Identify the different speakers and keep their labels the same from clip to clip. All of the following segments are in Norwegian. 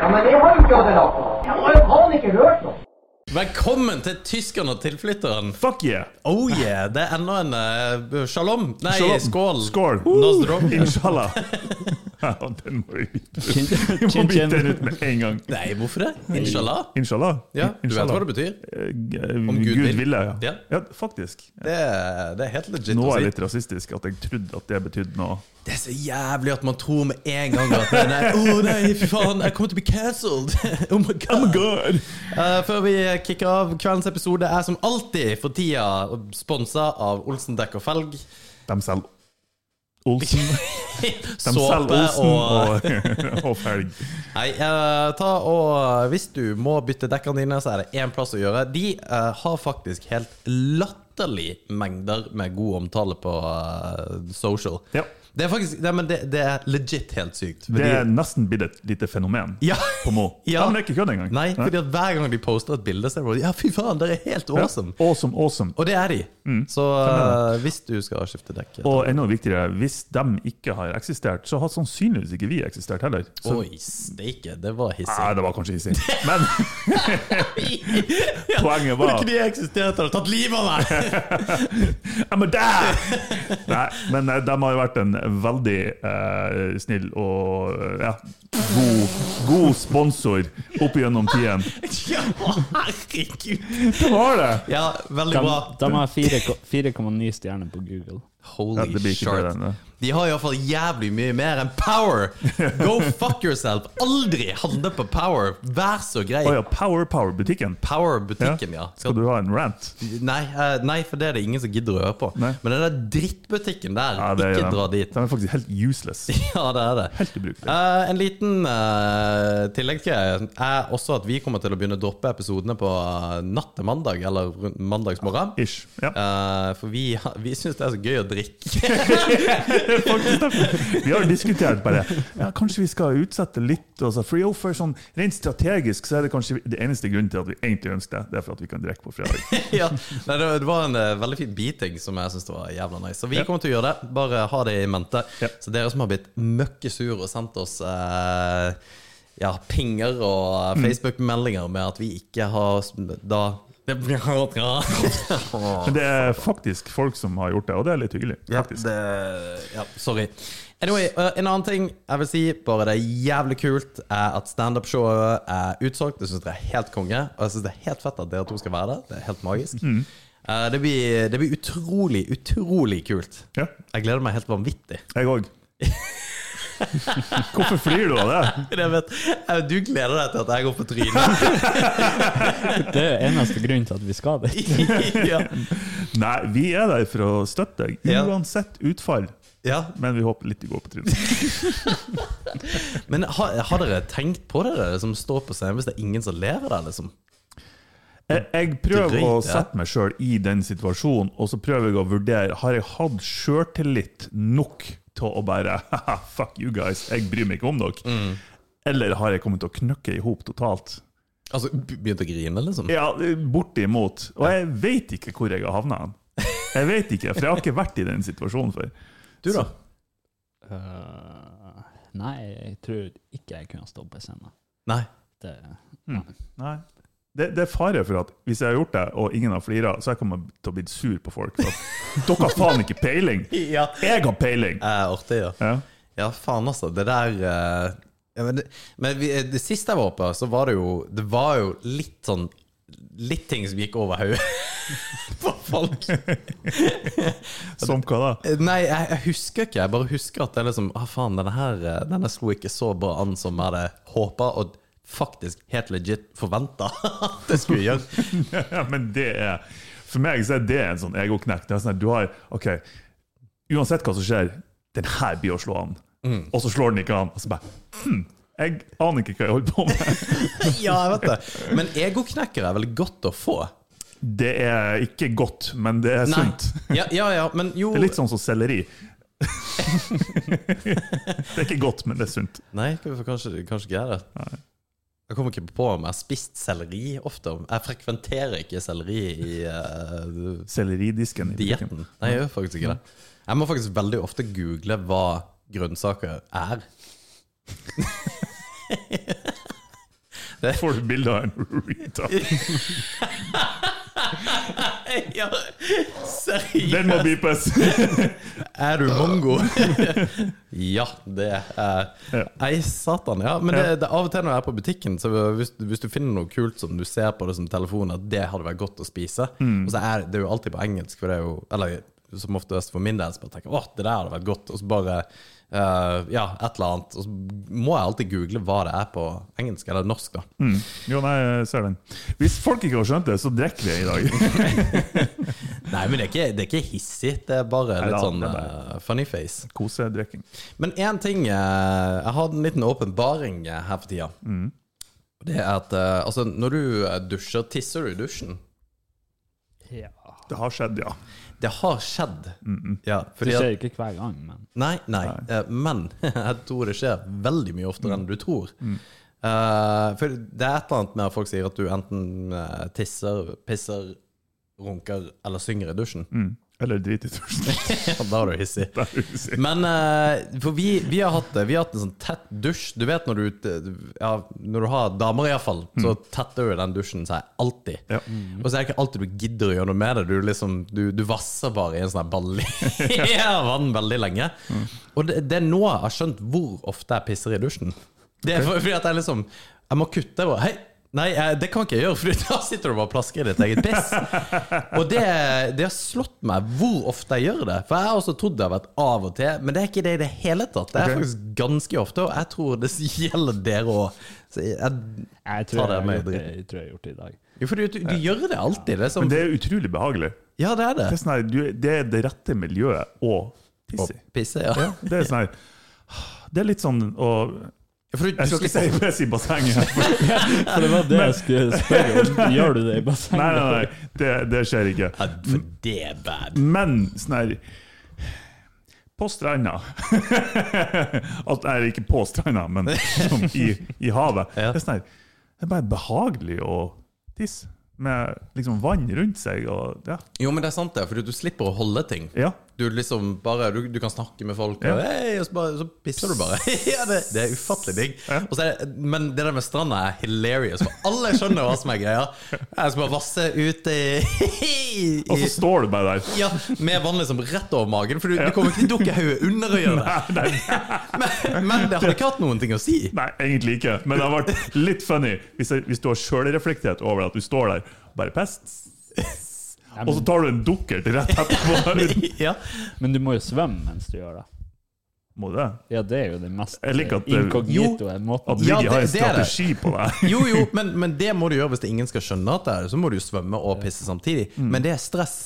Speaker 1: Ja, men det har jo ikke Adela på. Jeg har jo faen ikke hørt noe.
Speaker 2: Velkommen til tyskerne og tilflytteren.
Speaker 3: Fuck yeah!
Speaker 2: Oh yeah, det er enda en eh, Shalom. Nei,
Speaker 3: Shalom.
Speaker 2: skål.
Speaker 3: Skål.
Speaker 2: Nozdrom.
Speaker 3: Inshallah. Ja, den må vi bytte. Vi må
Speaker 4: Chin-
Speaker 3: bytte
Speaker 4: chin-
Speaker 3: den ut med en gang.
Speaker 2: Nei, hvorfor det? Inshallah.
Speaker 3: Inshallah.
Speaker 2: Ja, du vet
Speaker 3: Inshallah.
Speaker 2: hva det betyr.
Speaker 3: Eh, g-
Speaker 2: Om Gud
Speaker 3: Gud,
Speaker 2: vil.
Speaker 3: ville, ja.
Speaker 2: Ja.
Speaker 3: ja. faktisk.
Speaker 2: Det er, det er helt legit
Speaker 3: Nå
Speaker 2: å
Speaker 3: er
Speaker 2: si.
Speaker 3: jeg litt rasistisk at jeg trodde at det betydde noe.
Speaker 2: Det er så jævlig at man tror med en gang at det er, nei, Å nei, fy faen, jeg kommer til å bli cancelled! Oh my god!
Speaker 3: God!
Speaker 2: Eh, før vi kicker av, kveldens episode er som alltid for tida sponsa av Olsen dekk og felg.
Speaker 3: De selger Olsen. De selger
Speaker 2: Såpe og
Speaker 3: Olsen og, og felg.
Speaker 2: Nei, eh, ta og hvis du må bytte dekkene dine, så er det én plass å gjøre. De eh, har faktisk helt latterlig mengder med god omtale på eh, social.
Speaker 3: Ja.
Speaker 2: Det er faktisk Nei, men det, det er legit helt sykt.
Speaker 3: Det er nesten blitt et lite fenomen
Speaker 2: Ja.
Speaker 3: på Mo.
Speaker 2: Ja.
Speaker 3: men det er ikke kødd engang.
Speaker 2: Nei, fordi at hver gang de poster et bilde, så er det bare Ja, fy faen, dere er helt
Speaker 3: Ja.
Speaker 2: awesome!
Speaker 3: Awesome, awesome.
Speaker 2: Og det er de. Så eh, hvis du skal skifte dekk
Speaker 3: Og enda viktigere, hvis de ikke har eksistert, så har sannsynligvis ikke vi eksistert heller. Så,
Speaker 2: Oi, steike, det var
Speaker 3: nei,
Speaker 2: hissig.
Speaker 3: det var kanskje hissig. Men
Speaker 2: Ja,
Speaker 3: poenget
Speaker 2: Hadde
Speaker 3: var
Speaker 2: ikke de eksistert, hadde de tatt livet av meg!
Speaker 3: I'm a dad! Nei, men eh, de har jo vært en veldig eh, snill og eh, ja, god, god sponsor opp gjennom tiden.
Speaker 2: Ja, herregud!
Speaker 3: Det var det!
Speaker 2: Ja, veldig
Speaker 4: De,
Speaker 2: bra.
Speaker 4: de har fire ko- 4,9 stjerner på Google.
Speaker 2: Holy
Speaker 3: Ja, det blir ikke
Speaker 2: shit.
Speaker 3: bedre enn det.
Speaker 2: De har iallfall jævlig mye mer enn power! Go fuck yourself! Aldri handle på power! Vær så grei!
Speaker 3: Å ja, Power Power-butikken.
Speaker 2: Power-butikken, ja.
Speaker 3: Skal du ha en rant?
Speaker 2: Nei, eh, nei, for det er det ingen som gidder å høre på.
Speaker 3: Nei.
Speaker 2: Men den der drittbutikken der,
Speaker 3: Ja, det er
Speaker 2: ikke
Speaker 3: de.
Speaker 2: dra dit.
Speaker 3: De er faktisk helt useless.
Speaker 2: Ja, det er det.
Speaker 3: Helt ubrukelig.
Speaker 2: Eh, en liten uh, tilleggsgreie er også at vi kommer til å begynne å droppe episodene på eh, natt til mandag, eller rundt mandagsmorgen.
Speaker 3: Ish. Ja.
Speaker 2: Eh, for vi, vi syns det er så gøy å drikke.
Speaker 3: Vi har diskutert bare ja, Kanskje vi skal utsette litt. Og så free offer, sånn, rent strategisk så er det kanskje det eneste grunnen til at vi egentlig ønsker det. Det er for at vi kan drikke på fredag.
Speaker 2: ja. Nei, det, det var en eh, veldig fin beating som jeg syns var jævla nice. Så vi kommer til å gjøre det. Bare ha det i mente.
Speaker 3: Ja.
Speaker 2: Så dere som har blitt møkkesur og sendt oss eh, ja, pinger
Speaker 3: Mm.
Speaker 2: og eh, Facebook-meldinger med at vi ikke har s- da det blir
Speaker 3: Men det er faktisk folk som har gjort det, og det er litt hyggelig.
Speaker 2: Ja,
Speaker 3: faktisk.
Speaker 2: det, ja, sorry. Anyway, eh, en annen ting jeg vil si, bare det er jævlig kult, er at standup-showet er utsolgt. Jeg syns det er helt konge, og jeg syns det er helt fett at dere to skal være der. Det er helt magisk. Eh, Det, blir, det blir utrolig, utrolig kult.
Speaker 3: Ja,
Speaker 2: Jeg gleder meg helt vanvittig.
Speaker 3: jeg òg. Hvorfor flirer du av det?
Speaker 2: Jeg vet, eh, du gleder deg til at jeg går på trynet.
Speaker 4: Det er eneste grunnen til at vi skal dit.
Speaker 2: ja.
Speaker 3: Nei, vi er der for å støtte deg,
Speaker 2: Ja.
Speaker 3: uansett utfall.
Speaker 2: ja.
Speaker 3: Men vi håper litt du går på trynet.
Speaker 2: Men har, har dere tenkt på det, dere som står på scenen, hvis det er ingen som ler av det? Liksom?
Speaker 3: Jeg, jeg prøver
Speaker 2: drøyt,
Speaker 3: å
Speaker 2: ja.
Speaker 3: sette meg sjøl i den situasjonen, og så prøver jeg å vurdere Har jeg hatt sjøltillit nok til å bare «Haha, Fuck you guys, jeg bryr meg ikke om dere.
Speaker 2: Mm.
Speaker 3: Eller har jeg kommet til å knøkke i hop totalt?
Speaker 2: Altså, Begynt å grine, liksom?
Speaker 3: Ja, bortimot. Og jeg veit ikke hvor jeg har havna hen. Jeg vet ikke, for jeg har ikke vært i den situasjonen før.
Speaker 2: Du, da?
Speaker 4: Øh, nei, jeg tror ikke jeg kunne stå på scenen.
Speaker 2: Nei.
Speaker 4: Det,
Speaker 2: Mm.
Speaker 3: Nei. Det, det er fare for at hvis jeg har gjort det, og ingen har flira, så jeg kommer til å bli sur på folk. For at dere har faen ikke peiling!
Speaker 2: Ja.
Speaker 3: Jeg har peiling!
Speaker 2: Eh, artig, ja.
Speaker 3: Ja.
Speaker 2: Ja, faen altså. Det der eh, ja, Men, det, men vi, det siste jeg var oppe, så var det jo Det var jo litt sånn Litt ting som gikk over hodet på folk.
Speaker 3: Som hva da?
Speaker 2: Nei, jeg, jeg husker ikke. Jeg bare husker at det er liksom Å, faen, denne her eh, Denne slo ikke så bra an som jeg hadde håpa og faktisk helt legit forventa at det skulle gjøre.
Speaker 3: Ja, men det er For meg så er det en sånn egoknekk. Det er sånn at du har OK, uansett hva som skjer, den her blir å slå an. Og så slår den ikke an. Og så bare hm, Jeg aner ikke hva jeg holder på med.
Speaker 2: Ja, jeg vet det. Men egoknekkere er vel godt å få?
Speaker 3: Det er ikke godt, men det er sunt.
Speaker 2: Ja, ja, ja, men jo
Speaker 3: Det er litt sånn som selleri. det er ikke godt, men det er sunt.
Speaker 2: Nei, hvorfor kanskje, kanskje ikke er det? Jeg kommer ikke på om jeg har spist selleri ofte. om- Jeg frekventerer ikke selleri i eh,
Speaker 3: Selleridisken. i butikken.
Speaker 2: dietten. Nei, jeg gjør faktisk ikke det. Jeg må faktisk veldig ofte google hva grønnsaker er.
Speaker 3: Får du bilde av en Rita?
Speaker 2: Ja, seriøst?
Speaker 3: Den må beepes!
Speaker 2: Er du mongo? ja, det er Nei, satan. Ja, men det, det, er av og til når jeg er på butikken, så hvis, hvis du finner noe kult som du ser på det som telefon, at det hadde vært godt å spise
Speaker 3: Mm.
Speaker 2: Og så er det er jo alltid på engelsk, for det er jo Eller som oftest for min del, så bare tenker jeg åh, det der hadde vært godt, og så bare eh, ja, et eller annet. Og så må jeg alltid google hva det er på engelsk, eller norsk, da.
Speaker 3: Mm. Jo, nei, jeg ser den. Hvis folk ikke har skjønt det, så drikker vi i dag.
Speaker 2: Nei, men det er ikke, det er ikke hissig, det er bare litt
Speaker 3: da,
Speaker 2: sånn
Speaker 3: det er bare-
Speaker 2: eh, funny face.
Speaker 3: Kosedrikking.
Speaker 2: Men én ting eh, Jeg har en liten åpenbaring eh, her for tida.
Speaker 4: Mm.
Speaker 2: Og Det er at eh, altså, når du eh, dusjer, tisser du i dusjen.
Speaker 3: Det har skjedd, ja.
Speaker 2: Det har skjedd. Ja,
Speaker 4: Det
Speaker 2: fordi at,
Speaker 4: skjer ikke hver gang, men
Speaker 2: nei, nei, eh, men jeg tror det skjer veldig mye oftere enn du
Speaker 4: Mm.
Speaker 2: tror. Eh, for det er et eller annet med at folk sier at du enten eh, tisser, pisser, runker eller synger i dusjen.
Speaker 3: Mm. Eller drit i dusjen.
Speaker 2: Ja, da er du hissig.
Speaker 3: Det er usikkert.
Speaker 2: Men eh, for vi, vi, har hatt, det. vi har hatt en sånn tett dusj. Du vet når du, ja, når du har damer, iallfall, så tetter jo den dusjen seg alltid.
Speaker 3: Ja.
Speaker 2: Og så er det ikke alltid du gidder å gjøre noe med det. Du, liksom, du, du vasser bare i en sånn her balje av vann veldig lenge. Og det, det er nå jeg har skjønt hvor ofte jeg pisser i dusjen. Det er for, fordi at jeg liksom Jeg må kutte. Og, Hei, nei, eh, det kan ikke jeg gjøre, for da sitter du bare og plasker i ditt eget piss. Og det, det har slått meg hvor ofte jeg gjør det. For jeg har også trodd det har vært av og til, men det er ikke det i det hele tatt. Det er
Speaker 3: Ok.
Speaker 2: faktisk ganske ofte, og jeg tror det gjelder dere òg.
Speaker 4: jeg
Speaker 2: Ta
Speaker 4: tror
Speaker 2: det
Speaker 4: jeg, har
Speaker 2: med
Speaker 4: gjort det,
Speaker 2: dritten.
Speaker 4: jeg tror jeg har gjort det i dag.
Speaker 2: Jo, for du, du, du gjør det alltid. Det er
Speaker 3: Men
Speaker 2: som,
Speaker 3: det er utrolig behagelig.
Speaker 2: ja, det er det.
Speaker 3: Det er, sånn her, du, det, er det rette miljøet å
Speaker 2: Og
Speaker 3: tisse i.
Speaker 2: pisse, ja.
Speaker 3: Ja, Det er sånn her Det er litt sånn å
Speaker 2: For du, du
Speaker 3: Jeg skal ikke
Speaker 2: slipper-
Speaker 3: si piss i bassenget. Nei,
Speaker 4: For det var det jeg skulle spørre om. Gjør du det i
Speaker 3: nei,
Speaker 4: bassenget?
Speaker 3: nei. Det, det skjer ikke.
Speaker 2: Ja, for det er bad.
Speaker 3: Men sånn her På stranda At Nei, ikke på stranda, men som i, i havet.
Speaker 2: Ja.
Speaker 3: Det er sånn her Det er bare behagelig å tisse. Med liksom vann rundt seg og Ja.
Speaker 2: Jo, men det er sant, det. For du slipper å holde ting.
Speaker 3: ja.
Speaker 2: Du liksom bare, du, du kan snakke med folk,
Speaker 3: Ja.
Speaker 2: og, hei, og så, bare, så pisser du bare. ja, det, det er ufattelig digg. Og så er det- Men det der med stranda er hilarious, for alle skjønner hva som er greia. Jeg skal bare vasse ut i,
Speaker 3: Og
Speaker 2: i
Speaker 3: så står du bare der.
Speaker 2: ja, Med vann liksom rett over magen, for du, du kommer ikke til å dukke hodet under og gjøre det.
Speaker 3: Nei,
Speaker 2: Men, men det hadde ikke hatt noen ting å si.
Speaker 3: Nei, egentlig ikke. Men det har vært litt funny hvis, hvis du har sjølreflektert over at du står der og bare pest, og så tar du en dukkert rett etterpå.
Speaker 2: Ja.
Speaker 4: Men du må jo svømme mens du gjør det.
Speaker 3: Må du det?
Speaker 4: Ja, det er jo det mest
Speaker 3: Jeg liker at det-
Speaker 4: inkognitoe
Speaker 3: At
Speaker 4: måten.
Speaker 3: Viggy
Speaker 2: Ja, det-
Speaker 3: har en
Speaker 2: det er det.
Speaker 3: strategi på det.
Speaker 2: Jo, jo, men, men det må du gjøre hvis det ingen skal skjønne at det er det. Så må du jo svømme og pisse samtidig. Men det er stress.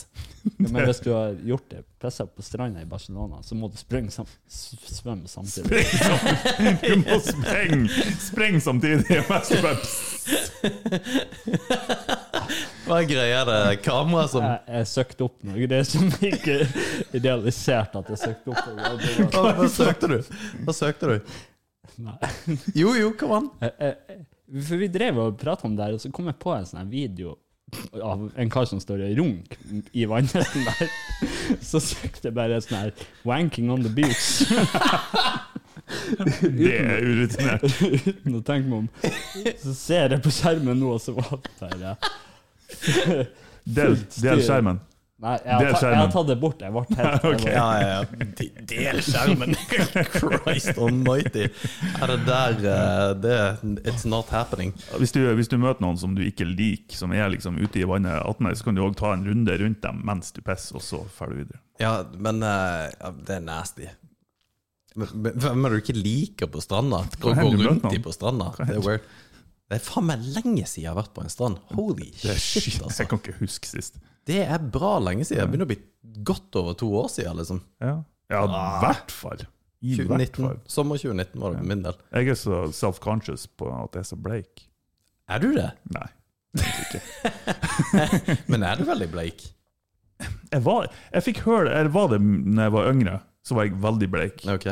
Speaker 4: Men hvis du har gjort det, pissa på stranda i Barcelona, så må du springe sam s- svømme samtidig.
Speaker 3: Liksom, Du må sprenge spreng samtidig. mens du bare pss.
Speaker 2: Hva er greia er det? Kamera som
Speaker 4: Jeg, jeg søkte opp noe det som ikke idealiserte at jeg søkte opp. noe. Det var-
Speaker 2: Hva, hva søkte du? Hva søkte du?
Speaker 4: Nei.
Speaker 2: Jo, jo, kom an.
Speaker 4: Eh, eh, For vi drev og prata om det, her, og så kom jeg på en sånn her video av en kar som står og runk i vannhesten der. Så søkte jeg bare sånn her 'wanking on the beach'
Speaker 3: Det er urutinert.
Speaker 4: uten å tenke meg om. Så ser jeg på skjermen nå, og så var det bare
Speaker 3: Del, del skjermen.
Speaker 4: Nei, jeg har,
Speaker 3: Det er
Speaker 4: ta, jeg har
Speaker 3: skjermen.
Speaker 4: tatt det bort. Jeg ble helt
Speaker 3: Ok.
Speaker 4: jeg var-
Speaker 2: Ja, ja, ja. Del skjermen. Christ almighty. Er det der eh, det, It's not happening.
Speaker 3: Hvis du, hvis du møter noen som du ikke liker, som er liksom ute i vannet, attmed, så kan du òg ta en runde rundt dem mens du pisser, og så drar du videre.
Speaker 2: Ja, men eh, ja, det er nasty. Men- men Hvem er det du ikke liker på stranda? Gå
Speaker 3: hender
Speaker 2: gå
Speaker 3: du møter
Speaker 2: rundt
Speaker 3: noen?
Speaker 2: i på stranda. Det er weird. Det er faen meg lenge siden jeg har vært på en strand. Holy
Speaker 3: Det er
Speaker 2: shit,
Speaker 3: shit,
Speaker 2: altså.
Speaker 3: jeg kan ikke huske sist.
Speaker 2: Det er bra lenge siden. Det begynner å bli godt over to år siden, liksom.
Speaker 3: Ja. Ja, i hvert fall. I hvert
Speaker 2: 2019.
Speaker 3: fall.
Speaker 2: Sommer 2019 var det for min del.
Speaker 3: Jeg er så self-conscious på at jeg er så bleik.
Speaker 2: Er du det?
Speaker 3: Nei.
Speaker 2: Men er du veldig bleik?
Speaker 3: Jeg, var, jeg fikk høre det, eller var det når jeg var yngre, så var jeg veldig bleik.
Speaker 2: Ok.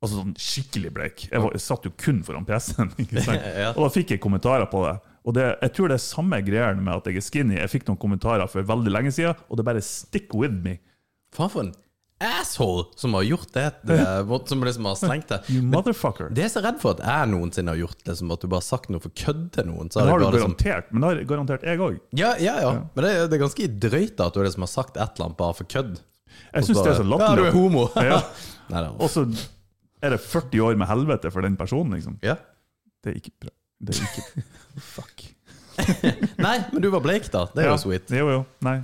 Speaker 3: Altså sånn skikkelig bleik. Jeg, var, jeg satt jo kun foran PC-en, ikke sant?
Speaker 2: Ja.
Speaker 3: Og da fikk jeg kommentarer på det. Og det, jeg tror det er samme greien med at jeg er skinny. Jeg fikk noen kommentarer for veldig lenge siden, og det bare stick with me.
Speaker 2: Faen for en asshole som har gjort det, det som liksom har slengt det.
Speaker 3: You motherfucker.
Speaker 2: Det er jeg så redd for at jeg noensinne har gjort det, som at du bare har sagt noe for kødd til noen. Så
Speaker 3: Det
Speaker 2: har
Speaker 3: har
Speaker 2: det
Speaker 3: du
Speaker 2: bare liksom,
Speaker 3: garantert, men det har garantert jeg òg.
Speaker 2: ja, ja, ja. Men det, er- det er ganske drøyt da, at du liksom har sagt et eller annet bare for kødd.
Speaker 3: Jeg syns det er
Speaker 2: Ja,
Speaker 3: så
Speaker 2: du er
Speaker 3: latterlig.
Speaker 2: homo.
Speaker 3: Ja.
Speaker 2: Nei, det er-
Speaker 3: Og så er det 40 år med helvete for den personen, liksom.
Speaker 2: ja.
Speaker 3: Det er ikke bra. Det er ikke Fuck.
Speaker 2: Nei, men du var bleik, da. Det er
Speaker 3: Ja,
Speaker 2: jo sweet.
Speaker 3: Jo, jo. Nei.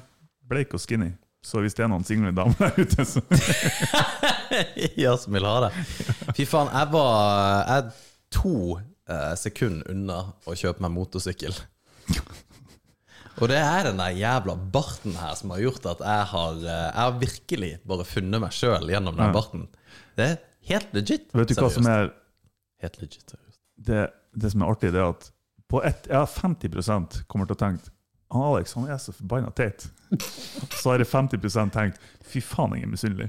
Speaker 3: Bleik og skinny. Så hvis det er noen single damer der ute, så
Speaker 2: Ja, som vil ha det. Fy faen, jeg var Jeg er to eh, sekunder unna å kjøpe meg motorsykkel. Og det er den der jævla barten her som har gjort at jeg har, eh, jeg har virkelig bare funnet meg sjøl gjennom den
Speaker 3: Ja.
Speaker 2: barten. Det er helt legit.
Speaker 3: Vet du hva som er
Speaker 2: Helt legit, seriøst.
Speaker 3: det, det som er artig, det er at på ett Ja, 50 kommer til å tenke han Alex han er så forbanna teit. Så har det 50 tenkt fy faen, jeg er misunnelig.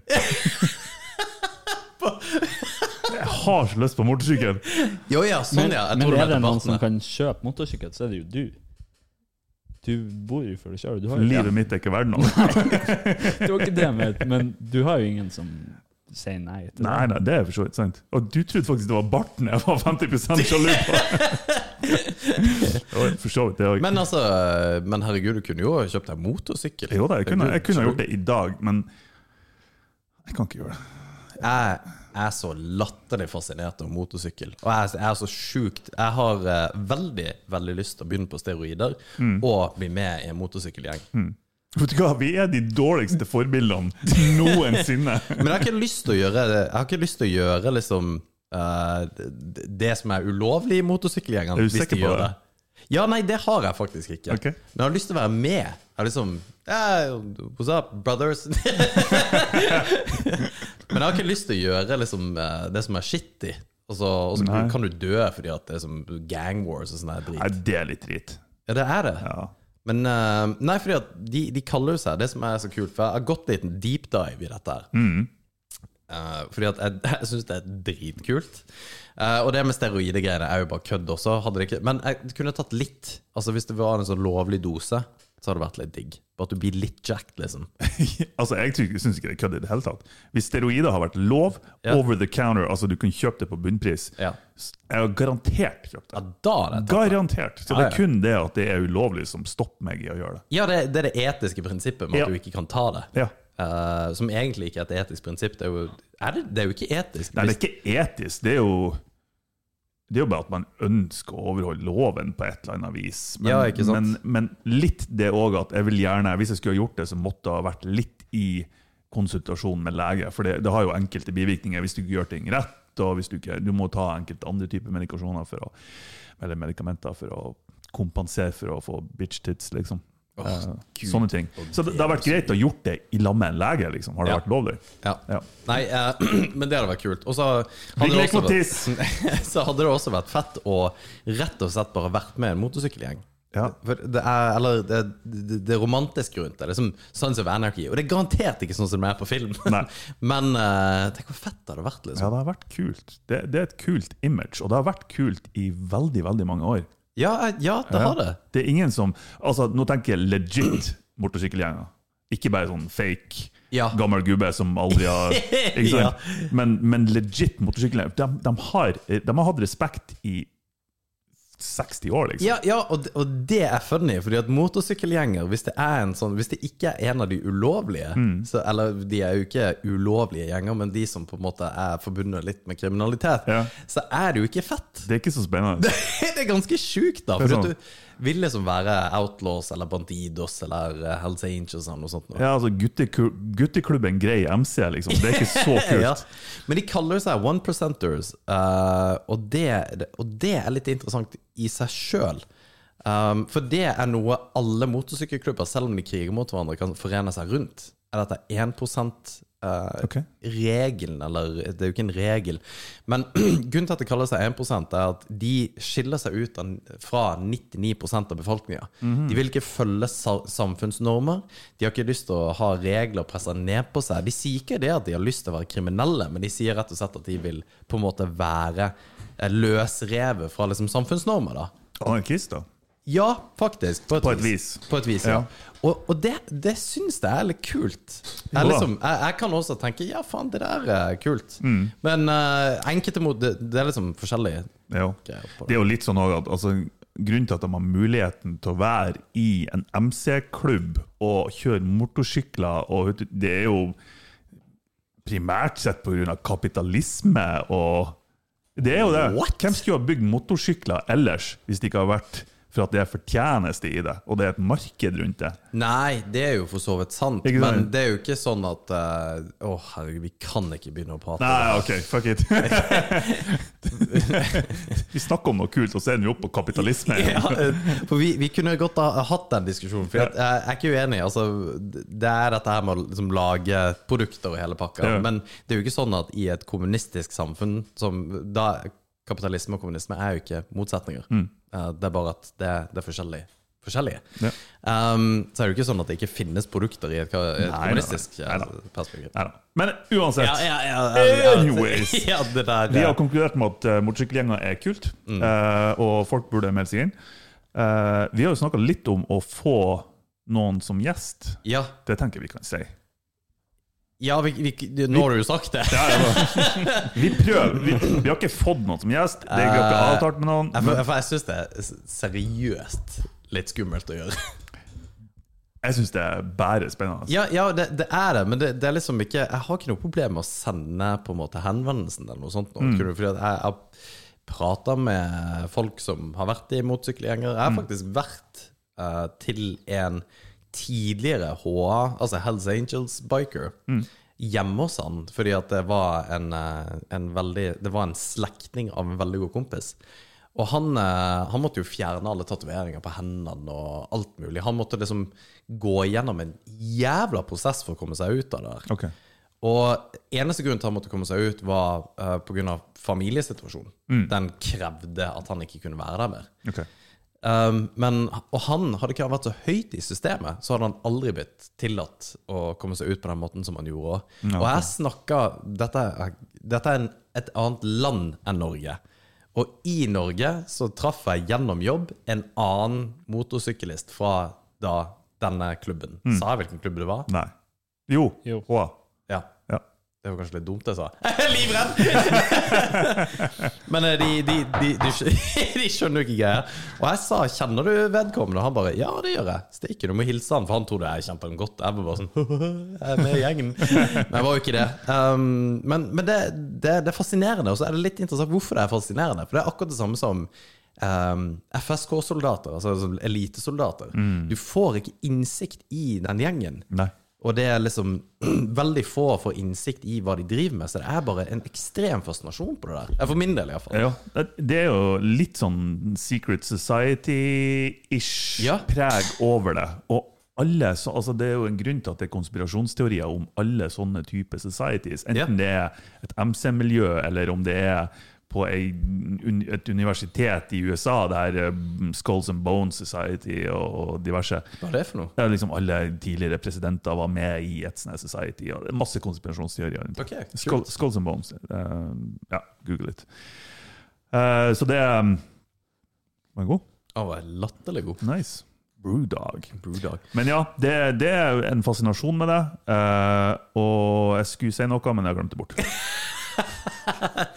Speaker 3: Jeg har så lyst på motorsykkel!
Speaker 2: Jo ja, sånn
Speaker 4: Men,
Speaker 2: ja. Jeg
Speaker 4: men
Speaker 2: tror du
Speaker 4: er det
Speaker 2: mente
Speaker 4: noen som
Speaker 2: barten. ja.
Speaker 4: kan kjøpe motorsykkel, så er det jo du. Du bor jo før du kjører. Du har jo
Speaker 3: Livet mitt er ikke verdt noe.
Speaker 4: Det var ikke det, med, men du har jo ingen som sier nei. til det.
Speaker 3: Nei, nei, det er for så vidt sant. Og du trodde faktisk det var barten jeg var 50 sjalu på! Jo, For så vidt, det òg.
Speaker 2: Men uh, altså, men herregud, du kunne jo kjøpt deg motorsykkel.
Speaker 3: Jo da, jeg kunne, jeg kunne ha gjort det i dag, men jeg kan ikke gjøre det.
Speaker 2: Jeg er så latterlig fascinert av motorsykkel. Og jeg, jeg er så sjukt Jeg har eh, veldig veldig lyst til å begynne på steroider og bli med i en motorsykkelgjeng.
Speaker 3: Vet du hva, vi er de dårligste forbildene noensinne!
Speaker 2: Men jeg har ikke lyst til å gjøre Jeg har ikke lyst til å gjøre liksom eh, det, det som er ulovlig i motorsykkelgjengene.
Speaker 3: Er du
Speaker 2: hvis de
Speaker 3: sikker på
Speaker 2: gjør
Speaker 3: det?
Speaker 2: Ja, nei, det har jeg faktisk ikke.
Speaker 3: Ok.
Speaker 2: Men jeg har lyst til å være med. Jeg er liksom eh, What's up, brothers? Men jeg har ikke lyst til å gjøre liksom, eh, det som er shitty. Og så og så
Speaker 3: Nei.
Speaker 2: kan du dø fordi at det er som gang wars og sånn der
Speaker 3: Nei,
Speaker 2: drit.
Speaker 3: det er litt drit.
Speaker 2: Ja, det er det.
Speaker 3: Ja.
Speaker 2: Men eh, Nei, fordi at de, de kaller seg Det som er så kult, for jeg har gått litt en deep dive i dette her.
Speaker 3: Mm.
Speaker 2: Eh, fordi at jeg, jeg syns det er dritkult. Eh, og det med steroidegreiene er jo bare kødd også. Hadde det ikke, men jeg kunne tatt litt. Altså Hvis det var en sånn lovlig dose, så hadde det vært litt digg. Bare at du blir litt jacked, liksom.
Speaker 3: altså, Jeg syns syns ikke det er kødd i det hele tatt. Hvis steroider har vært lov,
Speaker 2: Ja.
Speaker 3: over the counter, altså du kunne kjøpt det på bunnpris
Speaker 2: Ja.
Speaker 3: s- Jeg har garantert kjøpt
Speaker 2: Ja,
Speaker 3: det.
Speaker 2: da hadde jeg tatt det.
Speaker 3: Garantert. Så
Speaker 2: Ja,
Speaker 3: det er
Speaker 2: ja.
Speaker 3: kun det at det er ulovlig som stopper meg i å gjøre det.
Speaker 2: Ja, det, det er det etiske prinsippet med
Speaker 3: Ja.
Speaker 2: at du ikke kan ta det.
Speaker 3: Ja.
Speaker 2: Eh, som egentlig ikke er et etisk prinsipp. Det er jo, er det, det er jo ikke etisk.
Speaker 3: Nei, det er ikke etisk. Det er jo det er jo bare at man ønsker å overholde loven på et eller annet vis. Men,
Speaker 2: Ja, ikke sant?
Speaker 3: men, men litt det òg at jeg vil gjerne, hvis jeg skulle ha gjort det, så måtte det ha vært litt i konsultasjon med lege. For det, det har jo enkelte bivirkninger hvis du ikke gjør ting rett. og hvis Du ikke, du må ta enkelte andre typer medikasjoner for å, eller medikamenter for å kompensere for å få bitch tits, liksom. Eh, Sånne ting. Så det, det har vært greit å gjort det i lag med en lege, liksom. Har det
Speaker 2: Ja.
Speaker 3: vært lovlig?
Speaker 2: Ja.
Speaker 3: Ja.
Speaker 2: Nei, eh, men det hadde vært kult. Og så hadde,
Speaker 3: Big
Speaker 2: det
Speaker 3: Lake
Speaker 2: også
Speaker 3: Matisse!
Speaker 2: vært- så hadde det også vært fett å rett og slett bare vært med en motorsykkelgjeng.
Speaker 3: Ja.
Speaker 2: For det er, eller det, det, det er romantisk rundt det. Det er som Sons of Anarchy. Og det er garantert ikke sånn som det er på film.
Speaker 3: Nei.
Speaker 2: Men eh, tenk hvor fett det hadde vært.
Speaker 3: Ja,
Speaker 2: liksom
Speaker 3: det har vært kult. Det, det er et kult image, og det har vært kult i veldig, veldig mange år.
Speaker 2: Ja, eh, ja det har det.
Speaker 3: Det er ingen som Altså, nå tenker jeg legit motorsykkelgjenger. Ikke bare sånn fake
Speaker 2: Ja.
Speaker 3: gammel gubbe som aldri har Ikke
Speaker 2: Ja.
Speaker 3: sant? Men, men legit motorsykkelgjenger. De, de, har, eh, de har hatt respekt i 60 år, liksom.
Speaker 2: Ja, ja og, det- og det er funny, fordi at motorsykkelgjenger, hvis det er en sånn Hvis det ikke er en av de ulovlige,
Speaker 3: Mm.
Speaker 2: så, eller de er jo ikke ulovlige gjenger, men de som på en måte er forbundet litt med kriminalitet,
Speaker 3: Ja.
Speaker 2: så er det jo ikke fett.
Speaker 3: Det er ikke så spennende.
Speaker 2: Det er ganske sjukt, da.
Speaker 3: Det
Speaker 2: For
Speaker 3: er sånn.
Speaker 2: at du vil liksom være outlaws eller bandidos eller eh, Hells Angels eller noe sånt. noe.
Speaker 3: Ja, altså, gutteku- Gutteklubben grei MC, liksom. Det er ikke så kult.
Speaker 2: Ja. Men de kaller seg one percenters, eh, og, det, og det er litt interessant i seg sjøl. Um, for det er noe alle motorsykkelklubber, selv om de kriger mot hverandre, kan forene seg rundt. Er dette 1 eh,
Speaker 3: Ok.
Speaker 2: regelen, eller det er jo ikke en regel, men grunnen til at det kaller seg 1 er at de skiller seg ut av, fra 99 av befolkninga. De vil ikke følge sa samfunnsnormer. De har ikke lyst til å ha regler pressa ned på seg. De sier ikke det at de har lyst til å være kriminelle, men de sier rett og slett at de vil på en måte være eh, løsrevet fra liksom samfunnsnormer. da.
Speaker 3: Anarkist, Ah, da.
Speaker 2: Ja, faktisk.
Speaker 3: På et vis.
Speaker 2: På et vis, ja.
Speaker 3: Ja.
Speaker 2: Og, og det, det syns jeg er litt kult.
Speaker 3: Ja.
Speaker 2: Jeg, liksom, jeg, jeg kan også tenke ja, faen, det der er kult.
Speaker 3: Mm.
Speaker 2: Men eh, enkelte mot det, det er liksom forskjellige
Speaker 3: Ja.
Speaker 2: greier på
Speaker 3: Det
Speaker 2: det.
Speaker 3: er jo litt sånn også at altså, Grunnen til at de har muligheten til å være i en MC-klubb og kjøre motorsykler, og ut- det er jo primært sett pga. kapitalisme og Det er jo det.
Speaker 2: What?
Speaker 3: Hvem skulle ha bygd motorsykler ellers, hvis det ikke har vært for at det er fortjeneste i det, og det er et marked rundt det?
Speaker 2: Nei, det er jo for så vidt sant,
Speaker 3: Ikke sant?
Speaker 2: men det er jo ikke sånn at eh, Å, herregud, vi kan ikke begynne å prate.
Speaker 3: Nei, OK, fuck it. vi snakker om noe kult, og så ender vi opp på kapitalisme. igjen.
Speaker 2: Ja, eh, for vi, vi kunne godt ha hatt den diskusjonen. For jeg, jeg er ikke uenig. Altså, det er dette her med å liksom, lage produkter og hele pakka.
Speaker 3: Ja.
Speaker 2: Men det er jo ikke sånn at i et kommunistisk samfunn som da, Kapitalisme og kommunisme er jo ikke motsetninger. Eh, Det er bare at det, det er forskjellig. Forskjellige.
Speaker 3: Ja.
Speaker 2: Um, så er det jo ikke sånn at det ikke finnes produkter i et, ka- et
Speaker 3: Nei, nei,
Speaker 2: kommunistisk
Speaker 3: nei. Nei da.
Speaker 2: eh, perspektiv.
Speaker 3: Neida. Men uansett.
Speaker 2: Ja, ja, ja, ja, ja.
Speaker 3: Anyways.
Speaker 2: Ja, Mm. det der,
Speaker 3: Vi
Speaker 2: eh,
Speaker 3: har konkludert med at uh, motorsykkelgjenger er kult, eh, og folk burde melde seg inn. Eh, vi har jo snakka litt om å få noen som gjest.
Speaker 2: ja,
Speaker 3: Det tenker jeg vi kan si.
Speaker 2: ja vi, vi, nå har du jo sagt det.
Speaker 3: Vi prøver. Vi, vi har ikke fått noen som gjest. Det er vi har ikke
Speaker 2: Eh,
Speaker 3: avtalt med noen.
Speaker 2: Nei,
Speaker 3: Men
Speaker 2: for, for jeg syns det er s- seriøst litt skummelt å gjøre.
Speaker 3: jeg syns det er bare spennende.
Speaker 2: Ja, ja det, det er det, men det, det er liksom ikke Jeg har ikke noe problem med å sende på en måte henvendelsen eller noe sånt. nå, kunne du- Fordi at jeg, jeg prater med folk som har vært i motorsykkelgjenger. Jeg har faktisk vært eh, til en tidligere HA, altså Hells Angels biker, hjemme hos han. Fordi at det var en, eh, en veldig Det var en slektning av en veldig god kompis. Og han, eh, han måtte jo fjerne alle tatoveringer på hendene og alt mulig. Han måtte liksom gå gjennom en jævla prosess for å komme seg ut av det der.
Speaker 3: Ok.
Speaker 2: Og eneste grunn til han måtte komme seg ut, var eh, på grunn av familiesituasjonen. Den krevde at han ikke kunne være der mer.
Speaker 3: ok.
Speaker 2: Um, men, og han hadde ikke han vært så høyt i systemet, så hadde han aldri blitt tillatt å komme seg ut på den måten som han gjorde. Og jeg snakka Dette, er- dette er en, et annet land enn Norge. Og i Norge så traff jeg gjennom jobb en annen motorsyklist fra da denne klubben. Sa jeg hvilken klubb det var?
Speaker 3: Nei. Jo.
Speaker 4: Jo.
Speaker 3: Hva?
Speaker 2: Ja.
Speaker 3: Ja.
Speaker 2: Det var kanskje litt dumt, jeg sa. Livredd! Men eh, de, de, de, de, skj- de skjønner jo ikke greia. Og jeg sa 'kjenner du vedkommende?' Og han bare 'ja, det gjør jeg'. Stikker du må hilse han, for han trodde jeg kjente han godt. Jeg var bare sånn jeg er med i gjengen. Men jeg var jo ikke det. Um, men men det, det, det er fascinerende, og så er det litt interessant hvorfor det er fascinerende. For det er akkurat det samme som um, FSK-soldater, altså som elitesoldater. Du får ikke innsikt i den gjengen.
Speaker 3: Nei.
Speaker 2: Og det er liksom veldig få får innsikt i hva de driver med, så det er bare en ekstrem fascinasjon på det der. Eh, For min del, iallfall.
Speaker 3: Ja, det- det er jo litt sånn secret society-ish
Speaker 2: Ja.
Speaker 3: preg over det. Og alle, så, altså det er jo en grunn til at det er konspirasjonsteorier om alle sånne typer societies. Enten
Speaker 2: Ja.
Speaker 3: det er et MC-miljø, eller om det er på ei, un, et universitet i USA, der eh, Skulls and Bones Society og, og diverse
Speaker 2: Hva er det for noe?
Speaker 3: der liksom Alle tidligere presidenter var med i et sånt society. Og det er masse konspirasjonsteorier. rundt det.
Speaker 2: Ok, kult.
Speaker 3: Skull, skulls and bones. Eh, ja, google litt. Eh, så det um, Var den god?
Speaker 2: Han var latterlig god.
Speaker 3: Nice. Brewdog. Men ja, det, det er en fascinasjon med det. Eh, og jeg skulle si noe, men jeg glemte bort.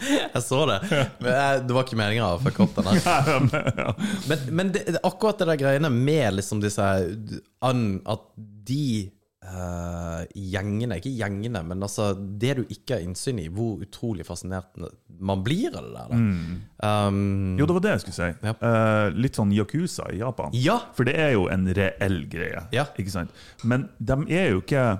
Speaker 2: Jeg så det. Men jeg, det var ikke meninga å fucke opp den der. Men, men det, det, er akkurat det der greiene med liksom disse an, At de eh, gjengene Ikke gjengene, men altså det du ikke har innsyn i, hvor utrolig fascinert man blir av det der. da. Um,
Speaker 3: Jo, det var det jeg skulle si.
Speaker 2: Ja.
Speaker 3: Eh, litt sånn yakuza i Japan.
Speaker 2: Ja.
Speaker 3: For det er jo en reell greie.
Speaker 2: Ja.
Speaker 3: Ikke sant? Men de er jo ikke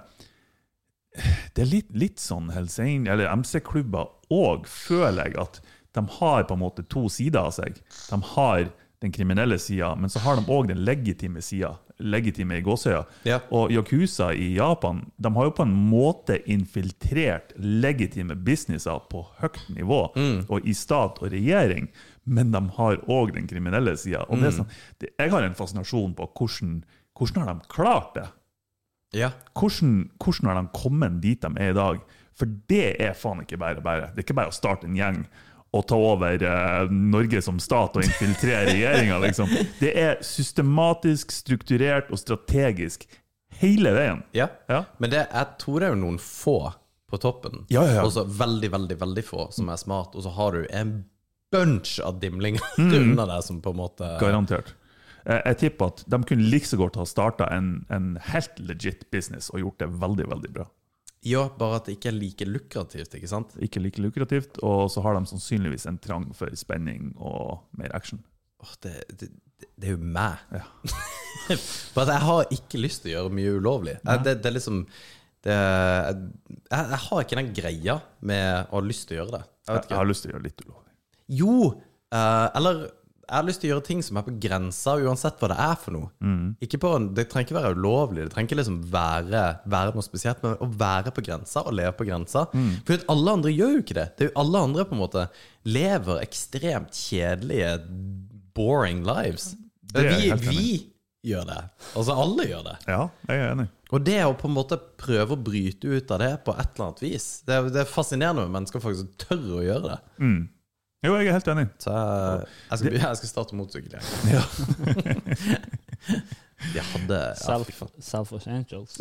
Speaker 3: Det er litt, litt sånn Hells Angel- eller MC-klubber òg, føler jeg, at de har på en måte to sider av seg. De har den kriminelle sida, men så har de òg den legitime sida. legitime i gåsøya.
Speaker 2: Ja.
Speaker 3: Og Yakuza i Japan de har jo på en måte infiltrert legitime businesser på høyt nivå, og i stat og regjering, men de har òg den kriminelle sida. Og det er sånn, det, jeg har en fascinasjon på hvordan, hvordan har de klart det?
Speaker 2: Ja.
Speaker 3: hvordan, hvordan har de kommet dit de er i dag? For det er faen ikke bare bare. Det er ikke bare å starte en gjeng og ta over eh, Norge som stat og infiltrere regjeringa, liksom. Det er systematisk, strukturert og strategisk hele veien.
Speaker 2: Ja.
Speaker 3: Ja.
Speaker 2: Men det, jeg tror det er jo noen få på toppen.
Speaker 3: Ja, ja, ja.
Speaker 2: Og så veldig, veldig, veldig få som er smart, og så har du en bunch av dimlinger under deg som på en måte
Speaker 3: Garantert. Eh, Jeg tipper at de kunne like så godt ha starta en, en helt legit business og gjort det veldig, veldig bra.
Speaker 2: Ja, bare at det ikke er like lukrativt, ikke sant?
Speaker 3: Ikke like lukrativt, og så har de sannsynligvis en trang for spenning og mer action.
Speaker 2: Åh, det, det, det er jo meg. For at jeg har ikke lyst til å gjøre mye ulovlig. Jeg, det, det er liksom det, jeg, jeg har ikke den greia med å ha lyst til å gjøre det. Jeg vet
Speaker 3: Jeg, jeg
Speaker 2: ikke.
Speaker 3: har lyst til å gjøre litt ulovlig.
Speaker 2: Jo, eh, eller jeg har lyst til å gjøre ting som er på grensa, uansett hva det er for noe.
Speaker 3: Mm.
Speaker 2: Ikke på, en- det trenger ikke være ulovlig, det trenger ikke liksom være, være noe spesielt, men å være på grensa og leve på grensa.
Speaker 3: Mm.
Speaker 2: For at alle andre gjør jo ikke det. det er jo alle andre på en måte lever ekstremt kjedelige, boring lives.
Speaker 3: er jeg
Speaker 2: Vi,
Speaker 3: helt enig i.
Speaker 2: vi gjør det. Altså, alle gjør det.
Speaker 3: Ja, jeg er enig.
Speaker 2: Og det å på en måte prøve å bryte ut av det på et eller annet vis, det er, det er fascinerende med mennesker faktisk som tør å gjøre det.
Speaker 3: Jo, jeg er helt enig.
Speaker 2: Så jeg, jeg, skal, jeg skal starte motorsykkel. jeg. Jeg hadde ja, fy faen.
Speaker 4: Selfish Angels.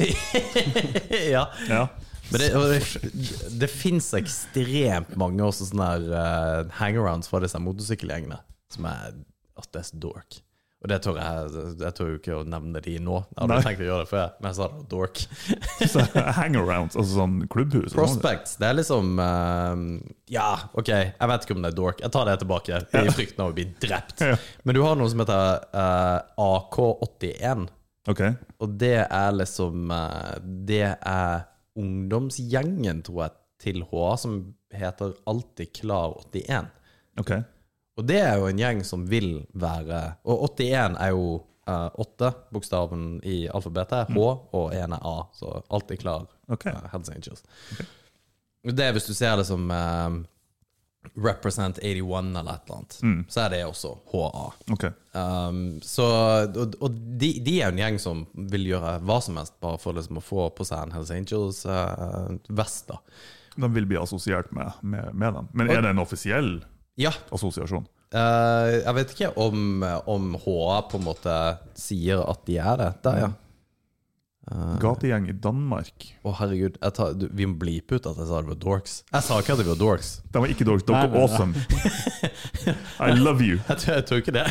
Speaker 2: ja.
Speaker 3: Ja.
Speaker 2: Men det, og det, det fins ekstremt mange også sånne her, eh, hangarounds fra disse motorsykkelgjengene som er at det er så dork. Og det tør jeg, jeg tør jo ikke å nevne de nå. Jeg hadde
Speaker 3: Nei.
Speaker 2: tenkt å gjøre det før, men jeg sa det var dork.
Speaker 3: Så hangarounds, altså sånn klubbhus. og sånn.
Speaker 2: Prospects, det er liksom eh, Ja, OK, jeg vet ikke om det er dork. Jeg tar det tilbake i frykten av å bli drept.
Speaker 3: Ja.
Speaker 2: Men du har noe som heter eh, AK81.
Speaker 3: Ok.
Speaker 2: Og det er liksom eh, Det er ungdomsgjengen, tror jeg, til HA, som heter Alltid klar 81.
Speaker 3: ok.
Speaker 2: Og det er jo en gjeng som vil være Og 81 er jo eh, åtte, bokstaven i alfabetet. H, og én er A, så Alltid klar
Speaker 3: Ok.
Speaker 2: eh, Hells Angels. Det er hvis du ser det som eh, Represent 81 eller et eller annet, så er det også HA.
Speaker 3: ok.
Speaker 2: Um, så, og og de, de er jo en gjeng som vil gjøre hva som helst bare for liksom å få på seg en Hells Angels-vest. da
Speaker 3: De vil bli assosiert med, med, med dem. Men er det en offisiell
Speaker 2: ja,
Speaker 3: assosiasjon?
Speaker 2: eh, jeg vet ikke om, om HA på en måte sier at de er det. Der, ja.
Speaker 3: Gategjeng i Danmark.
Speaker 2: Å, herregud. Jeg tar, du, vi må bleepe ut at jeg sa det var dorks. Jeg sa ikke at det var dorks.
Speaker 3: De var ikke dårlig, dere
Speaker 4: Nei, nei, nei.
Speaker 3: awesome. I love you.
Speaker 2: Jeg tror, jeg tror ikke det.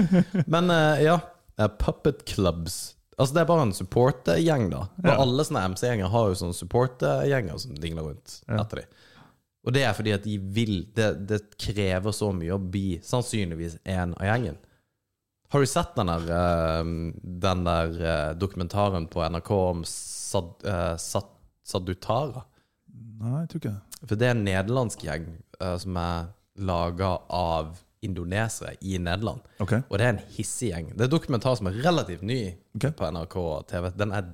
Speaker 2: Men eh, ja, eh, puppet clubs. Altså Det er bare en supportergjeng, da. Og
Speaker 3: Ja.
Speaker 2: alle sånne MC-gjenger har jo sånne supportergjenger som dingler rundt etter dem. Og det er fordi at de vil det, det krever så mye å bli sannsynligvis en av gjengen. Har du sett den der, eh, den der eh, dokumentaren på NRK om sad, eh, Sat- Sadutara?
Speaker 3: Nei, jeg tror ikke det.
Speaker 2: For det er en nederlandsk gjeng eh, som er laga av indonesere i Nederland.
Speaker 3: Ok.
Speaker 2: Og det er en hissig gjeng. Det er en dokumentar som er relativt ny
Speaker 3: Ok.
Speaker 2: på NRK og TV. Den er,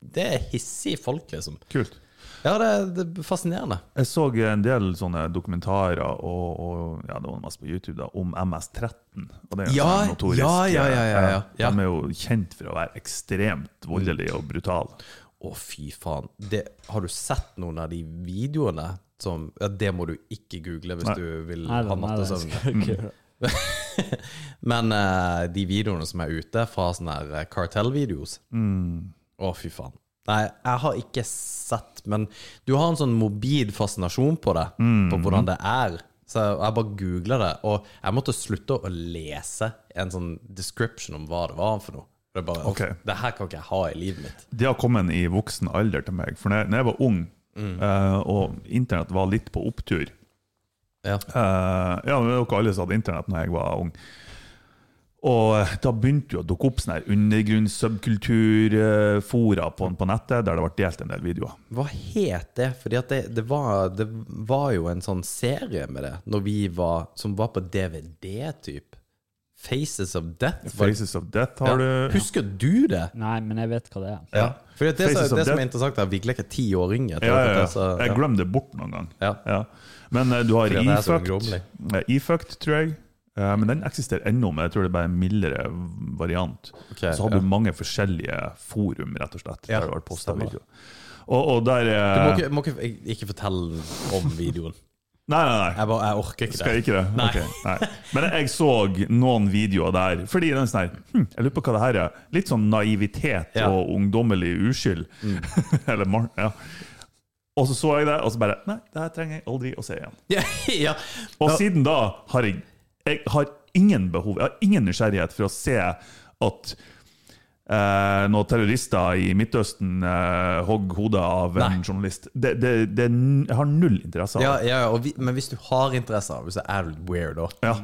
Speaker 2: det er hissige folk, liksom.
Speaker 3: Kult.
Speaker 2: Ja, det er, det er fascinerende.
Speaker 3: Jeg så en del sånne dokumentarer og, og ja, det var mest på YouTube da, om MS-13. og det er jo
Speaker 2: Ja,
Speaker 3: sånn notorisk,
Speaker 2: ja, ja, ja, ja, ja.
Speaker 3: eh, De er jo kjent for å være ekstremt voldelige og brutale.
Speaker 2: Å, fy faen. Det, har du sett noen av de videoene som ja, Det må du ikke google hvis
Speaker 3: Nei.
Speaker 2: du vil
Speaker 4: Nei,
Speaker 2: ha
Speaker 4: nei, nei,
Speaker 2: nattesøvn.
Speaker 4: skal jeg ikke gjøre.
Speaker 2: Men eh, de videoene som er ute fra sånne her eh, kartellvideos Å, fy faen. Nei, jeg har ikke sett, men du har en sånn mobil fascinasjon på det, på hvordan det er. Så jeg bare googla det, og jeg måtte slutte å lese en sånn description om hva det var for noe. Det er bare,
Speaker 3: Ok.
Speaker 2: det her kan ikke jeg ha i livet mitt.
Speaker 3: Det har kommet i voksen alder til meg. For når jeg, når jeg var ung,
Speaker 2: Mm.
Speaker 3: eh, og internett var litt på opptur
Speaker 2: Ja.
Speaker 3: Eh, ja, men dere alle som hadde internett når jeg var ung. Og eh, da begynte jo å dukke opp sånne her undergrunns-subkulturfora på, på nettet, der det ble delt en del videoer.
Speaker 2: Hva het det? Fordi at det, det, var, det var jo en sånn serie med det når vi var, som var på DVD, typ. Faces of Death? Var det-
Speaker 3: Faces of Death har
Speaker 2: Ja.
Speaker 3: du.
Speaker 2: Husker du det?
Speaker 4: Nei, men jeg vet hva det er.
Speaker 2: Ja. Fordi at det,
Speaker 3: Faces
Speaker 2: som-
Speaker 3: of
Speaker 2: det som er
Speaker 3: Death.
Speaker 2: interessant, er at vi leker tiåringer.
Speaker 3: Ja, ja, ja.
Speaker 2: Så-
Speaker 3: Jeg glemte det bort noen gang.
Speaker 2: Ja.
Speaker 3: Ja. Men eh, du har
Speaker 2: Fordi at det er så
Speaker 3: E-Fucked,
Speaker 2: ungdommelig.
Speaker 3: Eh, E-Fucked, tror jeg. Eh, men den eksisterer ennå, men jeg tror det er bare en mildere variant.
Speaker 2: Ok,
Speaker 3: så har
Speaker 2: ja.
Speaker 3: du mange forskjellige forum, rett og slett.
Speaker 2: Ja,
Speaker 3: der det har vært postet
Speaker 2: stemmer.
Speaker 3: video. Og, og der
Speaker 2: Du må
Speaker 3: eh,
Speaker 2: ikke, må ikke, jeg- ikke fortelle om videoen.
Speaker 3: Nei, nei, nei.
Speaker 2: Jeg, bare, jeg orker ikke det.
Speaker 3: Skal jeg ikke det?
Speaker 2: Nei.
Speaker 3: Ok, nei. Men jeg så noen videoer der, fordi den er sånn her hm, Jeg lurer på hva det her er. Litt sånn naivitet
Speaker 2: Ja. Mm.
Speaker 3: og ungdommelig uskyld. Eller mar... Ja. Og så så jeg det, og så bare Nei, det her trenger jeg aldri å se igjen.
Speaker 2: Ja, ja.
Speaker 3: Og siden da har jeg, jeg har ingen behov, jeg har ingen nysgjerrighet for å se at eh, noen terrorister i Midtøsten eh, hogg hodet av en
Speaker 2: Nei.
Speaker 3: journalist. Det, det, det, jeg har null interesse av
Speaker 2: Ja,
Speaker 3: det.
Speaker 2: ja, ja, og vi, men hvis du har interesser, hvis det er litt weird da
Speaker 3: Ja.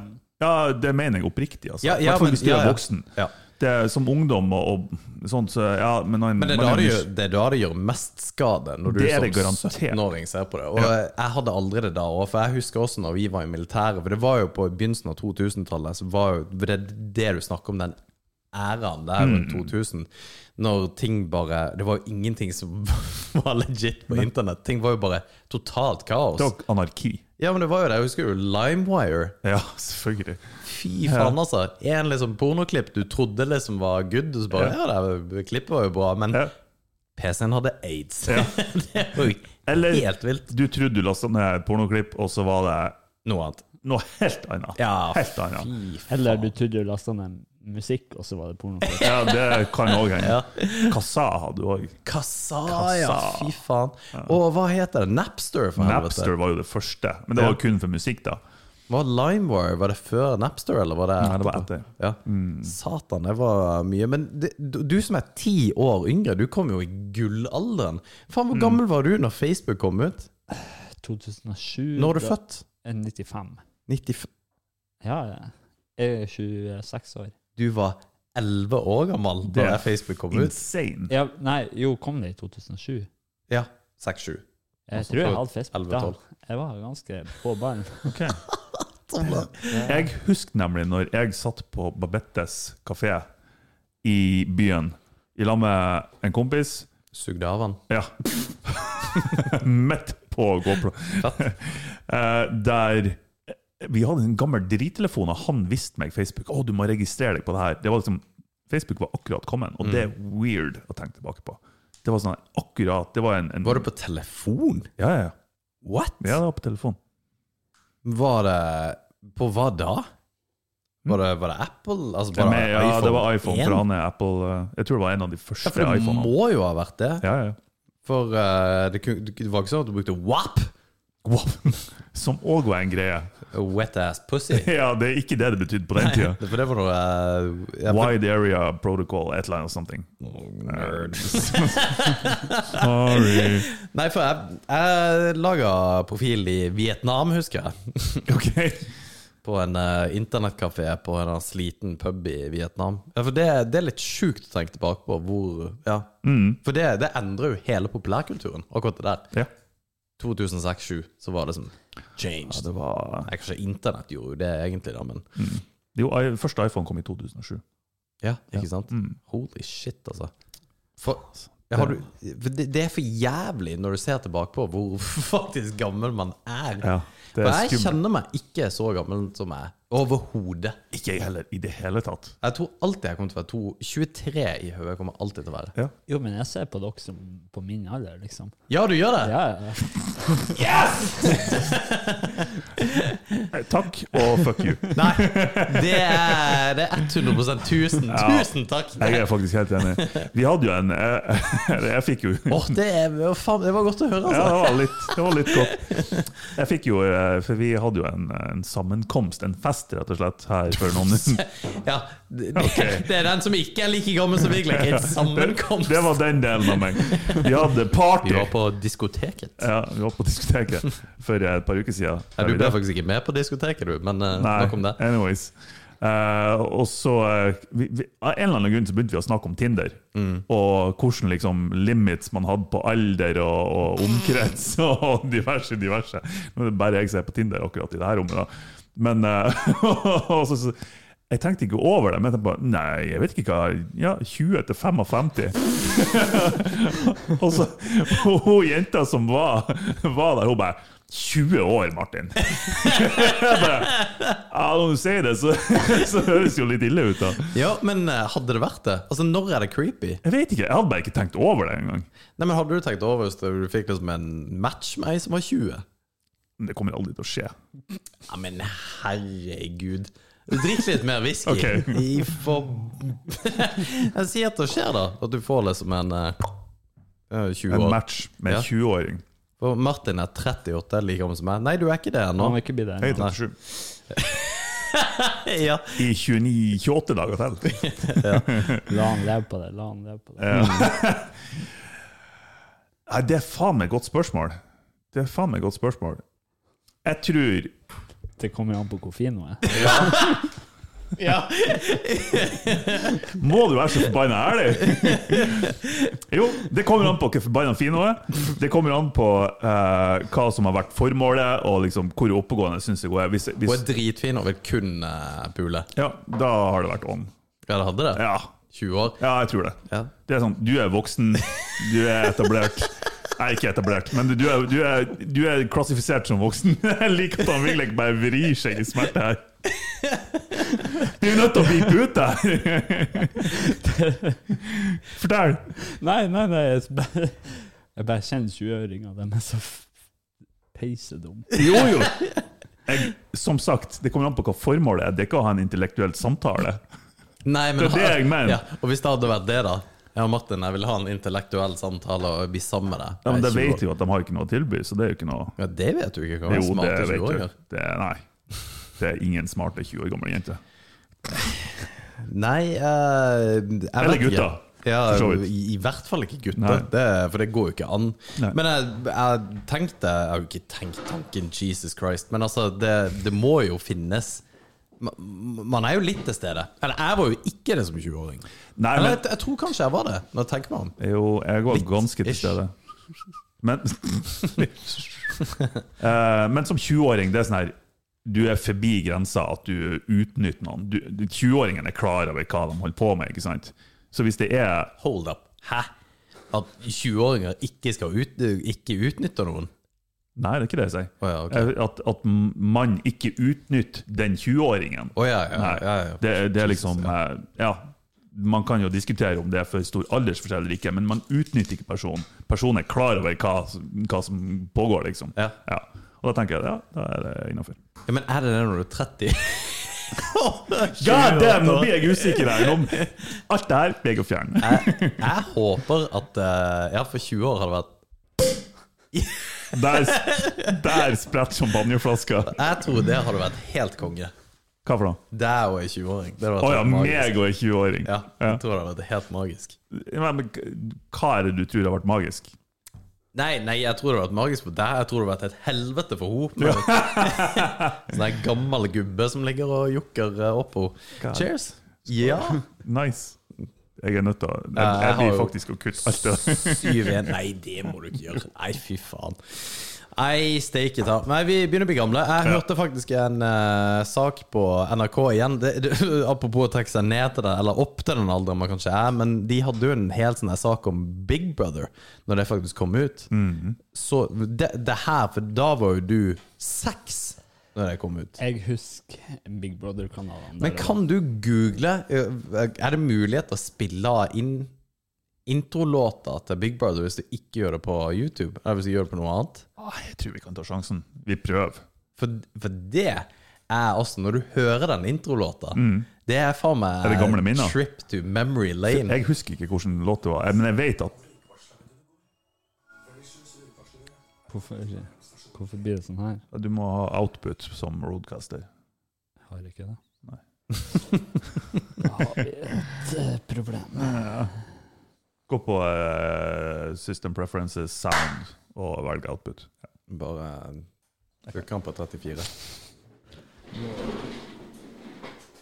Speaker 3: ja, det mener jeg oppriktig. Altså.
Speaker 2: Ja, ja,
Speaker 3: Hvertfall
Speaker 2: men-
Speaker 3: hvis du
Speaker 2: ja,
Speaker 3: er
Speaker 2: ja.
Speaker 3: voksen.
Speaker 2: Ja.
Speaker 3: Det er som ungdom og, og sånt, så ja, men, man-
Speaker 2: Men det er,
Speaker 3: man
Speaker 2: da det,
Speaker 3: nys-
Speaker 2: gjør, det er da det gjør mest skade, når du
Speaker 3: Det er det
Speaker 2: som
Speaker 3: garantert.
Speaker 2: 17-åring ser på det. Og
Speaker 3: Ja.
Speaker 2: jeg hadde aldri det da òg, for jeg husker også når vi var i militæret. For det var jo på begynnelsen av 2000-tallet, så var jo for det er det du snakker om, den æraen der
Speaker 3: Mm.
Speaker 2: rundt 2000, når ting bare Det var jo ingenting som var legit på internett. Ting var jo bare totalt kaos.
Speaker 3: Det var anarki.
Speaker 2: Ja, men det var jo det. Jeg husker jo LimeWire.
Speaker 3: Ja, selvfølgelig.
Speaker 2: Fy faen, altså. En liksom pornoklipp du trodde liksom var good, og så bare Ja, det, klippet var jo bra, men
Speaker 3: Ja.
Speaker 2: PC-en hadde aids.
Speaker 3: Ja.
Speaker 2: det var jo
Speaker 3: Eller
Speaker 2: helt vilt.
Speaker 3: du trodde du lasta ned pornoklipp, og så var det
Speaker 2: Noe annet.
Speaker 3: noe helt annet.
Speaker 2: Ja,
Speaker 3: helt annet.
Speaker 4: Eller du trodde du lasta ned musikk, og så var det porno.
Speaker 3: Ja, det kan òg hende. Kassa hadde du òg.
Speaker 2: Kassa, ja.
Speaker 3: Kassa.
Speaker 2: Fy faen. Og hva heter det? Napster, for
Speaker 3: Napster var jo det første, men det var jo kun for musikk, da.
Speaker 2: helvete. Var LimeWire var det før Napster, eller var det
Speaker 3: Nei, det var etter. Mm.
Speaker 2: Ja. Satan, det var mye. Men det, du du som er ti år yngre, du kom jo i gullalderen. Faen, hvor
Speaker 3: Mm.
Speaker 2: gammel var du når Facebook kom ut?
Speaker 4: 2007
Speaker 2: Når er du
Speaker 4: da-
Speaker 2: født?
Speaker 4: Eh, 95.
Speaker 2: 95
Speaker 4: Ja, ja. Jeg er 26 år.
Speaker 2: Du var 11 år gammel
Speaker 3: Det
Speaker 2: da
Speaker 3: er
Speaker 2: det Facebook kom ut?
Speaker 3: Insane.
Speaker 4: Ja, nei, jo, kom det i 2007?
Speaker 2: Ja. 6-7.
Speaker 4: Jeg
Speaker 2: Altså,
Speaker 4: tror jeg
Speaker 2: for
Speaker 4: hadde Facebook da.
Speaker 2: 11-12.
Speaker 4: Jeg var ganske på ballen.
Speaker 3: Ok. Jeg husker nemlig når jeg satt på Babettes kafé i byen i lag med en kompis.
Speaker 2: Sugde av han.
Speaker 3: Ja. Midt på GoPro. Eh, Der eh, Vi hadde en gammel drittelefon, og han visste meg Facebook. Å, du må registrere deg på det her. Det var liksom, Facebook var akkurat kommet, og det er
Speaker 2: Mm.
Speaker 3: weird å tenke tilbake på. Det var sånn akkurat Det var en, en
Speaker 2: Var det på telefon?
Speaker 3: Ja, ja. ja.
Speaker 2: What?!
Speaker 3: Ja, det var på telefon.
Speaker 2: Var det På hva da? Var det, var det Apple? Altså
Speaker 3: Ja,
Speaker 2: var
Speaker 3: men, ja, det var iPhone,
Speaker 2: 1?
Speaker 3: for han er Apple eh, Jeg tror det var en av de
Speaker 2: Ja,
Speaker 3: første
Speaker 2: for det
Speaker 3: iPhonene.
Speaker 2: må jo ha vært det.
Speaker 3: Ja, ja.
Speaker 2: For eh, det, kun- det var ikke sånn at du brukte WAP?
Speaker 3: Wow. Som òg var en greie.
Speaker 2: Wet ass pussy.
Speaker 3: Ja, det er ikke det det betydde på den tida.
Speaker 2: For det var noe eh, ja, for- Oh,
Speaker 3: Wide area protocol, et eller annet something. Eh,
Speaker 2: Nerd.
Speaker 3: Sorry.
Speaker 2: Nei, for jeg, jeg laga profil i Vietnam, husker jeg.
Speaker 3: Ok.
Speaker 2: På en eh, internettkafé på en eller annen sliten pub i Vietnam. Ja, for det, det er litt sjukt å tenke tilbake på hvor Ja. For det, det endrer jo hele populærkulturen, akkurat det der.
Speaker 3: Mm. Ja.
Speaker 2: 2006-2007 så var det som
Speaker 3: ja,
Speaker 2: changed.
Speaker 3: det var
Speaker 2: Nei, kanskje internett gjorde jo det egentlig, da, men
Speaker 3: Ah, Jo, i- første iPhone kom i 2007.
Speaker 2: Ja, ikke sant?
Speaker 3: Mm.
Speaker 2: Holy shit, altså. For, ja, har du, for det, det er for jævlig når du ser tilbake på hvor faktisk gammel man er.
Speaker 3: Ja, det
Speaker 2: for
Speaker 3: er
Speaker 2: jeg
Speaker 3: skummelt.
Speaker 2: kjenner meg ikke så gammel som jeg er. Overhodet.
Speaker 3: Ikke jeg heller, i det hele tatt.
Speaker 2: Jeg tror alltid jeg kommer til å være to, 23 i hodet. kommer jeg alltid til å være.
Speaker 3: Ja.
Speaker 4: Jo, men jeg ser på dere som på min alder, liksom.
Speaker 2: Ja, du gjør det?
Speaker 4: Ja, ja. ja.
Speaker 3: Eh, Takk og fuck you.
Speaker 2: Nei, det er, det er 100 Tusen, tusen takk!
Speaker 3: Jeg er faktisk helt enig. Vi hadde jo en Jeg, jeg fikk jo
Speaker 2: Åh, det, er, å, faen, det var godt å høre,
Speaker 3: ja,
Speaker 2: altså.
Speaker 3: det var, litt, det var litt godt. Jeg fikk jo eh, For vi hadde jo en, en sammenkomst, en fest, rett og slett, her for noen
Speaker 2: Ja, det, det,
Speaker 3: Ok.
Speaker 2: det er den som ikke er like gammel som Vigleik. En sammenkomst.
Speaker 3: Det var den delen av meg. Vi hadde party.
Speaker 2: Vi var på diskoteket.
Speaker 3: Ja, vi var på diskoteket for et par uker siden.
Speaker 2: Ja, du ble faktisk ikke med på diskoteket, du, men eh,
Speaker 3: Nei,
Speaker 2: nok om det.
Speaker 3: anyways. Eh, og så eh, vi, vi, Av en eller annen grunn så begynte vi å snakke om Tinder.
Speaker 2: Mm.
Speaker 3: Og hvordan liksom limits man hadde på alder og, og omkrets og diverse, diverse. Nå er det bare jeg som er på Tinder akkurat i det her rommet, da. Men eh, og så, så, Jeg tenkte ikke over det, men jeg bare Nei, jeg vet ikke hva Ja, 20 til 55. og så og hun jenta som var, var der, hun bare 20 år, Martin! Jeg bare, ja, når du sier det, så, så høres det jo litt ille ut, da.
Speaker 2: Ja, men eh, hadde det vært det? Altså, når er det creepy?
Speaker 3: Jeg vet ikke, jeg hadde bare ikke tenkt over det engang.
Speaker 2: Nei, men Hadde du tenkt over hvis du fikk liksom en match med ei som var 20?
Speaker 3: Men det kommer aldri til å skje.
Speaker 2: Ja, men herregud. Drikk litt mer whisky.
Speaker 3: Ok.
Speaker 2: I for... Jeg sier at det skjer, da. At du får liksom en eh, eh, 20
Speaker 3: En
Speaker 2: år.
Speaker 3: match med en
Speaker 2: Ja.
Speaker 3: 20-åring.
Speaker 2: For Martin er 38, like gammel som meg. Nei, du er ikke det ennå.
Speaker 4: Han vil ikke bli det.
Speaker 3: Jeg er 37.
Speaker 2: Ja.
Speaker 3: I 29-28 dager til.
Speaker 4: La han leve på det. La han leve på det.
Speaker 3: Nei, det er faen meg et godt spørsmål. Det er faen meg et godt spørsmål. Jeg tror
Speaker 4: Det kommer an på hvor fin hun er.
Speaker 3: Må du være så forbanna ærlig? Jo, det kommer an på hvor forbanna fin hun er. Det kommer an på eh, hva som har vært formålet, og liksom hvor oppegående syns jeg hun er. Hvis,
Speaker 2: Hun er
Speaker 3: hvis,
Speaker 2: dritfin og vil kun eh, pule.
Speaker 3: ja, da har det vært on.
Speaker 2: Ja, det hadde det.
Speaker 3: Ja,
Speaker 2: 20 år.
Speaker 3: ja jeg tror det.
Speaker 2: Ja.
Speaker 3: Det er sånn, du er voksen, du er etablert. Nei, ikke etablert, men du er, du er, du er klassifisert som voksen. Jeg liker at han Vigleik bare vrir seg i smerte her. Du er jo nødt til å bipe ut der! Fortell!
Speaker 4: Nei, nei, nei. Jeg bare, jeg bare kjenner 20-åringer. De er så f- peisedum.
Speaker 3: Jo, jo. Jeg, som sagt, det kommer an på hva formålet er. Det er ikke å ha en intellektuell samtale.
Speaker 2: Nei, men,
Speaker 3: Det er det jeg mener.
Speaker 2: Ja, og hvis det hadde vært det, da. Jeg og Martin jeg vil ha en intellektuell samtale og bli sammen med deg.
Speaker 3: Ja, men
Speaker 2: Jeg er 20
Speaker 3: det
Speaker 2: år.
Speaker 3: vet jo at de har ikke noe å tilby, så det er jo ikke noe
Speaker 2: Ja, det vet du ikke hva
Speaker 3: Jo,
Speaker 2: jo,
Speaker 3: det
Speaker 2: smarte
Speaker 3: vet du.
Speaker 2: 20-åringer
Speaker 3: Det er, nei. Det er ingen smarte 20 år gamle jenter.
Speaker 2: Nei, eh, jeg vet
Speaker 3: Eller
Speaker 2: ikke.
Speaker 3: gutter,
Speaker 2: Ja,
Speaker 3: for så vidt.
Speaker 2: i, I hvert fall ikke
Speaker 3: Nei.
Speaker 2: gutter, det, for det går jo ikke an.
Speaker 3: Nei.
Speaker 2: Men jeg, jeg tenkte Jeg har jo ikke tenkt tanken Jesus Christ, men altså, det, det må jo finnes. Ma- Man er jo litt til stede. Eller jeg var jo ikke det som 20-åring.
Speaker 3: Nei,
Speaker 2: Eller
Speaker 3: men
Speaker 2: jeg, jeg tror kanskje jeg var det, når jeg tenker meg om.
Speaker 3: Jo, jeg var ganske til
Speaker 2: ish.
Speaker 3: stede. Men, Eh, men som 20-åring, det er sånn her Du er forbi grensa at du utnytter noen. Du- du- 20-åringen er klar over hva de holder på med, ikke sant? Så hvis det er
Speaker 2: Hold up. Hæ? At 20-åringer ikke skal ut, ikke utnytte noen?
Speaker 3: Nei, det er ikke det jeg sier.
Speaker 2: Å ja, ok.
Speaker 3: Eh, At, at man ikke utnytter den 20-åringen.
Speaker 2: Å ja, ja,
Speaker 3: Nei,
Speaker 2: ja, ja.
Speaker 3: Det, det er liksom eh, Ja. Man kan jo diskutere om det er for stor aldersforskjell eller ikke, men man utnytter ikke personen. Personen er klar over hva, som- hva som pågår, liksom.
Speaker 2: Ja.
Speaker 3: Og da tenker jeg ja, da er det innafor.
Speaker 2: ja. Men er det det når du er 30?
Speaker 3: God damn, nå blir jeg usikker her! Nå, alt det her blir jeg å fjerne.
Speaker 2: jeg, jeg håper at eh, Ja, for 20 år hadde vært
Speaker 3: Der, der spretter champagneflaska.
Speaker 2: Jeg tror det hadde vært helt konge.
Speaker 3: Hva for noe?
Speaker 2: Der og ei 20-åring. Det hadde
Speaker 3: Å
Speaker 2: vært
Speaker 3: ja,
Speaker 2: helt magisk.
Speaker 3: meg og en 20-åring.
Speaker 2: Ja,
Speaker 3: Ja.
Speaker 2: jeg tror det hadde vært helt magisk.
Speaker 3: Ja, Men hva er det du tror har vært magisk?
Speaker 2: Nei, nei, jeg tror det hadde vært magisk for deg. Jeg tror det hadde vært et helvete for henne. Sånn en gammel gubbe som ligger og jukker eh, oppå.
Speaker 3: God.
Speaker 2: Cheers. Ja.
Speaker 3: Nice. Jeg er nødt til å Jeg,
Speaker 2: Eh,
Speaker 3: jeg
Speaker 2: jeg har
Speaker 3: blir
Speaker 2: jo-
Speaker 3: faktisk å kutte alt det der.
Speaker 2: 7-1. Nei, det må du ikke gjøre. Nei, fy faen. Nei, steike ta. Nei, vi begynner å bli gamle. Jeg hørte faktisk en eh, sak på NRK igjen. Det, det, apropos å trekke seg ned til det, eller opp til den alderen man kanskje er, men de hadde jo en hel sånn her sak om Big Brother, når det faktisk kom ut. Så det, det her, for da var jo du seks når det kom ut.
Speaker 4: Jeg husker Big Brother-kanalen. der
Speaker 2: Men kan du google eh, Er det mulighet å spille inn introlåter til Big Brother hvis du ikke gjør det på YouTube? Eller hvis du gjør det på noe annet?
Speaker 3: Ah, Jeg tror vi kan ta sjansen. Vi prøver.
Speaker 2: For, for det er altså Når du hører den introlåta, det er faen meg
Speaker 3: Mm. Er det gamle minner?
Speaker 2: Trip to memory lane.
Speaker 3: Jeg husker ikke hvilken låt det var, eh, men jeg vet at
Speaker 4: det- Hvorfor, hvorfor blir det sånn her?
Speaker 3: du må ha output som roadcaster.
Speaker 4: Jeg har ikke det.
Speaker 3: Nei.
Speaker 4: Da har vi et eh, problem.
Speaker 3: Gå på eh, System Preferences Sound og velg output.
Speaker 2: Bare øker den på 34.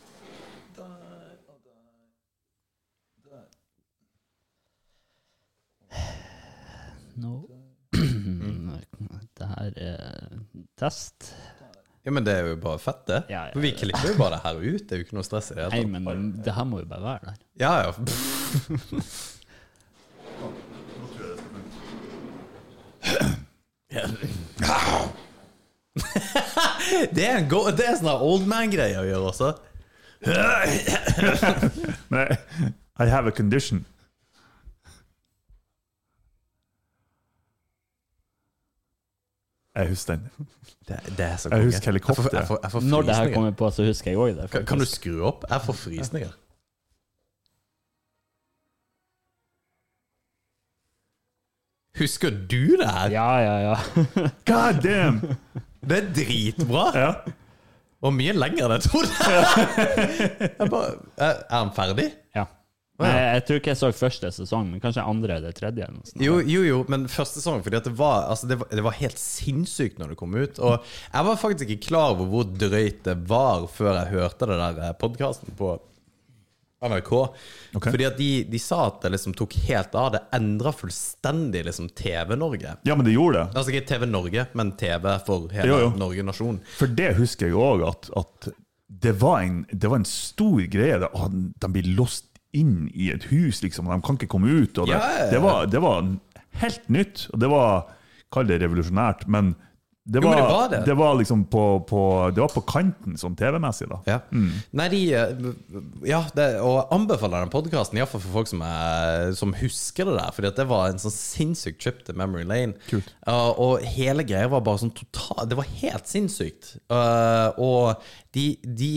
Speaker 4: No. Det her er test.
Speaker 2: Ja, men det er jo bare fett, det.
Speaker 4: Ja, ja,
Speaker 2: For vi
Speaker 4: ja.
Speaker 2: klipper jo bare det her ut. Det er jo ikke noe stress i det
Speaker 4: Nei,
Speaker 2: hele tatt.
Speaker 4: men det her må jo bare være der.
Speaker 2: Ja, ja. Pff, Det er, en go- det er sånn old man-greie å gjøre også.
Speaker 3: Men I have a condition. Jeg husker den.
Speaker 2: Det, det er så
Speaker 3: Jeg
Speaker 2: konge.
Speaker 3: husker helikopter.
Speaker 2: Jeg får, jeg får, jeg får
Speaker 4: Når det her
Speaker 2: frysninger.
Speaker 4: kommer på, så husker jeg òg det.
Speaker 2: Kan, kan du skru opp? Jeg får frysninger. Husker du det her?
Speaker 4: Ja, ja, ja.
Speaker 3: God damn!
Speaker 2: Det er dritbra!
Speaker 3: Ja.
Speaker 2: Og mye lenger enn jeg trodde. jeg bare, er er han ferdig?
Speaker 4: ja. Nei, jeg tror ikke jeg så første sesong, men kanskje andre eller tredje. eller noe sånt.
Speaker 2: Jo, jo, jo, men første sesong, fordi at det var, altså det, var, det var helt sinnssykt når det kom ut. Og jeg var faktisk ikke klar over hvor drøyt det var før jeg hørte det der podkasten på NRK.
Speaker 3: Ok.
Speaker 2: Fordi at de, de sa at det liksom tok helt av. Det endra fullstendig liksom TV-Norge.
Speaker 3: ja, men det gjorde det.
Speaker 2: Altså ikke TV Norge, men TV for hele
Speaker 3: Jo, jo.
Speaker 2: Norge nasjon.
Speaker 3: For det husker jeg òg, at, at det, var en, det var en stor greie. Det, å, de blir låst inn i et hus, liksom. De kan ikke komme ut. Og det,
Speaker 2: Ja, ja, ja.
Speaker 3: det, var, det var helt nytt. Og det var Kall det revolusjonært, men det
Speaker 2: Jo, men
Speaker 3: var, det
Speaker 2: det var
Speaker 3: var,
Speaker 2: det.
Speaker 3: liksom på, på, det var på kanten, sånn TV-messig, da.
Speaker 2: Ja. Nei, de eh, Ja, det, og jeg anbefaler den podkasten, iallfall for folk som, er, som husker det der. Fordi at det var en sånn sinnssyk trip til Memory Lane.
Speaker 3: Kult.
Speaker 2: Ja, og hele greia var bare sånn total Det var helt sinnssykt. Eh, og de, de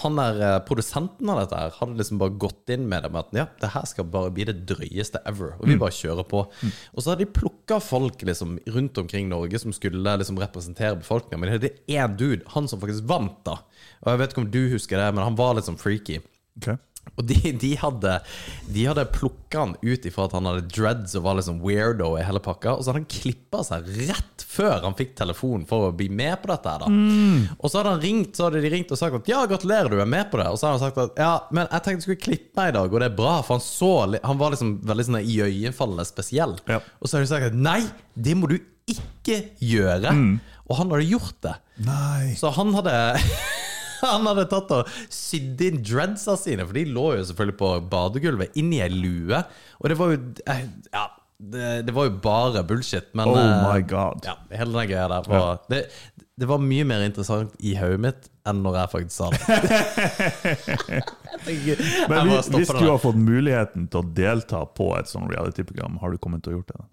Speaker 2: han der eh, produsenten av dette her hadde liksom bare gått inn med det med at ja, det her skal bare bli det drøyeste ever, og vi bare kjører på. Og så hadde de plukka folk liksom rundt omkring Norge som skulle liksom representere befolkninga, men det er én dude, han som faktisk vant, da. Og jeg vet ikke om du husker det, men han var litt sånn freaky.
Speaker 3: Ok.
Speaker 2: Og de, de hadde, de hadde plukka han ut ifra at han hadde dreads og var liksom weirdo i hele pakka, og så hadde han klippa seg rett før han fikk telefon for å bli med på dette her, da. Og så hadde han ringt, så hadde de ringt og sagt at ja, gratulerer, du er med på det. Og så hadde han sagt at ja, men jeg tenkte jeg skulle klippe meg i dag, og det er bra, for han så li- Han var liksom veldig sånn iøynefallende spesiell.
Speaker 3: Ja.
Speaker 2: Og så hadde de sagt at nei, det må du ikke gjøre. Og han hadde gjort det.
Speaker 3: Nei
Speaker 2: Så han hadde Han hadde tatt og sydd inn dreadsa sine, for de lå jo selvfølgelig på badegulvet, inni ei lue. Og det var jo eh, Ja, det, det var jo bare bullshit, men
Speaker 3: Oh
Speaker 2: eh,
Speaker 3: my god.
Speaker 2: Ja, hele den greia der var det, det var mye mer interessant i hodet mitt enn når jeg faktisk sa det. Jeg tenker- jeg
Speaker 3: Men
Speaker 2: må
Speaker 3: hvis,
Speaker 2: stoppe
Speaker 3: hvis
Speaker 2: det
Speaker 3: du
Speaker 2: der.
Speaker 3: har fått muligheten til å delta på et sånt reality-program, har du kommet til å gjort det?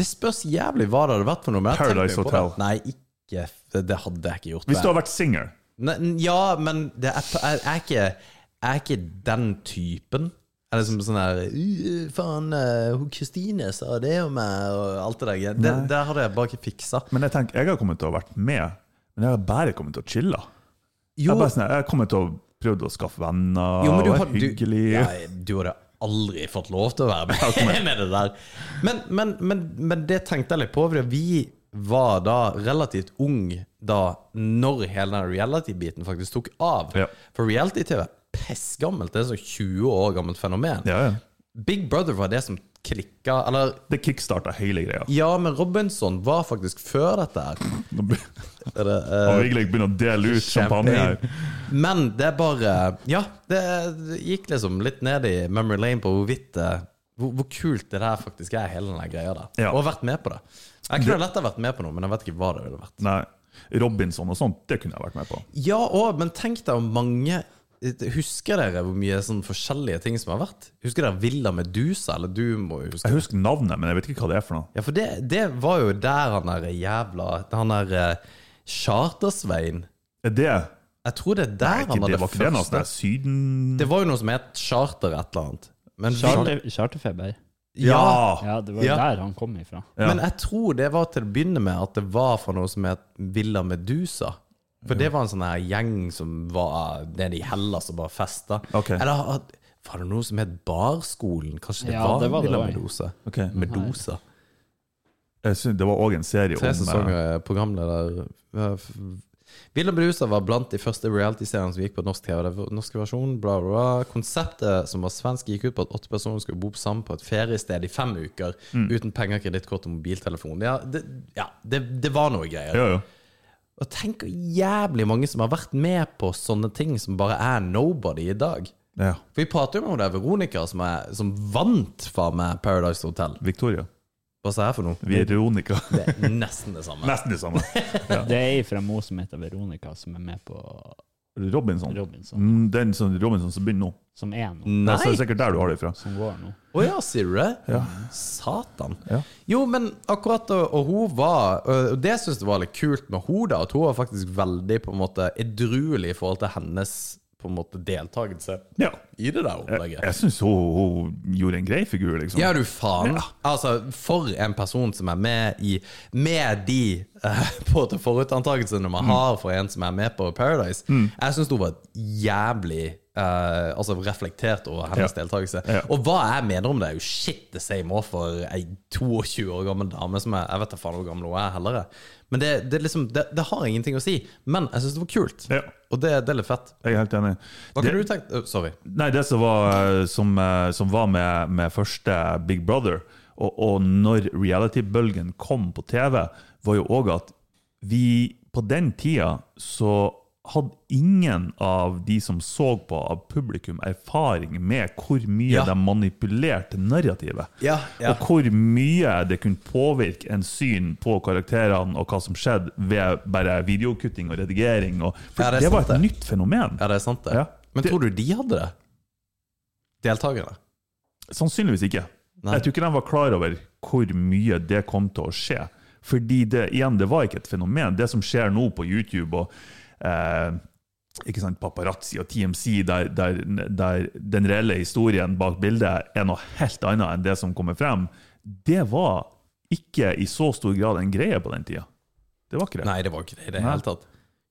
Speaker 2: Det spørs jævlig hva det hadde vært for noe. Men jeg tenkte
Speaker 3: Paradise
Speaker 2: jo på det.
Speaker 3: Hotel.
Speaker 2: Nei, ikke Det, det hadde jeg ikke gjort.
Speaker 3: Hvis
Speaker 2: det.
Speaker 3: du har vært singer
Speaker 2: Nei, n- ja, men det er, jeg, er ikke, jeg er ikke den typen. Jeg er liksom sånn her «Øh, Faen, eh, hun Kristine sa det om meg, og alt det der. greia. Det, der hadde jeg bare ikke fiksa.
Speaker 3: Men jeg tenker, jeg har kommet til å ha vært med, men jeg har bare kommet til å chille. Jeg,
Speaker 2: Jo,
Speaker 3: er bare sånn, her, jeg har kommet til å prøvd å skaffe venner,
Speaker 2: jo, men du
Speaker 3: være
Speaker 2: hadde du,
Speaker 3: hyggelig.
Speaker 2: Nei, du hadde aldri fått lov til å være med, med det der. Men, men, men, men det tenkte jeg litt på, for vi var da relativt ung da når hele den reality-biten faktisk tok av.
Speaker 3: Ja.
Speaker 2: For reality-TV er pissgammelt. Det er sånn 20 år gammelt fenomen.
Speaker 3: Ja, ja.
Speaker 2: Big Brother var det som klikka Eller
Speaker 3: Det kickstarta hele greia.
Speaker 2: ja, men Robinson var faktisk før dette her.
Speaker 3: Nå be-
Speaker 2: Er det, eh,
Speaker 3: Og Vigleik begynner å dele ut champagne her.
Speaker 2: Men det er bare Ja, det gikk liksom litt ned i memory lane på hvorvidt eh, hvor, hvor kult det der faktisk er, hele den der greia der.
Speaker 3: Ja.
Speaker 2: Og vært med på det. Jeg kunne lett ha vært med på noe, men jeg vet ikke hva det ville vært.
Speaker 3: Nei, Robinson og sånt, det kunne jeg vært med på.
Speaker 2: Ja, og, men tenk deg om mange eh, Husker dere hvor mye sånn forskjellige ting som har vært? Husker dere Villa Medusa? Eller du må jo huske
Speaker 3: Jeg husker navnet, men jeg vet ikke hva det er for noe.
Speaker 2: Ja, for det, det var jo der han der jævla Han der eh, Chartersvein
Speaker 3: Er det
Speaker 2: Jeg tror det er der
Speaker 3: Nei, ikke,
Speaker 2: han
Speaker 3: det
Speaker 2: hadde
Speaker 3: var ikke det noe sånt der
Speaker 2: første
Speaker 3: Syden
Speaker 2: Det var jo noe som het Charter et eller annet. Men vi-
Speaker 4: Charter, charterfeber.
Speaker 2: ja,
Speaker 4: Ja, det var jo
Speaker 2: Ja.
Speaker 4: der han kom ifra.
Speaker 2: Men jeg tror det var til å begynne med at det var fra noe som het Villa Medusa. For
Speaker 3: Mm.
Speaker 2: det var en sånn her gjeng som var eh, nede i Hellas og bare festa.
Speaker 3: Ok.
Speaker 2: Eller at- var det noe som het Barskolen? Kanskje det
Speaker 4: Ja,
Speaker 2: var,
Speaker 4: det var det
Speaker 2: Villa
Speaker 4: også, ja.
Speaker 2: Medusa?
Speaker 3: Ok,
Speaker 2: Medusa.
Speaker 3: jeg synes Det var òg en serie om
Speaker 2: Tre
Speaker 3: eh,
Speaker 2: sesonger eh, programleder. eh, f- Villa Brusa var blant de første reality-seriene som gikk på norsk TV. Det var norsk versjon, bla, bla, bla. Konseptet som var svensk, gikk ut på at åtte personer skulle bo sammen på et feriested i fem uker
Speaker 3: Mm.
Speaker 2: uten penger, kredittkort og mobiltelefon. Ja, det, ja, det, det var noe greier.
Speaker 3: Jo, jo.
Speaker 2: Og tenk hvor jævlig mange som har vært med på sånne ting som bare er nobody i dag.
Speaker 3: Ja.
Speaker 2: For vi prater jo om det er Veronica som, er, som vant faen meg Paradise Hotel.
Speaker 3: Victoria.
Speaker 2: Hva sa jeg for noe?
Speaker 3: Veronica.
Speaker 2: Det er nesten det samme.
Speaker 3: Nesten det samme.
Speaker 4: Det er ei fra Mo som heter Veronica, som er med på
Speaker 3: Robinson.
Speaker 4: Robinson.
Speaker 3: Mm, Den som Robinson som begynner nå.
Speaker 4: Som er nå.
Speaker 2: Nei!
Speaker 3: Altså, det er sikkert der du har det fra.
Speaker 4: Som går nå.
Speaker 2: Å ja, sier du det?
Speaker 3: Ja.
Speaker 2: Satan.
Speaker 3: Ja.
Speaker 2: Jo, men akkurat og, og hun var øh, Og det syns jeg var litt kult med hun da, at hun var faktisk veldig på en måte edruelig i forhold til hennes på en måte deltakelse
Speaker 3: Ja.
Speaker 2: i det der
Speaker 3: Jeg,
Speaker 2: opplegget.
Speaker 3: jeg syns hun, hun gjorde en grei figur, liksom.
Speaker 2: Ja, du faen. Altså, for en person som er med i Med de eh, på en måte forutantakelsene
Speaker 3: Mm.
Speaker 2: man har for en som er med på Paradise. Jeg syns hun var jævlig eh, altså reflektert over hennes
Speaker 3: Ja.
Speaker 2: deltakelse.
Speaker 3: Ja.
Speaker 2: Og hva jeg mener om det, er jo shit the same òg for ei 22 år gammel dame som er Jeg vet da faen hvor gammel hun er, heller. jeg. Men det, det, er liksom, det, det har ingenting å si. Men jeg syns det var kult.
Speaker 3: Ja,
Speaker 2: Og det, det er litt fett.
Speaker 3: jeg er helt enig.
Speaker 2: Hva
Speaker 3: Det-
Speaker 2: kunne du tenkt Å, Sorry.
Speaker 3: Nei, det som var, eh, som, eh, som var med, med første Big Brother, og, og når reality-bølgen kom på TV, var jo òg at vi på den tida så hadde ingen av de som så på av publikum, erfaring med hvor mye
Speaker 2: Ja.
Speaker 3: de manipulerte narrativet.
Speaker 2: Ja, ja.
Speaker 3: Og hvor mye det kunne påvirke en syn på karakterene og hva som skjedde, ved bare videokutting og redigering. Og, for
Speaker 2: Ja, det er
Speaker 3: det, var
Speaker 2: sant,
Speaker 3: et nytt fenomen.
Speaker 2: Ja, det er sant, det.
Speaker 3: Ja.
Speaker 2: Men
Speaker 3: Det-
Speaker 2: tror du de hadde det? Deltakerne?
Speaker 3: Sannsynligvis ikke.
Speaker 2: Nei.
Speaker 3: Jeg tror ikke de var klar over hvor mye det kom til å skje. Fordi det, igjen, det var ikke et fenomen. Det som skjer nå på YouTube og eh, ikke sant, paparazzi og TMC, der, der, der den reelle historien bak bildet er noe helt annet enn det som kommer frem, det var ikke i så stor grad en greie på den tida. Det var ikke det.
Speaker 2: Nei, det var ikke det i det
Speaker 3: Nei.
Speaker 2: hele tatt.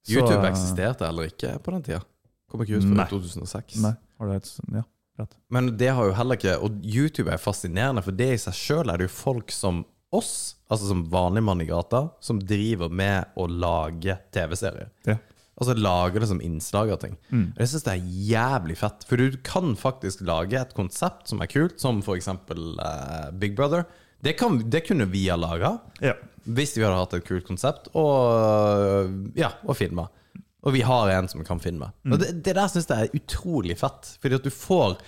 Speaker 3: Så- eh,
Speaker 2: YouTube eksisterte heller ikke på den tida. Kom ikke ut før
Speaker 3: Nei.
Speaker 2: i 2006.
Speaker 3: Nei, har du et, ja, rett.
Speaker 2: Men det har jo heller ikke Og YouTube er fascinerende, for det i seg sjøl er det jo folk som oss, altså som vanlig mann i gata, som driver med å lage TV-serier.
Speaker 3: Ja.
Speaker 2: Altså lager det som innslag av ting.
Speaker 3: Mm.
Speaker 2: Og Det syns jeg er jævlig fett. For du kan faktisk lage et konsept som er kult, som for eksempel eh, Big Brother. Det, kan, det kunne vi ha laga
Speaker 3: Ja.
Speaker 2: hvis vi hadde hatt et kult konsept og, ja, og filma. Og vi har en som kan filme. Og det, det der syns jeg er utrolig fett. Fordi at du får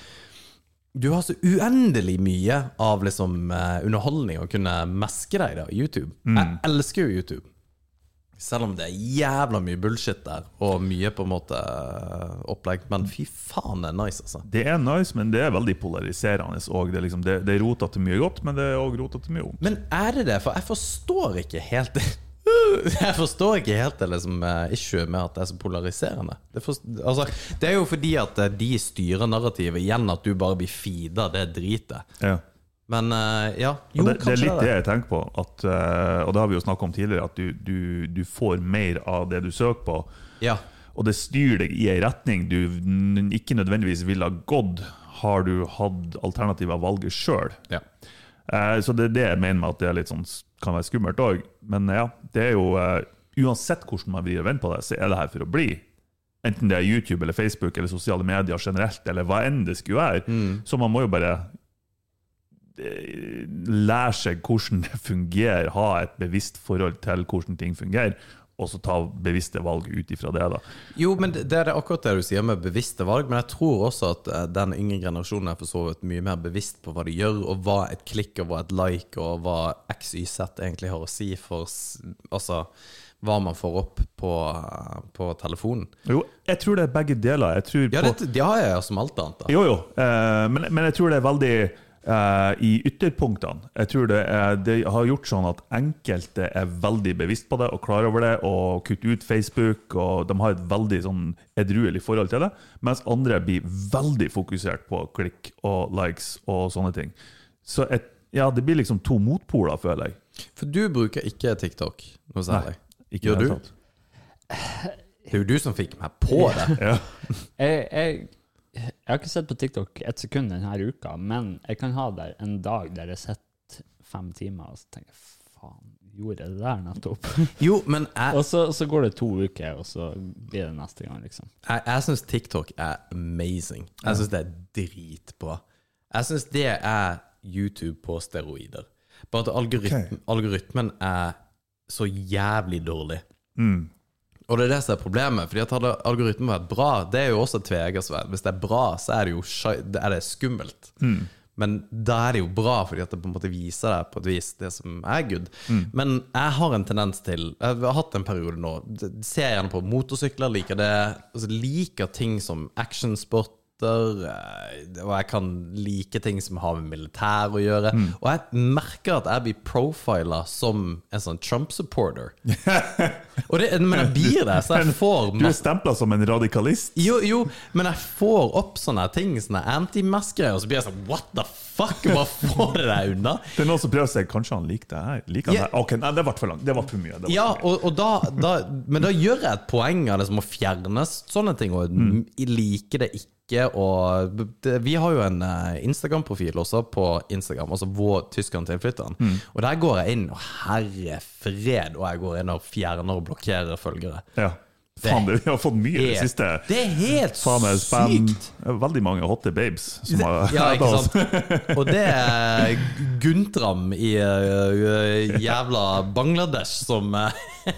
Speaker 2: Du har så uendelig mye av liksom eh, underholdning å kunne meske deg i da, i YouTube. Jeg elsker jo YouTube. Selv om det er jævla mye bullshit der, og mye på en måte eh, opplegg. Men fy faen, det er nice, altså.
Speaker 3: Det er nice, men det er veldig polariserende òg. Det, er liksom, det, det er rota til mye godt, men det er òg rota til mye vondt.
Speaker 2: Men er det det? For jeg forstår ikke helt det. Jeg forstår ikke helt det liksom, eh, issue med at det er så polariserende. Det, forst- altså, det er jo fordi at eh, de styrer narrativet igjen, at du bare blir feeda det dritet.
Speaker 3: Ja.
Speaker 2: Men eh, ja,
Speaker 3: Og
Speaker 2: jo,
Speaker 3: det, det er
Speaker 2: kanskje
Speaker 3: litt det jeg tenker på, at, eh, og det har vi jo snakka om tidligere, at du, du, du får mer av det du søker på,
Speaker 2: Ja.
Speaker 3: og det styrer deg i ei retning du n- ikke nødvendigvis ville ha gått, har du hatt alternativet av valget sjøl.
Speaker 2: Ja.
Speaker 3: Eh, Så det er det jeg mener med at det er litt sånn, kan være skummelt òg. Men ja, det er jo eh, Uansett hvordan man vrir og vender på det, så er det her for å bli. Enten det er YouTube eller Facebook eller sosiale medier generelt, eller hva enn det skulle være.
Speaker 2: Mm.
Speaker 3: Så man må jo bare eh, lære seg hvordan det fungerer, ha et bevisst forhold til hvordan ting fungerer, og så ta bevisste valg ut ifra det. da.
Speaker 2: Jo, men det det er akkurat det du sier med bevisste valg. Men jeg tror også at eh, den yngre generasjonen er for så vidt mye mer bevisst på hva de gjør, og hva et klikk og hva et like og hva XYZ egentlig har å si for s- altså, hva man får opp på, eh, på telefonen.
Speaker 3: Jo, jeg tror det er begge deler. Jeg tror
Speaker 2: Ja,
Speaker 3: på,
Speaker 2: det, det har jeg jo som alt annet. da
Speaker 3: Jo, jo. Eh, men, men jeg tror det er veldig eh, i ytterpunktene. Jeg tror det, er, det har gjort sånn at enkelte er veldig bevisst på det og klar over det og kutter ut Facebook, og de har et veldig sånn edruelig forhold til det. Mens andre blir veldig fokusert på klikk og likes og sånne ting. Så et, ja, det blir liksom to motpoler, føler jeg.
Speaker 2: For du bruker ikke TikTok noe særlig.
Speaker 3: Ikke
Speaker 2: Gjør
Speaker 3: i det
Speaker 2: du?
Speaker 3: hele tatt.
Speaker 2: Det er jo du som fikk meg på det.
Speaker 4: Jeg, jeg, jeg har ikke sett på TikTok ett sekund denne uka, men jeg kan ha der en dag der jeg sitter fem timer og så tenker jeg, faen, gjorde jeg det der nettopp?
Speaker 2: Jo, men jeg,
Speaker 4: og så, så går det to uker, og så blir det neste gang, liksom.
Speaker 2: jeg, jeg syns TikTok er amazing. Jeg syns det er dritbra. Jeg syns det er YouTube på steroider. Bare at algoritm, algoritmen er så jævlig dårlig. Og det er det som er problemet, fordi at hadde algoritmen vært bra, det er jo også et tveeggersverd. Hvis det er bra, så er det jo skei- det er det skummelt. Men da er det jo bra, fordi at det på en måte viser deg på et vis det som er good. Men jeg har en tendens til Jeg har hatt en periode nå. d- Ser gjerne på motorsykler, liker det. Altså, liker ting som actionsport. Og jeg kan like ting som har med militær å gjøre. Og jeg merker at jeg blir profila som en sånn Trump-supporter. Og det, men jeg blir det, så jeg får
Speaker 3: Du er
Speaker 2: masse
Speaker 3: stempla som en radikalist.
Speaker 2: jo, jo, men jeg får opp sånne ting, sånne anti-mask-greier, og så blir jeg sånn What the fuck? Hva får det deg unna?
Speaker 3: Det er noen som prøver å si kanskje han liker det her. Liker han
Speaker 2: Ja.
Speaker 3: det? Ok, nei, det ble for langt. Det ble for mye. Det ble
Speaker 2: Ja,
Speaker 3: for mye.
Speaker 2: og, og da, da, men da gjør jeg et poeng av det som å fjerne sånne ting, og mm. like det ikke. Og det, vi har jo en eh, Instagram-profil også, på Instagram, altså vår tyskeren til innflytteren.
Speaker 3: Mm.
Speaker 2: Og der går jeg inn, og herre fred, og jeg går inn og fjerner og blokkerer følgere.
Speaker 3: ja. Faen, det, vi har fått mye i det
Speaker 2: Helt-
Speaker 3: siste.
Speaker 2: Det er helt
Speaker 3: Faen, det er spam.
Speaker 2: sykt!
Speaker 3: Veldig mange hotte babes som har
Speaker 2: Ja, ikke sant? Og det er Guntram i eh, jævla Bangladesh som, eh,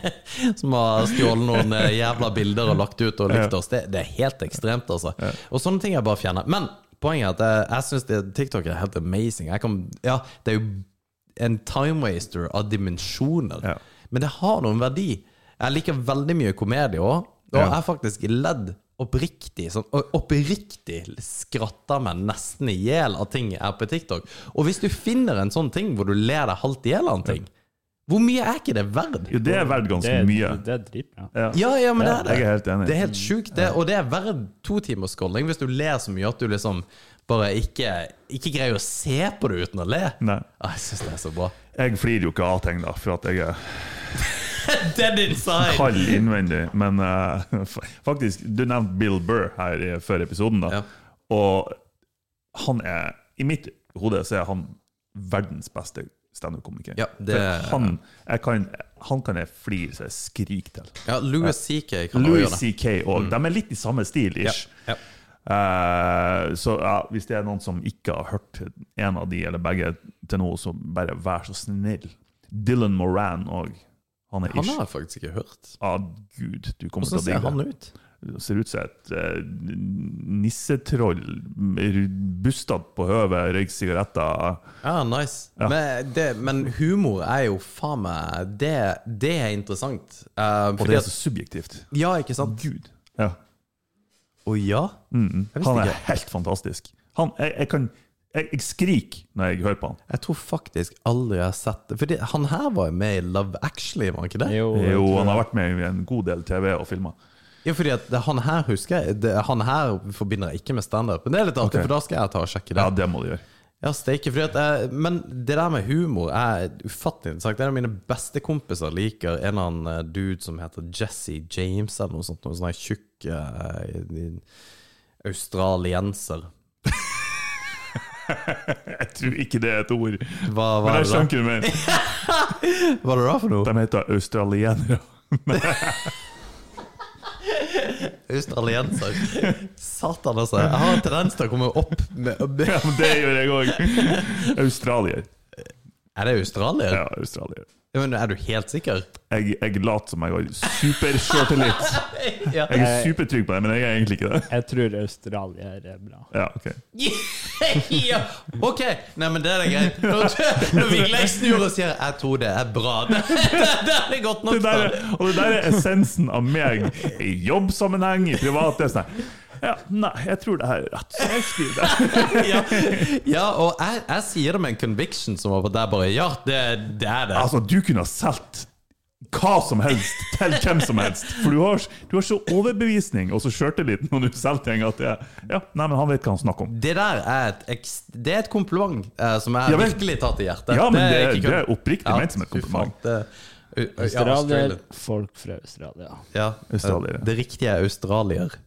Speaker 2: som har stjålet noen eh, jævla bilder og lagt ut og likt oss. Det, det er helt ekstremt, altså. Og sånne ting jeg bare fjerner. Men poenget er at eh, jeg, jeg syns TikTok er helt amazing. Jeg kan, ja, det er jo en time waster av dimensjoner.
Speaker 3: Ja.
Speaker 2: Men det har noen verdi. Jeg liker veldig mye komedie òg, og jeg
Speaker 3: Ja.
Speaker 2: har faktisk ledd oppriktig sånn, og oppriktig skratta meg nesten i hjel av ting jeg er på TikTok. Og hvis du finner en sånn ting hvor du ler deg halvt i hjel av en ting, hvor mye er ikke det verd?
Speaker 3: Jo, det er verdt ganske mye.
Speaker 4: Det, det er dritbra.
Speaker 3: Ja.
Speaker 2: Ja, ja, men det er det.
Speaker 3: Jeg er helt enig.
Speaker 2: Det er helt sjukt, det. Og det er verdt to timers scrolling hvis du ler så mye at du liksom bare ikke, ikke greier å se på det uten å le.
Speaker 3: Nei.
Speaker 2: Ah, Jeg syns det er så bra.
Speaker 3: Jeg flirer jo ikke av ting, da, for at jeg er
Speaker 2: Dead inside!
Speaker 3: kald innvendig. Men eh, faktisk, du nevnte Bill Burr her i, før episoden, da.
Speaker 2: Ja.
Speaker 3: Og han er I mitt hode så er han verdens beste standup-komiker.
Speaker 2: Ja, det-
Speaker 3: For han, jeg kan, han kan jeg flire så jeg skriker til.
Speaker 2: Ja, Louis CK kan også
Speaker 3: Louis
Speaker 2: gjøre det. Mm.
Speaker 3: CK òg. De er litt i samme stil, ish.
Speaker 2: Ja, ja.
Speaker 3: Eh, så ja, hvis det er noen som ikke har hørt en av de, eller begge til nå, så bare vær så snill. Dylan Moran òg. Han er
Speaker 2: Han
Speaker 3: ish.
Speaker 2: har jeg faktisk ikke hørt.
Speaker 3: Ah, gud, du kommer til
Speaker 2: Hvordan
Speaker 3: å
Speaker 2: ser
Speaker 3: digge
Speaker 2: han
Speaker 3: det.
Speaker 2: ut?
Speaker 3: Ser ut som et eh, nissetroll. ru- Bustete på høvet, røyker sigaretter.
Speaker 2: Ja, nice. Men, det, men humor er jo faen meg Det, det er interessant. Eh,
Speaker 3: Og
Speaker 2: fordi
Speaker 3: det er
Speaker 2: at-
Speaker 3: så subjektivt.
Speaker 2: Ja, ikke sant?
Speaker 3: Gud. Ja.
Speaker 2: Å ja?
Speaker 3: Mm,
Speaker 2: Jeg visste
Speaker 3: han er
Speaker 2: ikke.
Speaker 3: helt fantastisk. Han, jeg, jeg kan jeg, jeg skriker når jeg hører på han.
Speaker 2: Jeg tror faktisk aldri jeg har sett det. Fordi han her var jo med i Love Actually, var han ikke det?
Speaker 4: Jo,
Speaker 3: Jo, han har vært med i en god del TV og filmer.
Speaker 2: Ja, fordi at det, han her husker jeg det, Han her forbinder jeg ikke med standup. Men det er litt artig,
Speaker 3: Ok.
Speaker 2: for da skal jeg ta og sjekke det.
Speaker 3: Ja, det må du gjøre.
Speaker 2: Ja, steike. Fordi at jeg, men det der med humor er ufattelig interessant. En av mine beste kompiser liker en eller annen eh, dude som heter Jesse James, eller noe sånt. Noen sånn her tjukk eh, australienser.
Speaker 3: Jeg tror ikke det er et ord,
Speaker 2: Hva
Speaker 3: men
Speaker 2: var
Speaker 3: jeg
Speaker 2: det da?
Speaker 3: skjønner hva du mener.
Speaker 2: Hva var det da for noe?
Speaker 3: De heter australienere.
Speaker 2: Australienser. Satan, altså. Jeg har en tendens til å komme opp med,
Speaker 3: Ja, men det gjør jeg òg. Australier.
Speaker 2: Er det australier?
Speaker 3: Ja, australier.
Speaker 2: Ja, Men er du helt sikker?
Speaker 3: Jeg, jeg later som jeg har supersjøltillit.
Speaker 2: Ja.
Speaker 3: Jeg er supertrygg på det, men jeg er egentlig ikke det.
Speaker 4: Jeg tror Australia er bra.
Speaker 3: Ja, ok.
Speaker 2: ja. Ok, nei, men det er da greit. Når, når Vigleik snur og sier 'jeg tror det er bra', det, det, det er godt nok.
Speaker 3: Det der, er- og det der er essensen av meg i jobbsammenheng, i privat. Det er sånn her, ja, nei, jeg tror det her er rett, så jeg skriver det.
Speaker 2: ja. ja, og jeg, jeg sier det med en conviction som var på der bare Ja, det, det er det.
Speaker 3: Altså, du kunne ha solgt hva som helst til hvem som helst. For du har, du har så overbevisning og så sjøltillit når du selger ting at det, er- ja, nei, men han vet hva han snakker om.
Speaker 2: Det der er et, eks- det er et kompliment eh, som jeg
Speaker 3: Ja vel.
Speaker 2: virkelig tar til hjertet.
Speaker 3: Ja, men
Speaker 2: er
Speaker 3: det-
Speaker 2: ikke
Speaker 3: det er
Speaker 2: kun-
Speaker 3: oppriktig ment som et
Speaker 2: fy faen,
Speaker 3: kompliment.
Speaker 2: det- Au- au- ja,
Speaker 4: Australia,
Speaker 2: Australian.
Speaker 4: folk fra Australia.
Speaker 2: Ja, eh,
Speaker 3: Australier.
Speaker 2: Det riktige er australier.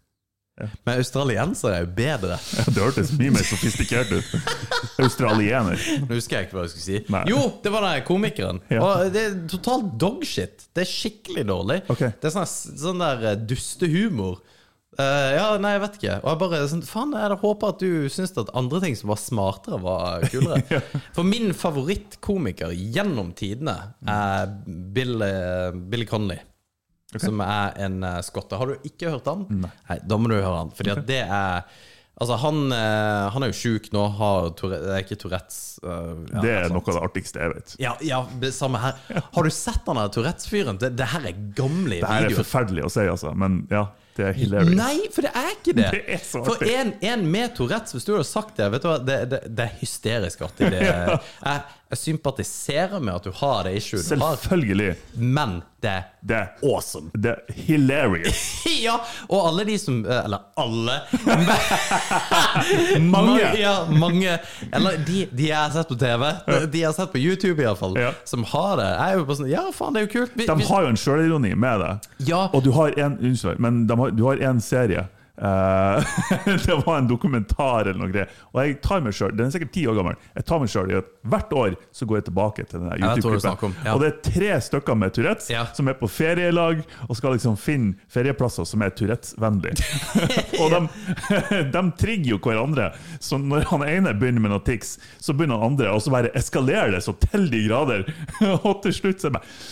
Speaker 2: Men australienser er jo bedre.
Speaker 3: Ja, Det hørtes mye mer sofistikert ut. Australiener.
Speaker 2: Nå husker jeg ikke hva jeg skulle si.
Speaker 3: Nei.
Speaker 2: Jo, det var den komikeren.
Speaker 3: Ja.
Speaker 2: Og det er totalt dogshit. Det er skikkelig dårlig.
Speaker 3: Ok.
Speaker 2: Det er sånn, sånn der eh, dustehumor. Eh, ja, nei, jeg vet ikke. Og jeg bare sånn, Faen, jeg hadde håpet at du syntes at andre ting som var smartere, var kulere. For min favorittkomiker gjennom tidene er Bill, eh, Bill Conley. som er en eh, skotte. Har du ikke hørt han? Nei. da må du høre han. Fordi at det er Altså, han, eh, han er jo sjuk nå, har Tourette, det er ikke Tourettes eh, ja,
Speaker 3: Det er
Speaker 2: sånn.
Speaker 3: noe av det artigste jeg vet.
Speaker 2: Ja, ja, det samme her. Har du sett han der Tourettes-fyren? Det, det her er gamle
Speaker 3: Det her er
Speaker 2: videoer.
Speaker 3: forferdelig å si, altså, men ja, det er hilarious.
Speaker 2: Nei, for det er ikke det.
Speaker 3: Det er så
Speaker 2: for
Speaker 3: artig.
Speaker 2: en, en med Tourettes, hvis du hadde sagt det vet du hva, det, det, det er hysterisk artig. Det, jeg, jeg sympatiserer med at du har det issue du har,
Speaker 3: Selvfølgelig.
Speaker 2: men det er
Speaker 3: Det,
Speaker 2: awesome.
Speaker 3: det er hilarious.
Speaker 2: Ja, og alle de som eh, Eller alle.
Speaker 3: Mange.
Speaker 2: Ja, mange. Eller de, de jeg har sett på TV. De jeg har sett på YouTube, iallfall.
Speaker 3: Ja.
Speaker 2: Som har det. Jeg er jo bare sånn Ja, faen, det er jo kult. Vi-
Speaker 3: De
Speaker 2: vi-
Speaker 3: har jo en sjølironi med det.
Speaker 2: Ja.
Speaker 3: Og du har en, unnskyld, men de har, du har en serie. Eh, det var en dokumentar eller noe greier. Og jeg tar meg selv, Den er sikkert ti år gammel. Jeg tar meg selv i at Hvert år så går jeg tilbake til den der
Speaker 2: Ja, jeg tror du snakker om,
Speaker 3: YouTube-klippen.
Speaker 2: ja.
Speaker 3: Og det er tre stykker med Tourettes
Speaker 2: Ja.
Speaker 3: som er på ferielag og skal liksom finne ferieplasser som er Tourettes-vennlige. og de, de trigger jo hverandre. Så når han ene begynner med noe tics, så begynner han andre, og så bare eskalerer det så til de grader. og til slutt så er det bare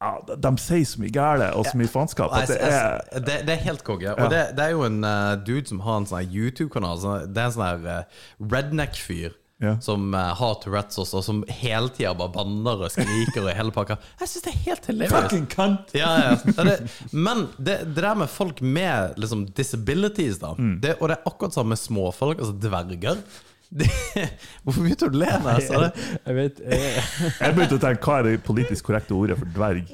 Speaker 3: ja, de, de sier så mye gærent og så mye faenskap
Speaker 2: Nei,
Speaker 3: at det
Speaker 2: jeg-
Speaker 3: er
Speaker 2: jeg- det, det er helt konge. Og det, det er jo en eh, dude som har en sånn her YouTube-kanal. sånn- det er en sånn her eh, redneck-fyr.
Speaker 3: Ja.
Speaker 2: Som eh, har Tourettes også, og som hele tida bare banner og skriker og hele pakka. Jeg syns det er helt hilarious.
Speaker 3: Fucking cunt!
Speaker 2: Ja, ja. Det er det. Men det, det der med folk med liksom, disabilities, da
Speaker 3: Mm.
Speaker 2: det, Og det er akkurat samme med småfolk, altså dverger. Det, hvorfor begynte du altså? å le når jeg sa det?
Speaker 4: Jeg vet jeg,
Speaker 3: Jeg begynte å tenke hva er det politisk korrekte ordet for dverg?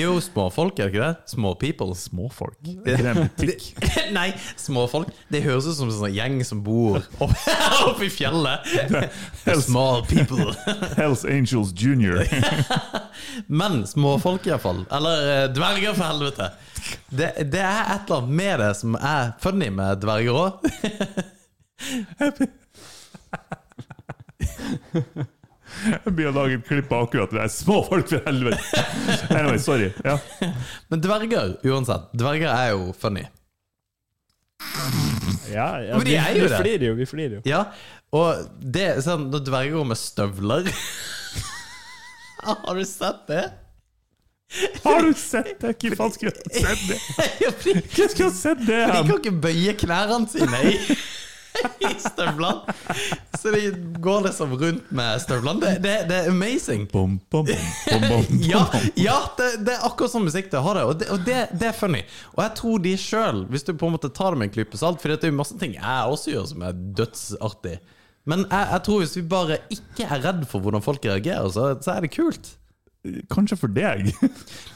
Speaker 2: Jo, småfolk, er det ikke det? Små people.
Speaker 3: Småfolk. Er ikke det en butikk?
Speaker 2: Nei, småfolk. Det høres ut som en sånn gjeng som bor oppe oppe i fjellet. Small people.
Speaker 3: Hells Angels Junior.
Speaker 2: Men småfolk, iallfall. Eller eh, dverger, for helvete. Det, det er et eller annet med det som er funny med dverger òg.
Speaker 3: Jeg begynner å lage et klipp av akkurat det der. Småfolk, for helvete! Anyway, sorry. Ja.
Speaker 2: Men dverger, uansett. Dverger er jo funny.
Speaker 4: ja, ja,
Speaker 2: Men de
Speaker 4: vi,
Speaker 2: er jo
Speaker 4: vi
Speaker 2: det.
Speaker 4: flirer jo, vi flirer jo.
Speaker 2: Ja, og det er sånn når dverger går med støvler Har du sett det?
Speaker 3: Har du sett det? Hvem faen skulle ha sett det?
Speaker 2: Ja, fordi-
Speaker 3: Hvem skulle ha sett det?
Speaker 2: De
Speaker 3: hen?
Speaker 2: kan ikke bøye knærne sine i, i støvlene. Så de går liksom rundt med støvlene. Det, det, det er amazing.
Speaker 3: Bom, bom, bom, bom, bom, bom.
Speaker 2: Ja, ja det, det er akkurat sånn musikk det har det, og det, og det, det er funny. Og jeg tror de sjøl, hvis du på en måte tar det med en klype salt, for det er jo masse ting jeg også gjør som er dødsartig. Men jeg, jeg tror hvis vi bare ikke er redd for hvordan folk reagerer, så, så er det kult.
Speaker 3: Kanskje for deg.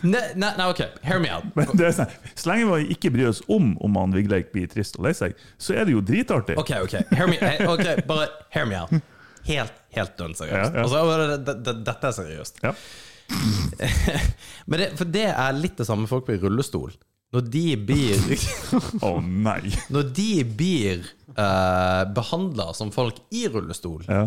Speaker 2: Nei, nei, nei, ok, hear me out.
Speaker 3: Men det er sånn, så lenge vi ikke bryr oss om om han Vigleik blir trist og lei seg, så er det jo dritartig.
Speaker 2: Ok, ok, hear me, eh, ok, bare hear me out. Helt, helt dønn seriøst.
Speaker 3: Ja, ja.
Speaker 2: Altså, det- det- det- dette er seriøst.
Speaker 3: Ja.
Speaker 2: Men det, for det er litt det samme med folk i rullestol. Når de blir
Speaker 3: Å nei.
Speaker 2: Når de blir uh, behandla som folk i rullestol,
Speaker 3: Ja.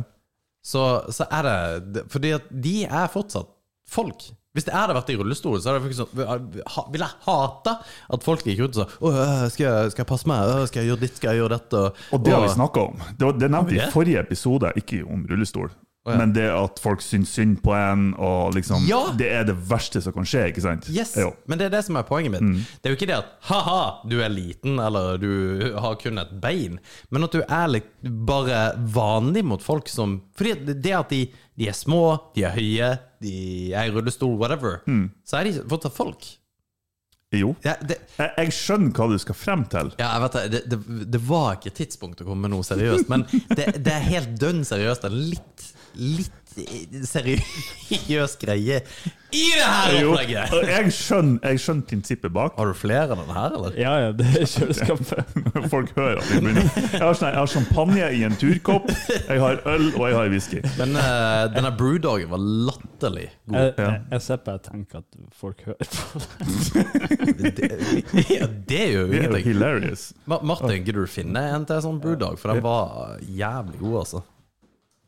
Speaker 2: så, så er det Fordi at de er fortsatt folk. Hvis det hadde vært i rullestol, så hadde jeg faktisk sånn, ha- ville jeg hata at folk gikk rundt og sa «Åh, øh, skal, jeg- 'Skal jeg passe meg? Åh, skal jeg gjøre ditt? Skal jeg gjøre dette?'
Speaker 3: Og det har vi
Speaker 2: Åh.
Speaker 3: snakka om. Det, var- det nevnte vi
Speaker 2: det?
Speaker 3: i forrige episode, ikke om rullestol.
Speaker 2: ja.
Speaker 3: Men det at folk syns synd på en, og liksom
Speaker 2: Ja!
Speaker 3: Det er det verste som kan skje, ikke sant?
Speaker 2: Yes,
Speaker 3: Jo. Mm.
Speaker 2: Men det er det som er poenget mitt. Det er jo ikke det at ha-ha, du er liten eller du har kun et bein, men at du er litt bare vanlig mot folk som Fordi det at de, de er små, de er høye, de er i rullestol, whatever,
Speaker 3: Mm.
Speaker 2: så er de fortsatt folk.
Speaker 3: jo.
Speaker 2: Ja, det,
Speaker 3: Jeg, jeg skjønner hva du skal frem til.
Speaker 2: ja, jeg vet det, det, det, det var ikke tidspunkt å komme med noe seriøst, men det, det er helt dønn seriøst. Det er litt, litt seriøs greie i det her
Speaker 3: Jo,
Speaker 2: opplegget.
Speaker 3: og jeg skjønner, jeg skjønner prinsippet bak.
Speaker 2: Har du flere av denne her, eller?
Speaker 4: Ja, ja, det er kjøleskapet.
Speaker 3: Folk hører at vi begynner. Jeg har, sånn- jeg har champagne i en turkopp, jeg har øl, og jeg har whisky.
Speaker 2: Men eh, denne brewdogen var latterlig god.
Speaker 4: Jeg, jeg, jeg ser på jeg tenker at folk hører på det.
Speaker 2: Det, ja, det gjør jo
Speaker 3: Det er jo
Speaker 2: ingenting.
Speaker 3: hilarious.
Speaker 2: Ma- Martin, gidder du finne en til sånn brewdog? For den var jævlig god, altså.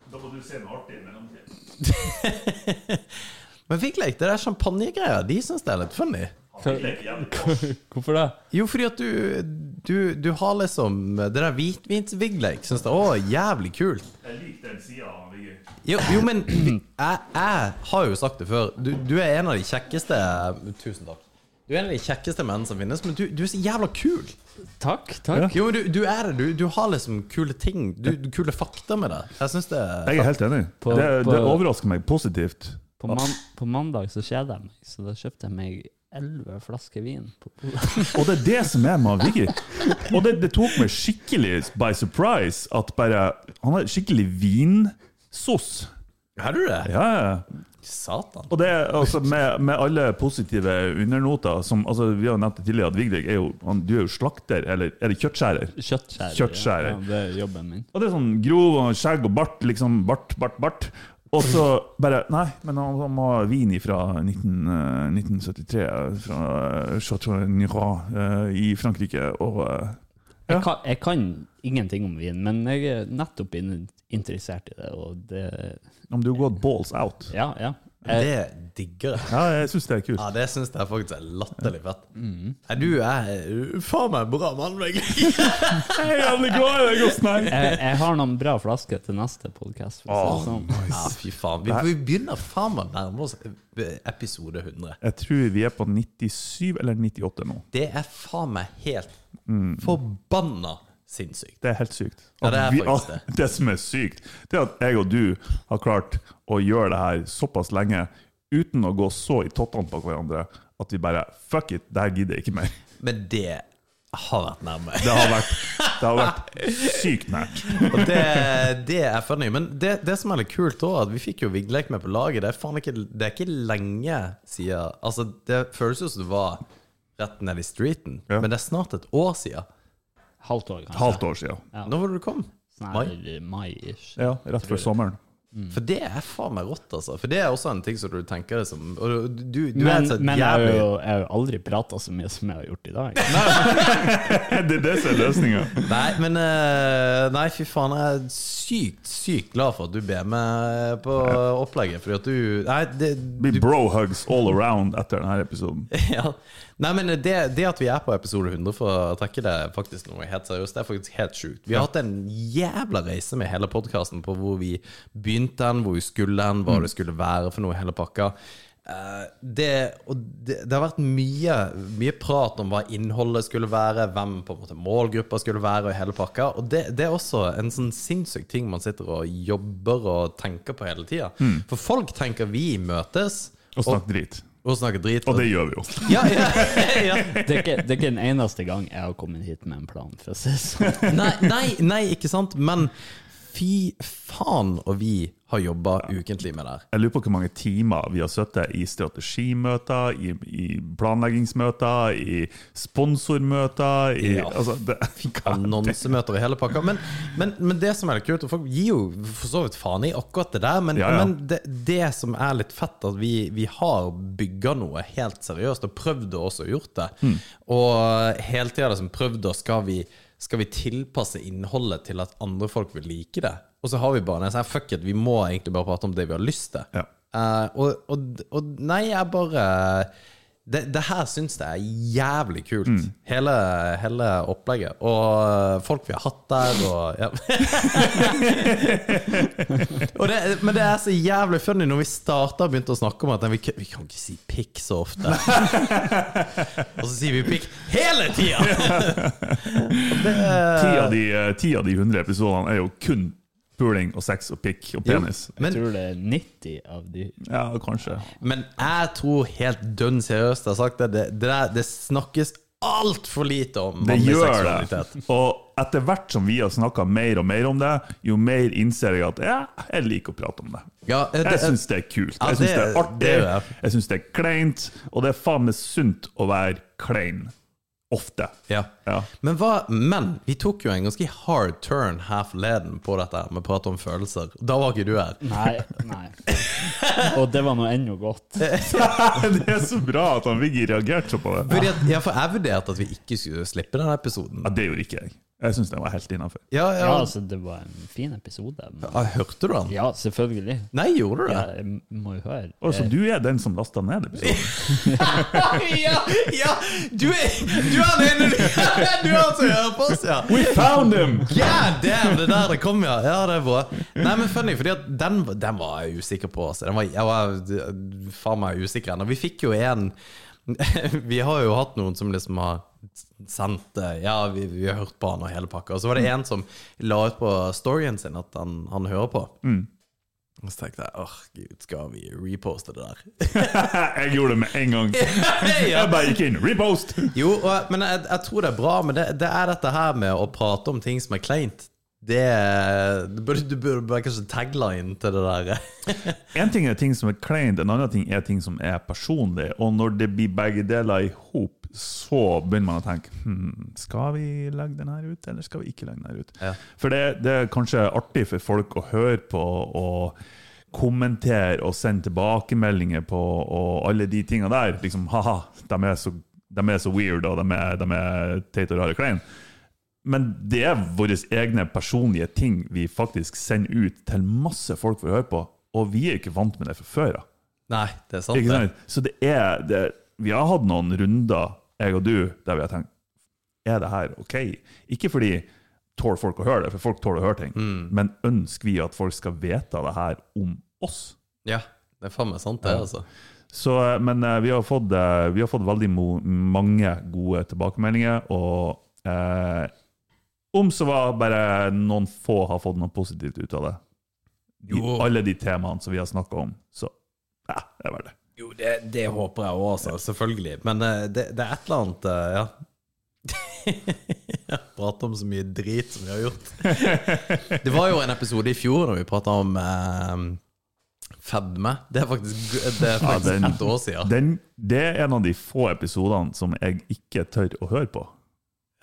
Speaker 3: Da må du se noe artig i mellomtiden.
Speaker 2: Men fikk lek det der champagnegreia. De syns det er litt funny.
Speaker 4: Hvorfor det?
Speaker 2: Jo, fordi at du, du, du har liksom Det der hvitvinsviglek syns det å, jævlig kult.
Speaker 3: Jeg liker den sida av Viggy.
Speaker 2: Jo, jo men jeg, jeg har jo sagt det før. Du, du er en av de kjekkeste Tusen takk. Du er en av de kjekkeste mennene som finnes, men du, du er så jævla kul!
Speaker 4: Takk, takk.
Speaker 2: Jo, men du, du er det. Du, du har liksom kule ting. Du, du kule fakta med det. Jeg syns det er
Speaker 3: Jeg er helt enig.
Speaker 4: På-
Speaker 3: det,
Speaker 4: på-
Speaker 3: det overrasker meg positivt.
Speaker 4: På, man, på mandag så kjeder jeg meg, så da kjøpte jeg meg elleve flasker vin på Polet.
Speaker 3: Og det er det som er med han Viggy. Og det, det tok meg skikkelig by surprise at bare Han har skikkelig vinsos.
Speaker 2: Er du det?
Speaker 3: Ja, ja.
Speaker 2: Satan.
Speaker 3: Og det er altså med, med alle positive undernoter som altså, Vi har jo nevnt det tidligere at Vigdeg er jo, han, du er jo slakter, eller er det kjøttskjærer?
Speaker 4: Kjøttskjærer.
Speaker 3: Kjøttskjærer.
Speaker 4: Ja, det er jobben min.
Speaker 3: Og det er sånn grov og skjegg og bart, liksom. Bart, bart, bart. Og så bare Nei, men han, han må ha vin fra 19, eh, 1973, fra Chateau Nirois eh, i Frankrike. Og eh, Ja.
Speaker 4: Jeg kan, jeg kan ingenting om vin, men jeg er nettopp inn- interessert i det, og det
Speaker 3: om du har gått balls out.
Speaker 4: Ja, ja. Jeg,
Speaker 2: Det digger jeg.
Speaker 3: Ja, jeg syns det er kult.
Speaker 2: Ja, det syns jeg faktisk er latterlig fett. Nei, du er du er faen meg en bra mann, Vegard.
Speaker 3: Jeg er jævlig glad i deg, Gusten her.
Speaker 4: jeg, jeg har noen bra flasker til neste podkast, for å si det sånn.
Speaker 2: Ja, fy faen. Vi, vi begynner faen meg å nærme oss eh, episode 100.
Speaker 3: Jeg tror vi er på 97 eller 98 nå.
Speaker 2: Det er faen meg helt
Speaker 3: Mm.
Speaker 2: forbanna sinnssykt.
Speaker 3: Det er helt sykt.
Speaker 2: Ja, det er
Speaker 3: At vi-
Speaker 2: faktisk det.
Speaker 3: det som er sykt, det er at jeg og du har klart å gjøre det her såpass lenge uten å gå så i tottene på hverandre at vi bare Fuck it, det her gidder jeg ikke mer.
Speaker 2: Men det har vært nærme.
Speaker 3: Det har vært, det har vært sykt nært.
Speaker 2: Og det, det er funny. Men det, det som er litt kult òg, at vi fikk jo Vigleik med på laget. Det er faen ikke, det er ikke lenge siden Altså, det føles jo som det var rett ned i streeten,
Speaker 3: Ja.
Speaker 2: men det er snart et år siden.
Speaker 4: Halvt år, kanskje.
Speaker 3: Halvt år siden.
Speaker 2: Når var det du kom? Mai?
Speaker 4: Nei, mai-ish.
Speaker 3: Ja, rett før sommeren.
Speaker 4: Mm.
Speaker 2: For det er faen meg rått, altså. For det er også en ting som du tenker deg som Og du, du, du er
Speaker 4: Men,
Speaker 2: et sånt
Speaker 4: men jeg har
Speaker 2: jævlig
Speaker 4: jo, jeg har jo aldri prata så mye som jeg har gjort i dag.
Speaker 3: Det er det som er løsninga.
Speaker 2: Nei, men eh, Nei, fy faen, jeg er sykt, sykt glad for at du ber meg på opplegget, fordi at du Nei, det,
Speaker 3: Det blir bro-hugs all around etter denne episoden.
Speaker 2: ja. Nei, men det, det at vi er på episode 100 for å trekke det faktisk noe helt seriøst, det er faktisk helt sjukt. Vi har hatt en jævla reise med hele podkasten på hvor vi begynte den, hvor vi skulle den,
Speaker 3: Mm.
Speaker 2: hva det skulle være for noe i hele pakka. Eh, Det, og det, det har vært mye, mye prat om hva innholdet skulle være, hvem på en måte målgruppa skulle være, og hele pakka. Og det, det er også en sånn sinnssyk ting man sitter og jobber og tenker på hele tida. For folk tenker vi møtes
Speaker 3: Mm. Og snakk drit.
Speaker 2: og snakker drit.
Speaker 3: Og det gjør vi jo.
Speaker 2: Ja, ja, ja.
Speaker 4: Det er, ikke, det er ikke den eneste gang jeg har kommet hit med en plan, for å si det sånn.
Speaker 2: Nei, nei, nei, ikke sant? Men fy faen og vi har jobba ukentlig med det her.
Speaker 3: Jeg lurer på hvor mange timer vi har sittet i strategimøter, i, i planleggingsmøter, i sponsormøter i,
Speaker 2: Ja.
Speaker 3: altså, det,
Speaker 2: Annonsemøter og hele pakka. Men, men, men det som er litt kult, og folk gir jo for så vidt faen i akkurat det der, men,
Speaker 3: Ja, ja.
Speaker 2: men det, det som er litt fett, at vi, vi har bygga noe helt seriøst, og prøvd og også gjort det. Og hele tida liksom prøvd å skal vi, skal vi tilpasse innholdet til at andre folk vil like det? Og så har vi bare nei, så her, fuck it, vi må egentlig bare prate om det vi har lyst til.
Speaker 3: Ja.
Speaker 2: Eh, og, og, og nei, jeg bare det, det her syns jeg er jævlig kult, hele, hele opplegget. Og folk vi har hatt der, og ja. og det, Men det er så jævlig funny når vi starta og begynte å snakke om at nei, vi, kan- vi kan ikke si pikk så ofte. og så sier vi pikk hele tida!
Speaker 3: ti, av de, eh, ti av de 100 episodene er jo kun puling og sex og pikk og penis.
Speaker 4: Jeg
Speaker 2: Men,
Speaker 4: tror det er 90 av de
Speaker 3: Ja, kanskje.
Speaker 2: men jeg tror helt dønn seriøst jeg har sagt det, det, det, der, det snakkes altfor lite om
Speaker 3: Det
Speaker 2: mannlig
Speaker 3: gjør det.
Speaker 2: seksualitet.
Speaker 3: Og etter hvert som vi har snakka mer og mer om det, jo mer innser jeg at ja, jeg liker å prate om det.
Speaker 2: Ja, eh, det-
Speaker 3: Jeg syns det er kult.
Speaker 2: Ja,
Speaker 3: Jeg syns det
Speaker 2: det-
Speaker 3: er artig.
Speaker 2: det gjør jeg.
Speaker 3: Jeg syns det er kleint. Og det er faen meg sunt å være klein. Ofte.
Speaker 2: Ja.
Speaker 3: Ja.
Speaker 2: Men, hva, men vi tok jo en ganske hard turn her forleden på dette her med å prate om følelser. Da var ikke du her.
Speaker 4: Nei. nei. Og det var nå ennå godt.
Speaker 3: det er så bra at han Viggy reagerte så på det.
Speaker 2: Fordi at, ja, for jeg vurderte at vi ikke skulle slippe den episoden.
Speaker 3: Ja, det gjorde ikke jeg. Jeg syns den var helt innafor.
Speaker 2: Ja, ja.
Speaker 4: Ja, altså, det var en fin episode. men-
Speaker 2: ja, Ah, hørte du den?
Speaker 4: Ja, selvfølgelig.
Speaker 2: Nei, gjorde du det?
Speaker 4: Ja, jeg må jo høre. Eh,
Speaker 3: Så du er den som lasta ned episoden?
Speaker 2: Ja, ja! Du er, du er den ene Du er han som hører på oss, ja!
Speaker 3: We found him!
Speaker 2: God damn, det der det kom, ja. Ja, det er bra. Nei, men funny, fordi at den, den var jeg usikker på. Altså. Den var, jeg var faen meg usikker ennå. Vi fikk jo en vi har jo hatt noen som liksom har sendt eh, Ja, vi, vi har hørt på han og hele pakka. Og så var det en som la ut på storyen sin at han, han hører på. Og så tenkte jeg åh, gud, skal vi reposte det der?
Speaker 3: jeg gjorde det med en gang. Jeg bare gikk inn. Repost!
Speaker 2: Jo, og, men jeg, jeg tror det er bra, men det, det er dette her med å prate om ting som er kleint. Det, du burde, du burde bare kanskje tagline til det der.
Speaker 3: En ting er ting som er kleint, en annen ting er ting som er personlig. Og når det blir begge deler i hop, så begynner man å tenke hmm, Skal vi legge den her ut, eller skal vi ikke legge den her ut?
Speaker 2: Ja.
Speaker 3: For det, det er kanskje artig for folk å høre på og kommentere og sende tilbakemeldinger på og alle de tinga der. Liksom ha-ha, de, er så- de er så weird, og de er, de er teite og rare og kleine. Men det er våre egne personlige ting vi faktisk sender ut til masse folk for å høre på, og vi er ikke vant med det fra før av.
Speaker 2: Nei, det er sant.
Speaker 3: Ikke
Speaker 2: det.
Speaker 3: sant? Så det er det, Vi har hatt noen runder, jeg og du, der vi har tenkt Er det her OK? Ikke fordi tåler folk å høre det, for folk tåler å høre ting, men ønsker vi at folk skal vite det her om oss?
Speaker 2: Ja, det er faen meg sant, det, altså.
Speaker 3: Så, eh, men eh, vi har fått, eh, vi har fått veldig mo mange gode tilbakemeldinger, og eh, om så var bare noen få har fått noe positivt ut av det. I
Speaker 2: Jo.
Speaker 3: alle de temaene som vi har snakka om. Så ja, det er verdt det.
Speaker 2: Jo, det, det håper jeg òg, altså. Selvfølgelig. Men eh, det, det er et eller annet eh, Ja. Jeg prater om så mye drit som vi har gjort. Det var jo en episode i fjor da vi prata om eh, fedme. Det er faktisk, det er faktisk
Speaker 3: den-
Speaker 2: ett år siden.
Speaker 3: Den, det er en av de få episodene som jeg ikke tør å høre på.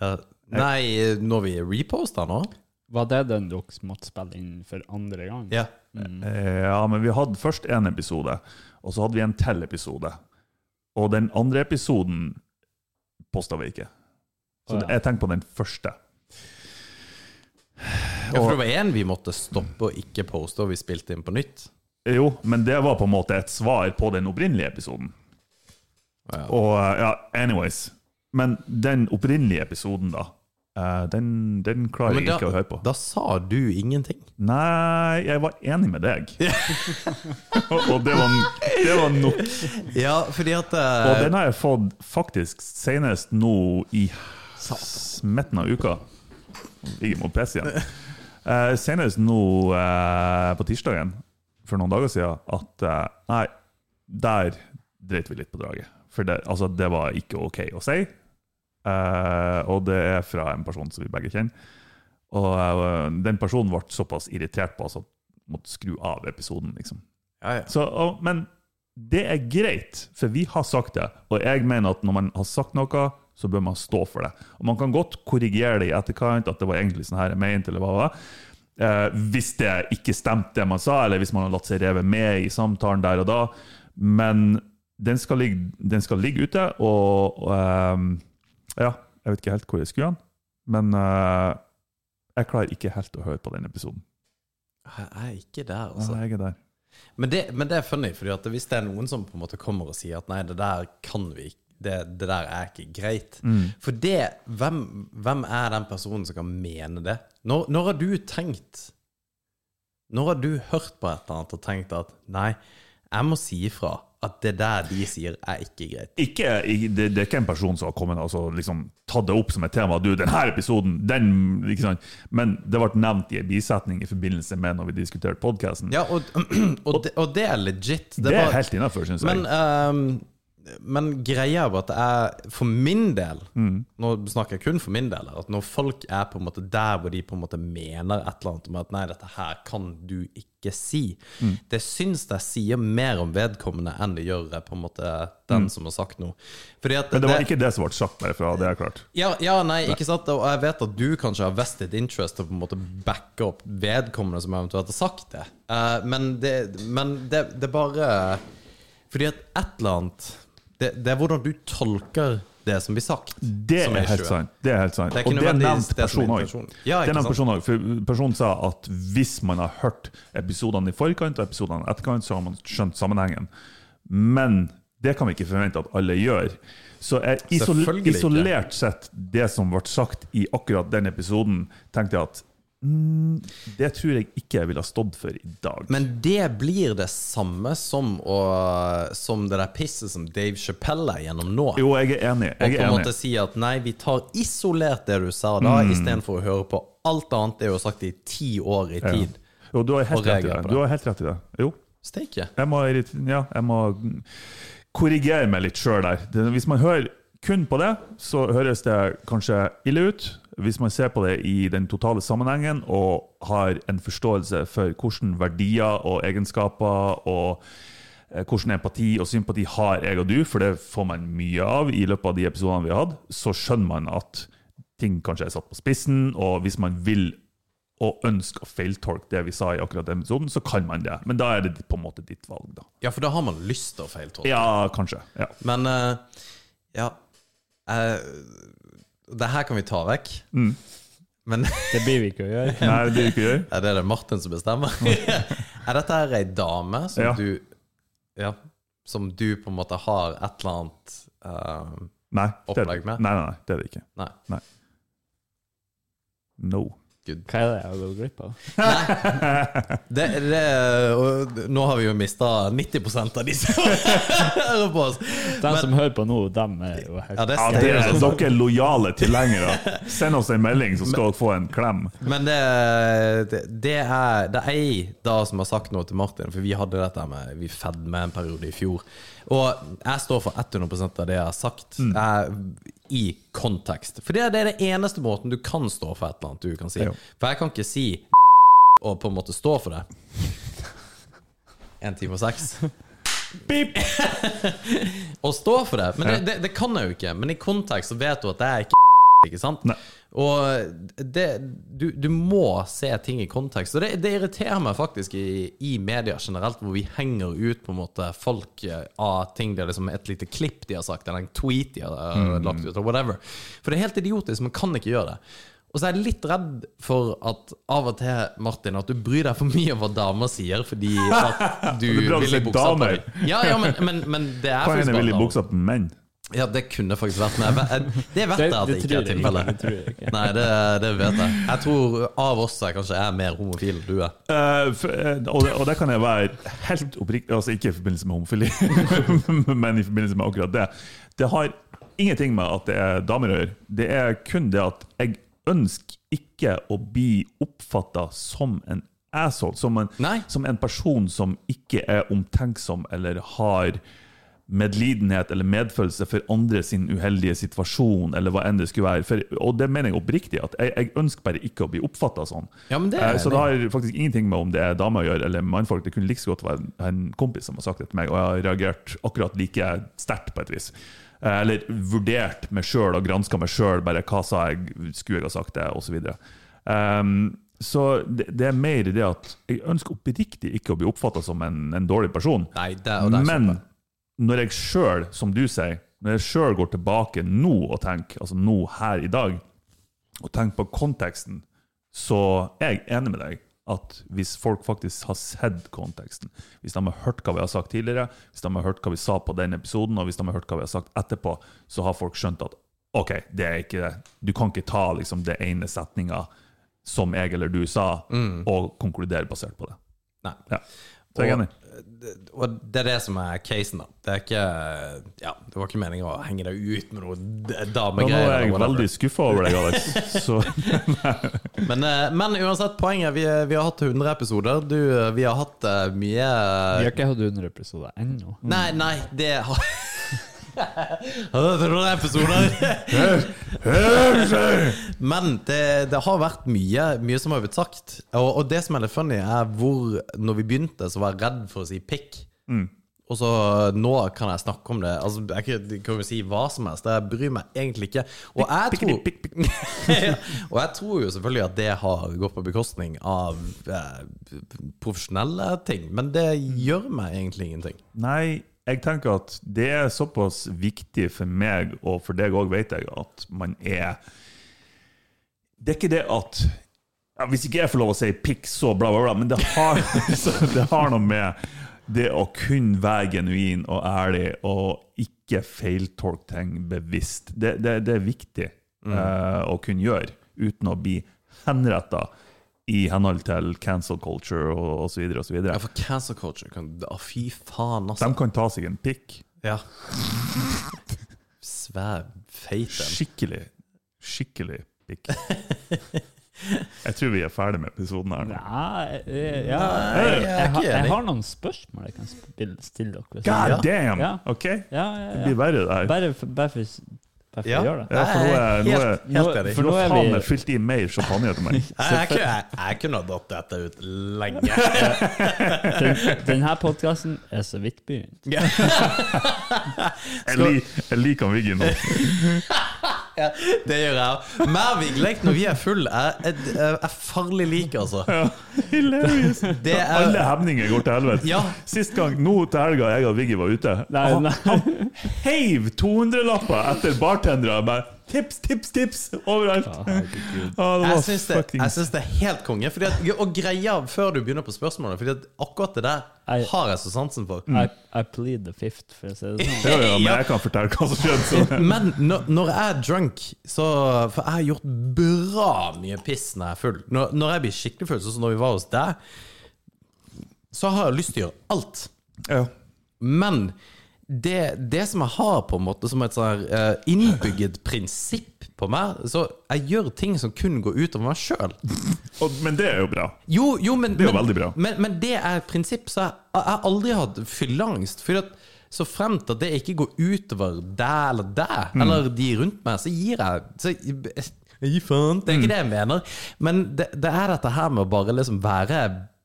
Speaker 2: Ja. Nei, når vi reposter nå?
Speaker 4: Var det den dere måtte spille inn for andre gang?
Speaker 2: Ja.
Speaker 3: Eh, Ja, men vi hadde først en episode, og så hadde vi en til episode. Og den andre episoden posta vi ikke. Så
Speaker 4: Å, ja.
Speaker 3: jeg tenker på den første.
Speaker 2: ja, for det var én vi måtte stoppe og ikke poste, og vi spilte inn på nytt.
Speaker 3: Jo, men det var på en måte et svar på den opprinnelige episoden.
Speaker 2: Ja.
Speaker 3: Og eh, ja, anyways. Men den opprinnelige episoden, da, eh, den, den klarer
Speaker 2: Men
Speaker 3: jeg ikke å høre på.
Speaker 2: da sa du ingenting.
Speaker 3: Nei, jeg var enig med deg. og det var, det var nok.
Speaker 2: Ja, fordi at eh,
Speaker 3: Og den har jeg fått faktisk senest nå i s- midten av uka. Ikke må pisse igjen. Eh, senest nå eh, på tirsdagen for noen dager siden at eh, nei, der dreit vi litt på draget. For det, altså, det var ikke OK å si. Eh, og det er fra en person som vi begge kjenner. Og eh, den personen ble såpass irritert på oss at vi måtte skru av episoden, liksom.
Speaker 2: ja, ja.
Speaker 3: Så, og, men det er greit, for vi har sagt det. Og jeg mener at når man har sagt noe, så bør man stå for det. Og man kan godt korrigere det i etterkant, at det var egentlig sånn her jeg mente, eller hva det var. Eh, hvis det ikke stemte det man sa, eller hvis man har latt seg reve med i samtalen der og da. Men den skal ligge, den skal ligge ute, og, og ehm, Ja, jeg vet ikke helt hvor jeg skulle hen, men eh, jeg klarer ikke helt å høre på den episoden.
Speaker 2: Jeg er ikke der,
Speaker 3: Så
Speaker 2: altså.
Speaker 3: jeg er der.
Speaker 2: Men det, men det er funny, fordi at hvis det er noen som på en måte kommer og sier at nei, det der kan vi ikke, det, det der er ikke greit. For det, hvem, hvem er den personen som kan mene det? Når, når har du tenkt Når har du hørt på et eller annet og tenkt at nei, jeg må si ifra at det der de sier, er ikke greit?
Speaker 3: ikke, i- det, det er ikke en person som har kommet og altså, liksom, tatt det opp som et tema. Du, denne episoden, den, ikke sant? Men det ble nevnt i en bisetning i forbindelse med når vi diskuterte podkasten.
Speaker 2: Ja, og, og, det, og det er legit.
Speaker 3: det,
Speaker 2: var-
Speaker 3: er helt innafor, syns jeg.
Speaker 2: Men, ehm, men greia er jo at det er for min del
Speaker 3: Mm.
Speaker 2: Nå snakker jeg kun for min del. her, At når folk er på en måte der hvor de på en måte mener et eller annet om at 'nei, dette her kan du ikke si',
Speaker 3: Mm.
Speaker 2: det syns jeg sier mer om vedkommende enn det gjør eh, på en måte den som har sagt noe. Fordi at
Speaker 3: Mm. Men det var ikke det som ble sagt derfra, det er klart.
Speaker 2: ja, ja, nei, ikke sant? Og jeg vet at du kanskje har vested interest til å på en måte backe opp vedkommende som eventuelt har sagt det. Eh, men det, men det, det er bare Fordi at et eller annet det, det er hvordan du tolker det som blir sagt.
Speaker 3: Det
Speaker 2: som
Speaker 3: er helt
Speaker 2: issue.
Speaker 3: sant. Det er helt sant.
Speaker 2: Det er ikke
Speaker 3: og det er
Speaker 2: nødvendigvis det
Speaker 3: nevnt
Speaker 2: som er
Speaker 3: personen òg.
Speaker 2: intensjonen. Ja, ikke sant?
Speaker 3: Personen person sa at hvis man har hørt episodene i forkant og episodene i etterkant, så har man skjønt sammenhengen. Men det kan vi ikke forvente at alle gjør. Så jeg, isol
Speaker 2: Selvfølgelig ikke.
Speaker 3: isolert sett, det som ble sagt i akkurat den episoden, tenkte jeg at Mm, det tror jeg ikke jeg ville ha stått for i dag.
Speaker 2: Men det blir det samme som, å, som det der pisset som Dave Chappelle er gjennom nå.
Speaker 3: jo, jeg er enig.
Speaker 2: Og
Speaker 3: Jeg
Speaker 2: på
Speaker 3: er
Speaker 2: en måte
Speaker 3: enig. Mm.
Speaker 2: si at nei, vi tar isolert det du sa da, istedenfor å høre på alt annet det du har sagt i ti år i tid.
Speaker 3: Jo, du har helt
Speaker 2: Og
Speaker 3: rett i
Speaker 2: reagere
Speaker 3: det.
Speaker 2: på det.
Speaker 3: Du har helt rett i det. Jo.
Speaker 2: Steike.
Speaker 3: Jeg må, irrit- ja, jeg må korrigere meg litt sjøl der. Det- Hvis man hører kun på det, så høres det kanskje ille ut. Hvis man ser på det i den totale sammenhengen og har en forståelse for hvilke verdier og egenskaper og eh, hvordan empati og sympati har jeg og du, for det får man mye av i løpet av de episodene vi har hatt, så skjønner man at ting kanskje er satt på spissen, og hvis man vil og ønsker å feiltolke det vi sa i akkurat den episoden, så kan man det. Men da er det på en måte ditt valg, da.
Speaker 2: Ja, for da har man lyst til å feiltolke.
Speaker 3: Ja, kanskje. Ja.
Speaker 2: Men eh, ja eh, Det her kan vi ta vekk.
Speaker 3: Mm.
Speaker 2: Men
Speaker 4: Det blir vi ikke å gjøre.
Speaker 3: Nei, det er ikke gjør.
Speaker 2: er det det Martin som bestemmer? er dette her ei dame som
Speaker 3: Ja.
Speaker 2: du Ja, som du på en måte har et eller annet eh,
Speaker 3: Nei, det er det
Speaker 2: Opplegg
Speaker 3: ikke.
Speaker 2: med?
Speaker 3: Nei, nei, nei, det er det ikke.
Speaker 2: Nei.
Speaker 3: No.
Speaker 4: Hva er det jeg har gått glipp av?
Speaker 2: Det, det, og nå har vi jo mista 90 av de som hører på oss.
Speaker 4: De som hører på nå, dem er jo helt
Speaker 2: Ja, det
Speaker 3: Ja, det er, altså
Speaker 2: stemmer.
Speaker 3: dere er lojale tilhengere. Send oss en melding, så skal dere få en klem.
Speaker 2: Men det, det, det er det er jeg da som har sagt noe til Martin, for vi hadde dette med Vi fedme en periode i fjor. Og jeg står for 100 av det jeg har sagt, jeg, i kontekst. For det, det er den eneste måten du kan stå for et eller annet du kan si.
Speaker 3: Jo.
Speaker 2: For jeg kan ikke si og på en måte stå for det. Én time og seks.
Speaker 3: Pip!
Speaker 2: Å stå for det. Men det, det, det kan jeg jo ikke. Men i kontekst så vet du at det er ikke ikke sant?
Speaker 3: Nei.
Speaker 2: Og det, du, du må se ting i kontekst. Og det, det irriterer meg faktisk i, i media generelt, hvor vi henger ut på en måte folk eh, av ting det er liksom et lite klipp de har sagt, eller en tweet de har eh,
Speaker 3: Mm.
Speaker 2: lagt ut, eller whatever. For det er helt idiotisk. Man kan ikke gjøre det. Og så er jeg litt redd for at av og til, Martin, at du bryr deg for mye om hva damer sier, fordi at du
Speaker 3: Det er bra
Speaker 2: vil
Speaker 3: du
Speaker 2: i
Speaker 3: sier
Speaker 2: buksa på
Speaker 3: damer.
Speaker 2: deg. Ja, ja, men, men, men det er
Speaker 3: Hva er
Speaker 2: faktisk
Speaker 3: det
Speaker 2: bare
Speaker 3: vil i
Speaker 2: damer.
Speaker 3: buksa på menn?
Speaker 2: Ja, det kunne faktisk vært meg. Men Det vet
Speaker 4: Det-
Speaker 2: jeg at det ikke er
Speaker 4: det tror jeg ikke, det
Speaker 2: tilfellet.
Speaker 4: tror jeg ikke.
Speaker 2: Nei, det, det vet jeg. Jeg tror av oss jeg kanskje er mer homofil enn du er.
Speaker 3: Eh, for, eh, og, det, og det kan jeg være helt oppriktig Altså ikke i forbindelse med homofili, men i forbindelse med akkurat det. Det har ingenting med at det er damer å gjøre. Det er kun det at jeg ønsker ikke å bli oppfatta som en asshole. Som en,
Speaker 2: Nei.
Speaker 3: som en person som ikke er omtenksom eller har medlidenhet eller medfølelse for andre sin uheldige situasjon, eller hva enn det skulle være. For, og det mener jeg oppriktig, at jeg, jeg ønsker bare ikke å bli oppfatta sånn.
Speaker 2: Ja, men det er
Speaker 3: Eh, så
Speaker 2: det.
Speaker 3: det har faktisk ingenting med om det er damer å gjøre eller mannfolk. Det kunne like så godt være en, en kompis som har sagt det til meg, og jeg har reagert akkurat like sterkt på et vis. Eh, Eller vurdert meg sjøl og granska meg sjøl, bare hva sa jeg, skulle jeg ha sagt det, osv. Um, så det, det er mer det at jeg ønsker oppriktig ikke å bli oppfatta som en, en dårlig person.
Speaker 2: Nei, det, og det er
Speaker 3: Men når jeg sjøl, som du sier, når jeg sjøl går tilbake nå og tenker, altså nå her i dag, og tenker på konteksten, så er jeg enig med deg at hvis folk faktisk har sett konteksten, hvis de har hørt hva vi har sagt tidligere, hvis de har hørt hva vi sa på den episoden, og hvis de har hørt hva vi har sagt etterpå, så har folk skjønt at OK, det er ikke det. Du kan ikke ta liksom det ene setninga som jeg eller du sa,
Speaker 2: Mm.
Speaker 3: og konkludere basert på det.
Speaker 2: Nei.
Speaker 3: Ja. Så jeg er enig.
Speaker 2: Og det er det som er casen, da. Det er ikke Ja, det var ikke meningen å henge deg ut med noe d-
Speaker 3: Ja, nå
Speaker 2: damegreier.
Speaker 3: er
Speaker 2: eller
Speaker 3: jeg
Speaker 2: whatever.
Speaker 3: veldig skuffa over deg, Alex. Så
Speaker 2: Men, eh, men uansett, poenget er vi, vi har hatt 100 episoder. Du, vi har hatt eh, mye
Speaker 4: Vi har ikke hatt 100 episoder ennå.
Speaker 2: Nei, nei, det har Hadde du noen episoder? Men det, det har vært mye, mye som har blitt sagt. Og, og det som er litt funny, er hvor Når vi begynte, så var jeg redd for å si pikk. Og så nå kan jeg snakke om det. Altså, jeg kan- jeg kan jo si hva som helst. Jeg bryr meg egentlig ikke. Og jeg tror, og jeg tror jo selvfølgelig at det har gått på bekostning av eh, profesjonelle ting. Men det gjør meg egentlig ingenting.
Speaker 3: Nei, jeg tenker at det er såpass viktig for meg, og for deg òg, vet jeg, at man er Det er ikke det at ja, Hvis ikke jeg får lov å si pikk, så bla, bla, bla, men det har, så det har noe med det å kunne være genuin og ærlig og ikke feiltolke ting bevisst. Det,
Speaker 2: Mm.
Speaker 3: det, det er viktig eh, å kunne gjøre uten å bli henretta i henhold til cancel culture og osv. osv.
Speaker 2: Ja,
Speaker 3: De
Speaker 2: for cancel culture kan Å, fy faen, altså.
Speaker 3: kan ta seg en pikk.
Speaker 2: Ja. Svær feite.
Speaker 3: Skikkelig, skikkelig pikk. Jeg tror vi er ferdig med episoden her nå.
Speaker 4: Nei, eh, ja.
Speaker 2: Nei,
Speaker 4: jeg,
Speaker 2: jeg er
Speaker 4: jeg,
Speaker 2: ikke
Speaker 4: har- jeg
Speaker 2: enig.
Speaker 4: har noen spørsmål jeg kan spille, stille dere. hvis-
Speaker 3: God
Speaker 2: Ja.
Speaker 3: damn!
Speaker 4: Ja.
Speaker 3: OK? Det
Speaker 4: Ja, ja,
Speaker 3: blir
Speaker 4: ja.
Speaker 3: verre, det her.
Speaker 4: Bare for, bare for, bare for
Speaker 2: Ja.
Speaker 4: å gjøre det.
Speaker 3: Ja, for nå er, nå er,
Speaker 2: Helt- helt enig.
Speaker 4: for nå er
Speaker 3: faen
Speaker 4: vi-
Speaker 3: meg fylt i mer champagne til meg.
Speaker 2: Jeg, jeg, kunne- jeg, jeg kunne ha dratt dette ut lenge.
Speaker 4: Den, denne podkasten er så vidt begynt.
Speaker 2: Ja.
Speaker 3: Jeg, lik, jeg liker han Viggy nå.
Speaker 2: Ja, det gjør jeg òg. Mer viglek når vi er full er, er, er farlig lik, altså.
Speaker 3: Hilarious!
Speaker 2: Det
Speaker 3: Alle
Speaker 2: er
Speaker 3: hemninger går til helvete.
Speaker 2: Ja.
Speaker 3: Sist gang, nå til helga, jeg og Viggy var ute,
Speaker 4: Nei,
Speaker 3: han,
Speaker 4: nei.
Speaker 3: han heiv 200-lapper etter bartendere. Bare tips, tips, tips overalt. Ja, det var
Speaker 2: jeg syns det,
Speaker 3: fucking-
Speaker 2: jeg syns det er helt konge. Fordi at, og greia før du begynner på spørsmålet, Fordi at akkurat det der
Speaker 4: Jeg-
Speaker 2: har jeg så sansen for.
Speaker 4: I, I plead the fifth, for å si det sånn.
Speaker 3: Ja, ja, men
Speaker 2: Ja.
Speaker 3: jeg kan fortelle hva som skjedde. Så.
Speaker 2: Men når, når jeg er drunk så, For jeg har gjort bra mye piss når jeg er full. Når, når jeg blir skikkelig full, sånn som når vi var hos deg, så har jeg lyst til å gjøre alt.
Speaker 3: Ja.
Speaker 2: Men det, det som jeg har på en måte som et sånn her, eh, innbygget prinsipp på meg Så jeg gjør ting som kun går utover meg sjøl.
Speaker 3: Og, men det er jo bra.
Speaker 2: Jo, jo, men,
Speaker 3: Det er jo
Speaker 2: men,
Speaker 3: veldig bra.
Speaker 2: Men, men det er et prinsipp, så jeg, jeg har aldri hatt fylleangst. For at, så fremt at det ikke går utover deg eller deg,
Speaker 3: Mm.
Speaker 2: eller de rundt meg, så gir jeg så, jeg gir faen. Det er
Speaker 3: Mm.
Speaker 2: ikke det jeg mener. Men det, det er dette her med å bare liksom være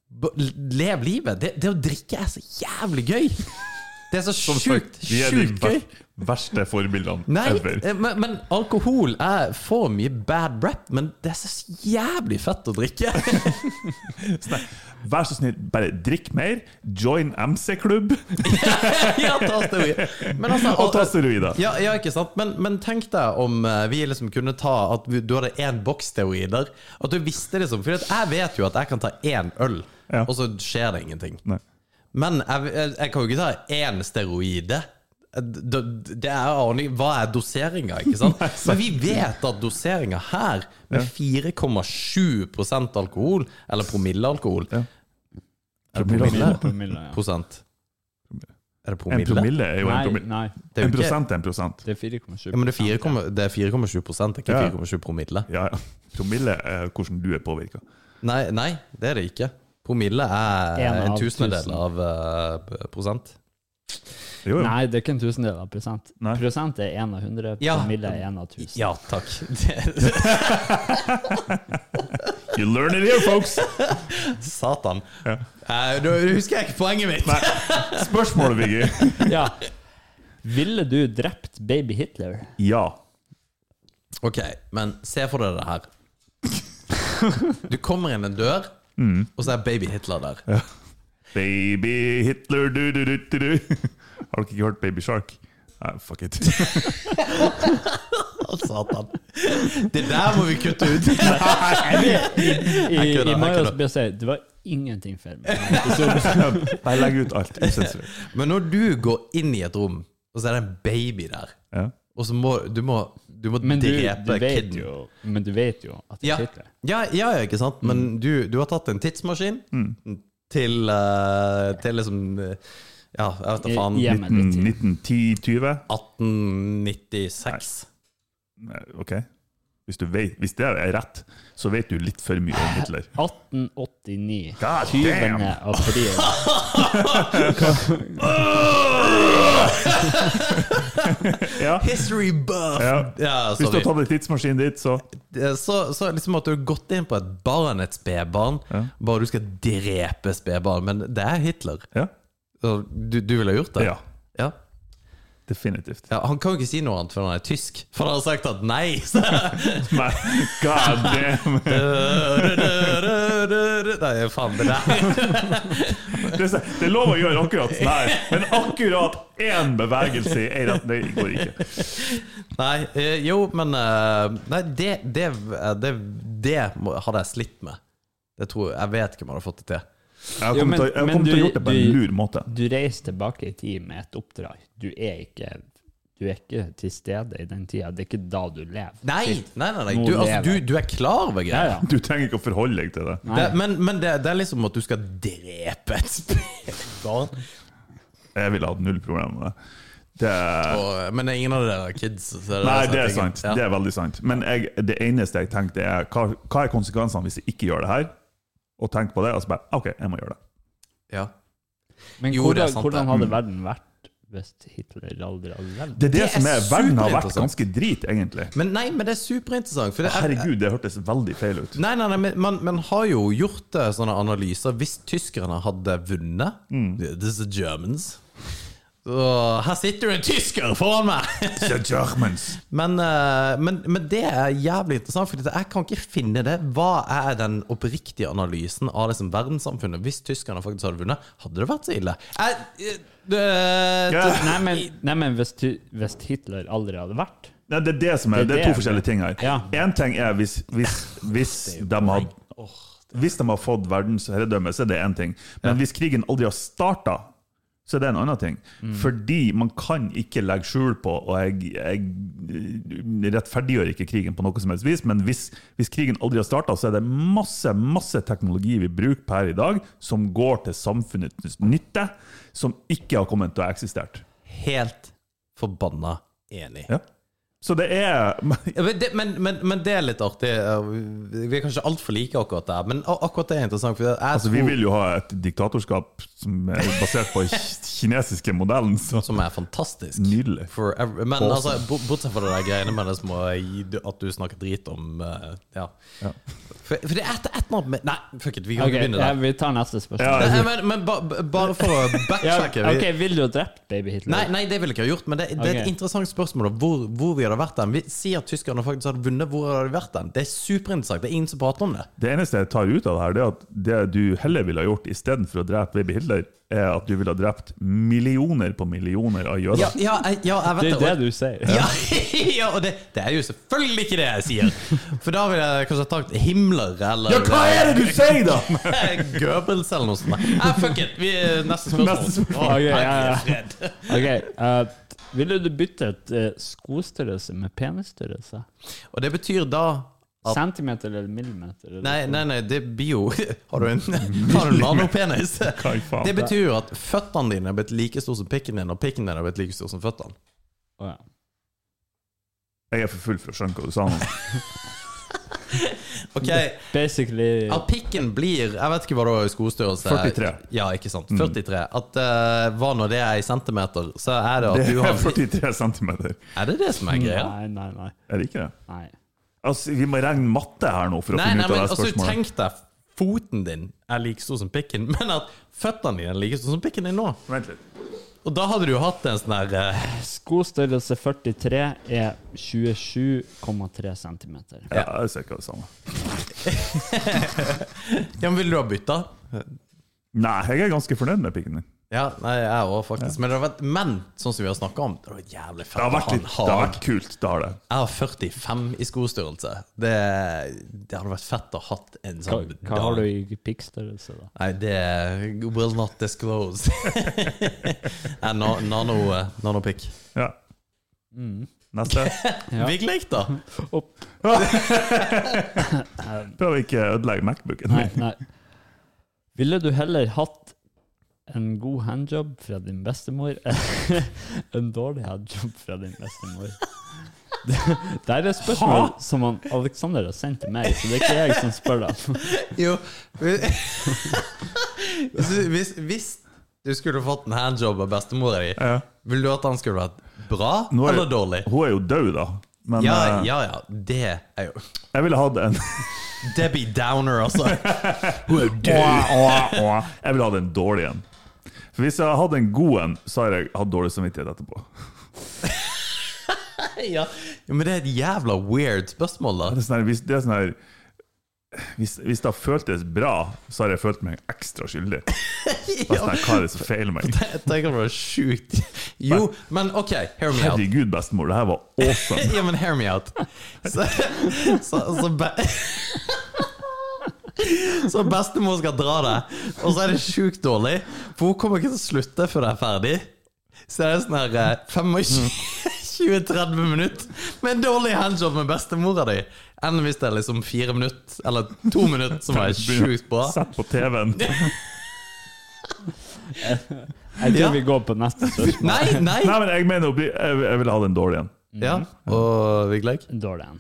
Speaker 2: b- Leve livet. Det, det å drikke er så jævlig gøy! Det er så sjukt,
Speaker 3: Vi er de
Speaker 2: sjukt
Speaker 3: ver
Speaker 2: gøy.
Speaker 3: verste forbildene
Speaker 2: Nei,
Speaker 3: ever.
Speaker 2: eh, men, men alkohol er for mye bad rap, men det er så jævlig fett å drikke.
Speaker 3: Vær så snill, bare drikk mer. Join MC-klubb
Speaker 2: ja, ta steroid. Men altså,
Speaker 3: og ta steroider.
Speaker 2: Ja, ja, ikke sant? Men, men tenk deg om eh, vi liksom kunne ta at vi, du hadde én boks steroider. At du visste liksom For jeg vet jo at jeg kan ta én øl,
Speaker 3: Ja.
Speaker 2: og så skjer det ingenting.
Speaker 3: Nei.
Speaker 2: Men jeg, jeg, jeg kan jo ikke ta én steroide. Det, det er jo aning Hva er doseringa, ikke sant? Men vi vet at doseringa her, med 4,7 alkohol, eller promillealkohol
Speaker 3: Ja.
Speaker 2: Er det promille?
Speaker 3: Promille.
Speaker 4: Promille, ja.
Speaker 2: Prosent? Er det
Speaker 3: En
Speaker 2: promille?
Speaker 3: promille er jo en
Speaker 4: Nei,
Speaker 3: promille.
Speaker 4: nei,
Speaker 2: Det er jo
Speaker 3: En
Speaker 2: ikke-
Speaker 3: prosent er en prosent.
Speaker 4: det er 4,7
Speaker 2: Ja, men det er 4,7 det er 4,7 prosent, det
Speaker 3: Ja, ja.
Speaker 2: er ikke 4,7 promille.
Speaker 3: Ja, ja. Promille er hvordan du er påvirka.
Speaker 2: Nei, nei, det er det ikke. Promille er
Speaker 4: En
Speaker 2: en,
Speaker 4: av
Speaker 2: tusendedel
Speaker 4: tusen.
Speaker 2: av eh, prosent.
Speaker 3: Jo, jo.
Speaker 4: Nei, det er ikke en tusendel av prosent.
Speaker 3: Nei.
Speaker 4: Prosent er 1 av 100,
Speaker 2: Ja.
Speaker 4: promille er 1 av 1000.
Speaker 2: Ja, takk. Det,
Speaker 3: You learn it here, folks!
Speaker 2: satan. Eh, Nå husker jeg ikke poenget mitt.
Speaker 3: Nei. Spørsmålet, Viggy.
Speaker 4: Ja. Ville du drept baby Hitler?
Speaker 3: Ja.
Speaker 2: Ok, men se for deg det her. Du kommer inn en dør,
Speaker 4: Mm.
Speaker 2: og så er baby Hitler der.
Speaker 3: Baby Hitler du, du, du, du, du. Har dere ikke hørt Baby Shark? Nei, fuck it.
Speaker 2: Å, satan. Det der må vi kutte ut.
Speaker 4: I, i,
Speaker 2: kødder,
Speaker 4: i
Speaker 2: jeg
Speaker 4: Marius
Speaker 2: kødder.
Speaker 4: Bjørsøy, det var ingenting for meg.
Speaker 3: Bare legg ut alt. Usensurert.
Speaker 2: Men når du går inn i et rom, og så er det en baby der,
Speaker 3: Ja.
Speaker 2: og så må du, må, du må
Speaker 4: Men du, du,
Speaker 2: drepe
Speaker 4: vet
Speaker 2: kiden.
Speaker 4: jo, men du vet jo at det
Speaker 2: Ja,
Speaker 4: er Hitler.
Speaker 2: ja, ja, ja ikke sant? Men du, du har tatt en tidsmaskin til, eh, til liksom eh, Ja, jeg vet da
Speaker 4: I-
Speaker 2: faen.
Speaker 4: Hjemmet ditt.
Speaker 3: 1910-20?
Speaker 2: 1896.
Speaker 3: Ok. Hvis, du vet, hvis det er rett, så vet du litt for mye om Hitler.
Speaker 4: 1889.
Speaker 3: God
Speaker 4: 20.
Speaker 3: damn.
Speaker 4: april.
Speaker 3: Ja.
Speaker 2: History buff! Ja,
Speaker 3: Ja.
Speaker 4: Altså,
Speaker 3: Hvis du
Speaker 2: sorry.
Speaker 3: har tatt en tidsmaskin dit, så
Speaker 2: Eh, Så, så liksom at du har gått inn på et barn, et spedbarn, bare du skal drepe spedbarn. Men det er Hitler.
Speaker 3: Ja,
Speaker 2: Så Du, du ville ha gjort det?
Speaker 3: Ja.
Speaker 2: ja.
Speaker 3: definitivt.
Speaker 2: Ja, Han kan jo ikke si noe annet før han er tysk, for han har sagt at nei! Så.
Speaker 3: Men god damn!
Speaker 2: Nei, faen, det der.
Speaker 3: Det er så- det er lov å gjøre akkurat sånn her, men akkurat én bevegelse i én retning det går ikke.
Speaker 2: Nei, eh, jo, men eh, Nei, det det, eh, det, det må, hadde jeg slitt med. Det tror, jeg vet ikke om jeg hadde fått det til.
Speaker 3: Jeg har
Speaker 4: Jo,
Speaker 3: kommet
Speaker 4: men-
Speaker 3: til jeg har
Speaker 4: men
Speaker 3: kommet til å
Speaker 4: du-
Speaker 3: gjøre det på en
Speaker 4: du-
Speaker 3: lur måte.
Speaker 4: Du reiser tilbake i tid med et oppdrag. Du er ikke Du er ikke til stede i den tida. Det er ikke da du lever.
Speaker 2: Nei, nei, nei, nei.
Speaker 4: Nå
Speaker 2: Du, altså,
Speaker 4: lever
Speaker 2: du,
Speaker 4: jeg.
Speaker 2: du er klar over
Speaker 4: Ja,
Speaker 2: greier.
Speaker 4: ja.
Speaker 3: Du trenger ikke å forholde deg til det.
Speaker 4: Nei.
Speaker 2: Det, men men det, det er liksom at du skal drepe et spedbarn.
Speaker 3: Jeg ville hatt null problemer med det. det
Speaker 2: Og- eh, Men det er ingen av dere kids. så det
Speaker 3: nei,
Speaker 2: sånn
Speaker 3: det
Speaker 2: at
Speaker 3: er
Speaker 2: jeg-
Speaker 3: sant.
Speaker 2: ja.
Speaker 3: Det er veldig sant. Men jeg, det eneste jeg tenkte, er hva, hva er konsekvensene hvis jeg ikke gjør det her? Og tenk på det, og så bare OK, jeg må gjøre det.
Speaker 2: Ja.
Speaker 4: Men
Speaker 2: Jo, det er
Speaker 4: hvordan,
Speaker 2: sant,
Speaker 4: hvordan
Speaker 2: det. Mm.
Speaker 4: hadde verden vært hvis Hitler aldri hadde levd?
Speaker 3: Det er det,
Speaker 2: Det er
Speaker 3: som er Verden har vært
Speaker 2: superinteressant.
Speaker 3: ganske drit, egentlig.
Speaker 2: Men nei, men det er superinteressant. For det er,
Speaker 3: Herregud, det hørtes veldig feil ut.
Speaker 2: Nei, nei, nei, men man, man har jo gjort eh, sånne analyser. Hvis tyskerne hadde vunnet This is the Germans. Så, her sitter det en tysker foran meg!
Speaker 3: The Germans.
Speaker 2: men, eh, men, men det er jævlig interessant, for jeg kan ikke finne det. Hva er den oppriktige analysen av liksom verdenssamfunnet? Hvis tyskerne faktisk hadde vunnet, hadde det vært så ille? Jeg, eh, det-
Speaker 3: Ja.
Speaker 4: Nei, men, nei, men hvis, ty- hvis Hitler aldri hadde vært
Speaker 3: Nei, det er det som er,
Speaker 4: Det
Speaker 3: det
Speaker 4: er
Speaker 3: er to
Speaker 4: det.
Speaker 3: forskjellige ting her.
Speaker 4: Ja.
Speaker 3: En ting er hvis, hvis, hvis, de har, hvis de har fått verdensherredømme, så er det én ting. Men hvis krigen aldri har starta, så er det en annen ting.
Speaker 4: Mm.
Speaker 3: Fordi man kan ikke legge skjul på, og jeg, jeg rettferdiggjør ikke krigen på noe som helst vis, men hvis, hvis krigen aldri har starta, så er det masse, masse teknologi vi bruker per i dag, som går til samfunnets nytte, som ikke har kommet til å ha eksistert.
Speaker 2: Helt forbanna enig.
Speaker 3: Ja. Så det er
Speaker 2: Ja, Men det, men, men, men det er litt artig. Vi er kanskje altfor like akkurat der, men a- akkurat det er interessant. For jeg
Speaker 3: Altså, vi
Speaker 2: tror,
Speaker 3: vil jo ha et diktatorskap som er basert på k- kinesiske modellen. Så.
Speaker 2: Som er fantastisk.
Speaker 3: Nydelig.
Speaker 2: Forever. Men
Speaker 3: Awesome.
Speaker 2: altså, bo- bortsett fra det der greiene med det som å gi- at du snakker drit om eh, Ja.
Speaker 3: Ja.
Speaker 2: For, for det er et, et eller annet med Nei, fuck it, vi kan
Speaker 4: Ok,
Speaker 2: ikke begynne
Speaker 4: ja,
Speaker 2: der.
Speaker 4: vi tar neste spørsmål.
Speaker 2: Nei,
Speaker 3: Ja,
Speaker 2: men men ba, ba- bare for å
Speaker 4: Ja,
Speaker 2: backtracke vi-
Speaker 4: ok, Ville du drept baby Hitler?
Speaker 2: Nei, nei, det ville jeg ikke ha gjort, men det, det er et
Speaker 4: Ok.
Speaker 2: interessant spørsmål. da. Hvor, hvor vi hadde vært den. Vi sier at tyskerne faktisk hadde vunnet. Hvor hadde vi vært den? Det er superinteressant. Det er ingen som prater om det.
Speaker 3: Det eneste jeg tar ut av det her, det er at det du heller ville ha gjort istedenfor å drepe baby Hitler, er at du ville ha drept millioner på millioner av jøder.
Speaker 2: Ja, ja, jeg- ja jeg vet
Speaker 4: Det
Speaker 2: og-
Speaker 4: er det du sier.
Speaker 2: Ja, ja og det, det er jo selvfølgelig ikke det jeg sier. For da ville jeg kanskje ha tatt Himmler eller eh,
Speaker 3: Ja, hva er det du sier, da?!
Speaker 2: Goebbels eller noe sånt. Nei, fuck it! Vi, neste spørsmål.
Speaker 3: Neste spørsmål.
Speaker 2: Å,
Speaker 4: Ok, ja, ja.
Speaker 2: herre fred.
Speaker 4: Ok, eh, Ville du bytte et eh, skostørrelse med penisstørrelse?
Speaker 2: Og det betyr da at
Speaker 4: Centimeter eller millimeter? Eller
Speaker 2: Nei, nei, nei, det blir jo Har du en, har du en nanopenis?
Speaker 3: Hva i faen?
Speaker 2: Det betyr jo at føttene dine er blitt like stor som pikken din, og pikken din er blitt like stor som føttene.
Speaker 4: Å, ja.
Speaker 3: Jeg er for full for å skjønne hva du sa nå.
Speaker 2: Ok,
Speaker 4: Basically
Speaker 2: At pikken blir Jeg vet ikke hva det var i skostørrelse.
Speaker 3: 43.
Speaker 2: Ja, ikke
Speaker 3: Mm.
Speaker 2: sant. 43. At eh, hva nå det er i centimeter, så er det
Speaker 3: Det
Speaker 2: at du
Speaker 3: er
Speaker 2: har
Speaker 3: 43 centimeter.
Speaker 2: Er det det som er greia?
Speaker 4: Nei, nei, nei.
Speaker 3: Er det ikke det?
Speaker 4: nei.
Speaker 3: Altså, vi må regne matte her nå for å
Speaker 2: Nei, nei,
Speaker 3: finne
Speaker 2: men
Speaker 3: ut av det
Speaker 2: altså,
Speaker 3: spørsmålet.
Speaker 2: tenk deg foten din er like stor som pikken, men at føttene dine er like stor som pikken din nå.
Speaker 3: Vent litt.
Speaker 2: Og da hadde du jo hatt en sånn der eh,
Speaker 4: Skostørrelse 43 er 27,3 centimeter.
Speaker 3: Ja, jeg ser ikke det samme.
Speaker 2: Ja, men ville du ha bytta?
Speaker 3: Nei, jeg er ganske fornøyd med pikken din.
Speaker 2: Ja, nei, jeg òg, faktisk. Men, det hadde vært, men sånn som vi har snakka om, det hadde vært jævlig fett
Speaker 3: Det har
Speaker 2: å
Speaker 3: vært,
Speaker 2: ha en
Speaker 3: litt, det har
Speaker 2: hag.
Speaker 3: vært kult, det har det.
Speaker 2: Jeg har 45 i skostørrelse. Det, det hadde vært fett å ha hatt en
Speaker 4: Hva,
Speaker 2: sånn
Speaker 4: hva har du i pikkstørrelse, da?
Speaker 2: Nei, det will not disclose. Nei, na, nano, eh, nanopikk.
Speaker 3: Ja. Neste.
Speaker 4: Ja.
Speaker 2: Virkelig, da!
Speaker 4: Opp.
Speaker 3: Prøv å ikke ødelegge Macbooken
Speaker 4: Nei,
Speaker 3: min.
Speaker 4: nei. Ville du heller hatt en god handjob fra din bestemor eller en dårlig handjob fra din bestemor? Det- Der er spørsmål som han Alexander har sendt til meg, så det er ikke jeg som spør deg.
Speaker 2: Jo Hvis, du- hvis, hvis du skulle fått en handjob av bestemora di,
Speaker 3: Ja.
Speaker 2: ville du at den skulle vært bra
Speaker 3: Nå er-
Speaker 2: eller dårlig?
Speaker 3: Hun er jo død, da. Men
Speaker 2: Ja,
Speaker 3: eh,
Speaker 2: ja, ja. Det er jo
Speaker 3: jeg ville hatt en
Speaker 2: Debbie Downer, altså. Hun er
Speaker 3: Åh, åh, åh. Jeg ville hatt en dårlig en. For hvis jeg hadde hatt en god en, så har jeg hatt dårlig samvittighet etterpå.
Speaker 2: Ja. Jo, men det er et jævla weird spørsmål, da.
Speaker 3: Det er sånn her, hvis, det er sånn her hvis, hvis det har føltes bra, så har jeg følt meg ekstra skyldig. Det er sånn her, Hva er det som feiler meg?
Speaker 2: Jeg tenker det var sjukt. Jo, men OK, hear me out.
Speaker 3: Herregud, bestemor, det her var awesome.
Speaker 2: Ja, men hear me out. Så, så, så, be så bestemor skal dra deg, og så er det sjukt dårlig. For hun kommer ikke til å slutte før det er ferdig. Så det er sånn her eh, 25 20-30 minutter med en dårlig handjob med bestemora di, enn hvis det er liksom fire minutter eller to minutter som er sjukt bra.
Speaker 3: Sett på TV-en.
Speaker 4: Jeg tror
Speaker 2: Ja.
Speaker 4: vi går på neste spørsmål.
Speaker 2: Nei, nei!
Speaker 3: Nei, men jeg mener å bli Jeg, jeg vil ha den dårlige en.
Speaker 2: Ja, og Vigleik?
Speaker 4: Dårlig en.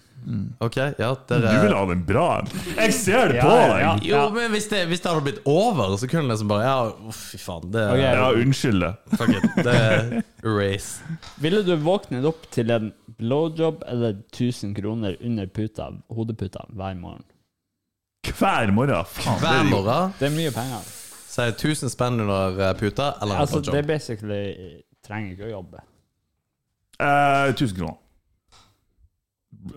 Speaker 2: Ok, ja,
Speaker 3: Du vil
Speaker 2: dere
Speaker 3: ha den bra en. Jeg ser det
Speaker 4: Ja,
Speaker 3: på
Speaker 4: ja,
Speaker 3: deg!
Speaker 2: Jo, men hvis det, hvis det hadde blitt over, så kunne det liksom bare Ja, å, fy faen, det
Speaker 4: Ok.
Speaker 3: Ja, unnskyld det.
Speaker 2: Fuck it, det er erase.
Speaker 4: Ville du våknet opp til en blowjob eller 1000 kroner under puta, hodeputa hver morgen?
Speaker 3: Hver morgen. Faen, det
Speaker 2: Hver
Speaker 3: er jo
Speaker 2: morgen
Speaker 4: Det er mye penger.
Speaker 2: sier 1000 spenn under eh, puta, eller
Speaker 4: Altså,
Speaker 2: en
Speaker 4: det er
Speaker 2: jobb.
Speaker 4: basically Trenger ikke å jobbe.
Speaker 3: eh, 1000 kroner.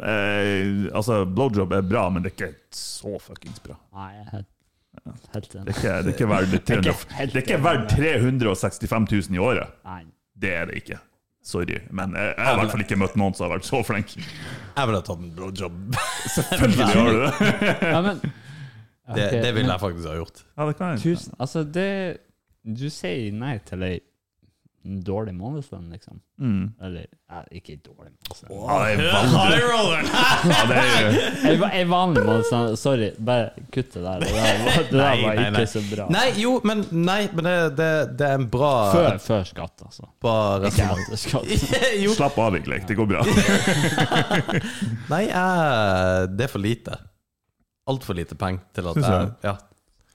Speaker 3: Eh, altså, blowjob er bra, men det er ikke så fuckings bra.
Speaker 4: Nei, jeg er helt, helt
Speaker 3: Det
Speaker 4: enig.
Speaker 3: er ikke, det er ikke verdt 300
Speaker 4: helt
Speaker 3: Det er ikke verdt 365 000 i året.
Speaker 4: Nei.
Speaker 3: Det er det ikke. Sorry, men jeg, jeg har i hvert fall ikke møtt noen som har vært så flink.
Speaker 2: Jeg ville tatt en blowjob.
Speaker 3: Selvfølgelig har du det!
Speaker 4: Ja, men
Speaker 2: Det,
Speaker 4: Ok,
Speaker 2: det
Speaker 4: men
Speaker 2: ville jeg faktisk ha gjort.
Speaker 3: Ja, det kan jeg.
Speaker 4: Tusen, altså, det Du sier nei til ei dårlig månedslønn, liksom. Eller ja, ikke dårlig månedslønn.
Speaker 3: Mm. Ja, det er veldig ja, det er,
Speaker 4: Ei va- ei vanlig månedslønn. Sorry, bare kutt det der. Det der var, det der var ikke så bra.
Speaker 2: Nei, jo, men, nei, men det, det, det er en bra
Speaker 4: Før, før skatt, altså.
Speaker 2: Bare
Speaker 4: Ikke etter skatt.
Speaker 2: Jo.
Speaker 3: Slapp av, Vigleik. Det går bra.
Speaker 2: Nei, jeg, det er for lite. Altfor lite penger til at
Speaker 3: Synes
Speaker 2: jeg
Speaker 3: jeg.
Speaker 2: ja.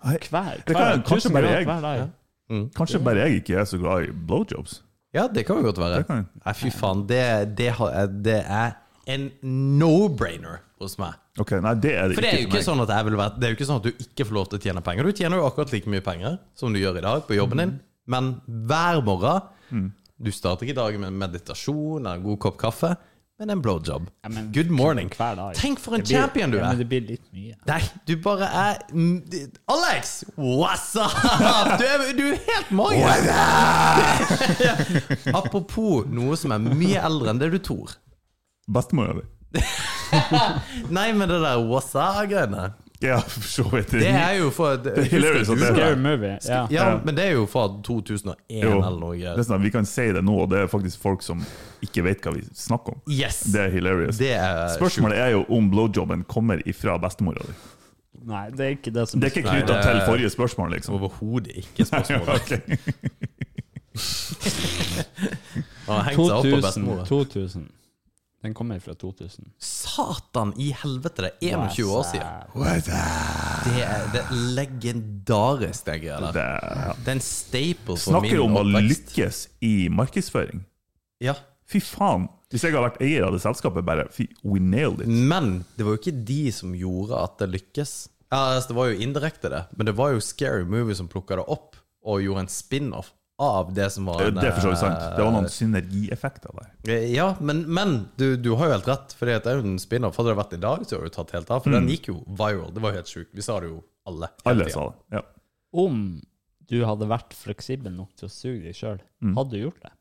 Speaker 4: Hver,
Speaker 3: Det kan-
Speaker 4: hver
Speaker 3: kanskje
Speaker 4: tusen
Speaker 3: bare
Speaker 4: kroner
Speaker 3: jeg.
Speaker 4: hver dag.
Speaker 3: Kanskje bare jeg ikke er så glad i blowjobs.
Speaker 2: ja, det kan jo godt være.
Speaker 3: Det kan jeg.
Speaker 2: Nei, fy faen. Det, det, har, jeg- det er en no-brainer hos meg.
Speaker 3: Ok, Nei, det er det
Speaker 2: For det er jo
Speaker 3: ikke
Speaker 2: ikke sånn at jeg vil være Det er jo ikke sånn at du ikke får lov til å tjene penger. Du tjener jo akkurat like mye penger som du gjør i dag på jobben din,
Speaker 4: Mm.
Speaker 2: men hver morgen Du starter ikke dagen med meditasjon eller en god kopp kaffe, men en blowjob.
Speaker 4: Ja, men-
Speaker 2: Good morning.
Speaker 4: Hver dag.
Speaker 2: Tenk for en
Speaker 4: Det blir-
Speaker 2: champion du
Speaker 4: ja, Men
Speaker 2: er!
Speaker 4: det blir litt mye.
Speaker 2: Nei, du bare er mm, Alex! What's up? Du er, du er helt magisk! Apropos noe som er mye eldre enn det du tror.
Speaker 3: Bestemora di.
Speaker 2: Nei, men det der what's up-greiene
Speaker 3: Ja, for så vidt.
Speaker 2: Det er jo for Det
Speaker 3: er hilarious at det er
Speaker 4: Scary movie. Ja.
Speaker 2: Ja, men det er jo fra 2001
Speaker 3: Jo,
Speaker 2: eller noe.
Speaker 3: det er sånn at vi kan si det nå, og det er faktisk folk som ikke vet hva vi snakker om.
Speaker 2: Yes!
Speaker 3: Det er hilarious.
Speaker 2: Det er
Speaker 3: Spørsmålet er jo om blowjobben kommer ifra bestemora di.
Speaker 4: Nei, det er ikke det som
Speaker 3: Det er ikke
Speaker 2: Nei,
Speaker 3: knytta
Speaker 2: det er-
Speaker 3: til forrige spørsmål,
Speaker 2: sjukt.
Speaker 3: liksom.
Speaker 2: Overhodet ikke spørsmålet.
Speaker 3: Ok.
Speaker 2: Han har hengt seg opp på
Speaker 4: 2000.
Speaker 2: bestemora.
Speaker 4: 2000. Den kommer fra 2000.
Speaker 2: Satan i helvete, det er 21 år siden.
Speaker 3: What the-
Speaker 2: Det er det er legendarisk, det greia der.
Speaker 3: Det-
Speaker 2: Det er en staple for min
Speaker 3: Snakker om å
Speaker 2: oppvekst.
Speaker 3: lykkes i markedsføring.
Speaker 2: Ja.
Speaker 3: Fy faen! Hvis jeg hadde vært eier av det selskapet, bare fy, We nailed it.
Speaker 2: Men det var jo ikke de som gjorde at det lykkes. Ja, altså, det var jo indirekte, det. Men det var jo Scary Movie som plukka det opp og gjorde en spin-off av det som var
Speaker 3: Det
Speaker 2: en,
Speaker 3: er for så vidt sant. Det var
Speaker 2: eh,
Speaker 3: noen synergieffekter der.
Speaker 2: Ja, men, men du, du har jo helt rett. For det er jo en spin-off. Hadde det vært i dag, så hadde du tatt helt av. For den gikk jo viral. Det var jo helt sjukt. Vi sa det jo alle. hele
Speaker 3: Mm. Alle
Speaker 2: tiden.
Speaker 3: sa det. Ja.
Speaker 4: Om du hadde vært fleksibel nok til å suge deg sjøl, hadde du gjort det?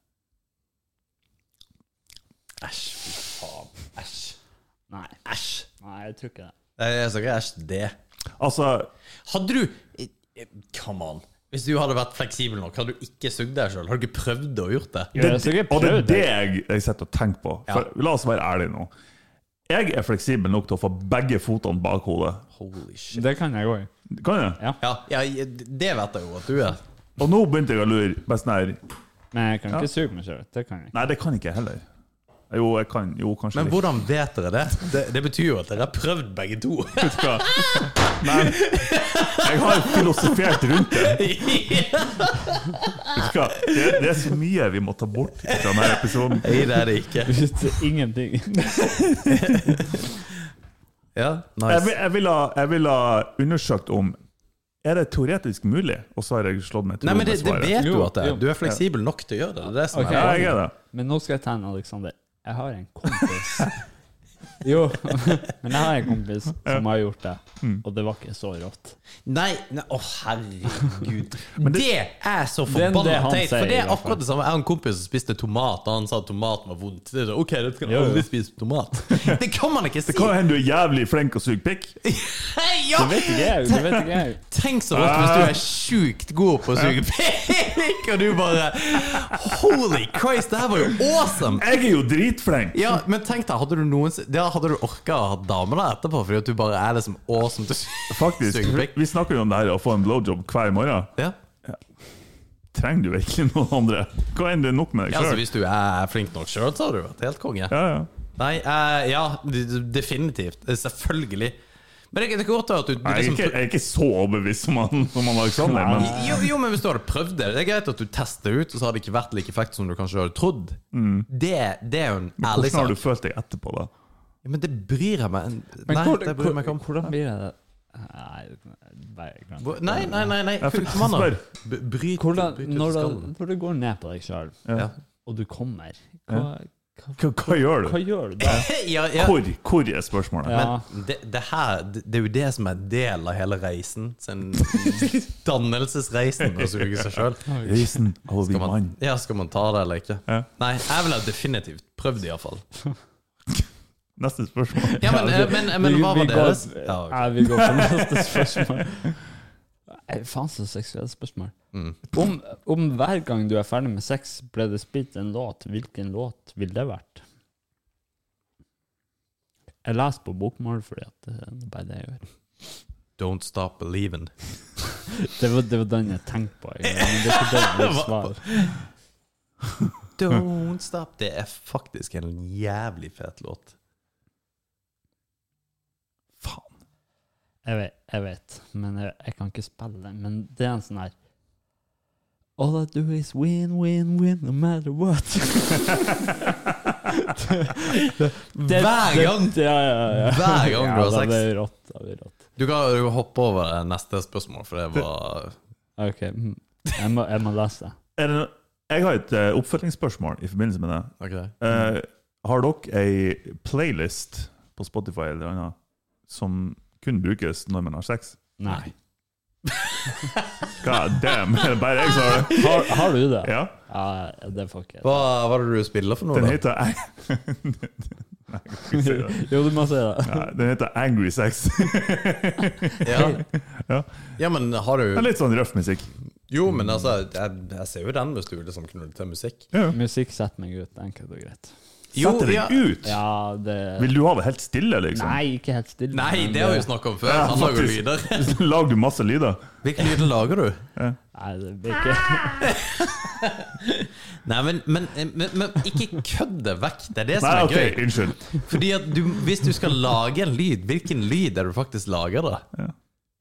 Speaker 2: Æsj, fy faen. Æsj.
Speaker 4: Nei.
Speaker 2: Æsj.
Speaker 4: Nei, jeg tror ikke det.
Speaker 2: Nei, Jeg sa ikke æsj det.
Speaker 3: Altså,
Speaker 2: Hadde du eh, eh, Come on. Hvis du hadde vært fleksibel nok, hadde du ikke sugd deg sjøl? Hadde du ikke prøvd å gjort det?
Speaker 4: Jeg har sikkert
Speaker 3: Og det er
Speaker 4: prøvd
Speaker 3: det jeg, jeg sitter og tenker på. For, La oss være ærlige nå. Jeg er fleksibel nok til å få begge fotene bak hodet.
Speaker 2: Holy shit.
Speaker 4: Det kan jeg òg.
Speaker 3: Kan jeg?
Speaker 4: Ja.
Speaker 2: Ja, ja, det vet jeg jo at du er.
Speaker 3: Og nå begynte jeg å lure. Bare sånn her
Speaker 4: Men jeg kan ikke suge meg sjøl. Det kan jeg ikke.
Speaker 3: Nei, det kan ikke jeg heller. Jo, jeg kan jo kanskje
Speaker 2: Men
Speaker 3: litt.
Speaker 2: hvordan vet dere det? Det, det betyr jo at dere har prøvd begge to.
Speaker 3: Men jeg har filosofert rundt det. Vet du hva? Det, det er så mye vi må ta bort fra denne episoden.
Speaker 2: Nei, det er det ikke.
Speaker 4: Ingenting.
Speaker 2: Ja,
Speaker 3: Jeg, vil-
Speaker 2: nice.
Speaker 3: jeg ville ha, vil ha undersøkt om Er det teoretisk mulig? Og så har jeg slått meg til
Speaker 2: Nei,
Speaker 3: ro
Speaker 2: men det,
Speaker 3: med
Speaker 2: det
Speaker 3: svaret.
Speaker 2: vet du
Speaker 4: Jo,
Speaker 2: at det er.
Speaker 4: jo.
Speaker 2: Du er fleksibel nok til å gjøre det. Det er det som
Speaker 4: Ok.
Speaker 2: er
Speaker 3: Ja, jeg er det.
Speaker 4: Men nå skal jeg tegne Aleksander. Jeg har en kompis Jo, men jeg har en kompis som har gjort det, og det var ikke så rått.
Speaker 2: Nei, nei Å, herregud.
Speaker 3: det-
Speaker 2: det, er så
Speaker 4: er det
Speaker 2: forbanna
Speaker 4: han
Speaker 2: teit.
Speaker 4: sier,
Speaker 2: For det
Speaker 4: i
Speaker 2: er
Speaker 4: hvert fall.
Speaker 2: akkurat det samme. Jeg har en kompis som spiste tomat, og han sa at tomaten var vondt. Det er så, ok, da skal
Speaker 4: Jo, jo.
Speaker 2: alle spise tomat. Det kan man ikke si!
Speaker 3: Kan hende du er jævlig flink å suge pikk.
Speaker 2: Hei, ja.
Speaker 4: Det vet ikke jeg. det vet ikke jeg.
Speaker 2: Tenk så rått hvis du er sjukt god på å suge pikk, og du bare Holy Christ, det her var jo awesome!
Speaker 3: Jeg er jo dritflink!
Speaker 2: Ja, men tenk deg, hadde du noensinne Da hadde du orka å ha dame der etterpå, fordi at du bare er liksom awesome til å su-
Speaker 3: Faktisk,
Speaker 2: suge pikk.
Speaker 3: Vi snakker jo om det her å få en blowjob hver morgen.
Speaker 2: Ja.
Speaker 3: Trenger du virkelig noen andre? Hva enn det er nok med
Speaker 2: Ja,
Speaker 3: deg
Speaker 2: altså,
Speaker 3: sjøl?
Speaker 2: hvis du er flink nok sjøl, så har du vært helt konge.
Speaker 3: Ja, ja.
Speaker 2: Nei, eh, ja, d- d- definitivt. Eh, Selvfølgelig. Men det, det går til at du, du
Speaker 3: Nei, Jeg er,
Speaker 2: liksom
Speaker 3: ikke, jeg er ikke så overbevist som han, som han Alexander, men
Speaker 2: jo, jo, men hvis du hadde prøvd det Det er greit at du tester ut, og så har det ikke vært like effekt som du kanskje hadde trodd. Det, det er jo en ærlig
Speaker 3: Mm. hvordan har
Speaker 2: sak.
Speaker 3: du følt deg etterpå, da?
Speaker 2: Ja, men det bryr jeg meg
Speaker 4: Men
Speaker 2: Nei,
Speaker 4: hvor-
Speaker 2: det bryr jeg meg ikke om.
Speaker 4: Hvordan blir det? Nei, bare glem det.
Speaker 2: Hvor- Nei, nei, nei. nei.
Speaker 3: Jeg fikk
Speaker 2: Kom an, da.
Speaker 3: spør.
Speaker 2: B- Bryt,
Speaker 4: Hvordan,
Speaker 2: bryt ut
Speaker 4: når, du,
Speaker 2: skallen.
Speaker 4: når du går ned på deg sjøl,
Speaker 2: Ja.
Speaker 4: og du kommer, hva,
Speaker 3: Hva, hva gjør du?
Speaker 4: hva gjør du da?
Speaker 2: Ja, ja.
Speaker 3: Hvor, hvor er spørsmålet?
Speaker 4: Ja.
Speaker 2: Men det, det her det, det er jo det som er del av hele reisen. Sin dannelsesreisen med å suge seg sjøl.
Speaker 3: Reisen over
Speaker 2: Skal man, ja, skal man ta det eller ikke?
Speaker 3: Ja.
Speaker 2: Nei, jeg ville definitivt prøvd det iallfall.
Speaker 3: Neste spørsmål.
Speaker 2: Ja, men, eh, men, men
Speaker 4: Vi-
Speaker 2: hva
Speaker 4: vi
Speaker 2: var
Speaker 4: går-
Speaker 2: deres? Ja, ok.
Speaker 4: Nei, vi går på neste spørsmål. Nei, Faen, så seksuelle spørsmål.
Speaker 2: Mm.
Speaker 4: Om, om hver gang du er ferdig med sex, ble det spilt en låt, hvilken låt ville det vært? Jeg leser på bokmål fordi at eh, det er bare det jeg gjør.
Speaker 2: Don't stop believing.
Speaker 4: Det var, det var den jeg tenkte på. egentlig, Men det er ikke det jeg vil svare.
Speaker 2: Don't stop. Det er faktisk en jævlig fet låt.
Speaker 3: Faen.
Speaker 4: Jeg vet, jeg vet men jeg, jeg kan ikke spille den. Men det er en sånn her All I do is win, win, win, no matter what. Det-
Speaker 2: Hver
Speaker 4: det-
Speaker 2: gang!
Speaker 4: Ja, ja, ja.
Speaker 2: Hver gang du har
Speaker 4: Ja, da
Speaker 2: sex.
Speaker 4: blir det rått. Da blir det rått.
Speaker 2: Du kan jo hoppe over det neste spørsmål, for det var
Speaker 4: Ok, mm. jeg må, jeg må lese det.
Speaker 3: Er det, jeg har et eh, oppfølgingsspørsmål i forbindelse med det.
Speaker 2: Ok.
Speaker 3: Eh, har dere ei playlist på Spotify eller annet som kun brukes når man har sex?
Speaker 4: Nei.
Speaker 3: God damn, er det bare jeg som har det?
Speaker 4: Har, har du det?
Speaker 3: Ja,
Speaker 4: Ja, det får ikke jeg.
Speaker 2: Hva var det du spiller for noe?
Speaker 3: den
Speaker 2: da?
Speaker 3: heter Nei, jeg kan ikke si det.
Speaker 4: Jo, du må si det.
Speaker 3: Nei, Den heter Angry Sex.
Speaker 2: Ja.
Speaker 3: Ja.
Speaker 2: ja, men har
Speaker 3: Det er
Speaker 2: du
Speaker 3: Litt sånn røff musikk.
Speaker 2: Jo, men altså, jeg, jeg ser jo den hvis du liksom knuller til musikk.
Speaker 3: Ja.
Speaker 4: Musikk setter meg ut, enkelt og greit.
Speaker 2: Jo,
Speaker 3: Setter
Speaker 2: ja.
Speaker 3: den ut!
Speaker 4: Ja, det
Speaker 3: Vil du ha det helt stille, liksom?
Speaker 4: Nei, ikke helt stille.
Speaker 2: Nei,
Speaker 4: men
Speaker 2: det har vi jo snakka om før.
Speaker 3: Ja,
Speaker 2: Han lager jo
Speaker 3: faktisk.
Speaker 2: lyder.
Speaker 3: Lager du masse lyder?
Speaker 2: Hvilke lyder lager du?
Speaker 4: Nei, det blir ikke
Speaker 2: Nei, men, men, men, men ikke kødd det vekk. Det er det som
Speaker 3: Nei,
Speaker 2: er
Speaker 3: ok,
Speaker 2: gøy.
Speaker 3: unnskyld.
Speaker 2: Fordi at du, Hvis du skal lage en lyd, hvilken lyd er det du faktisk lager da?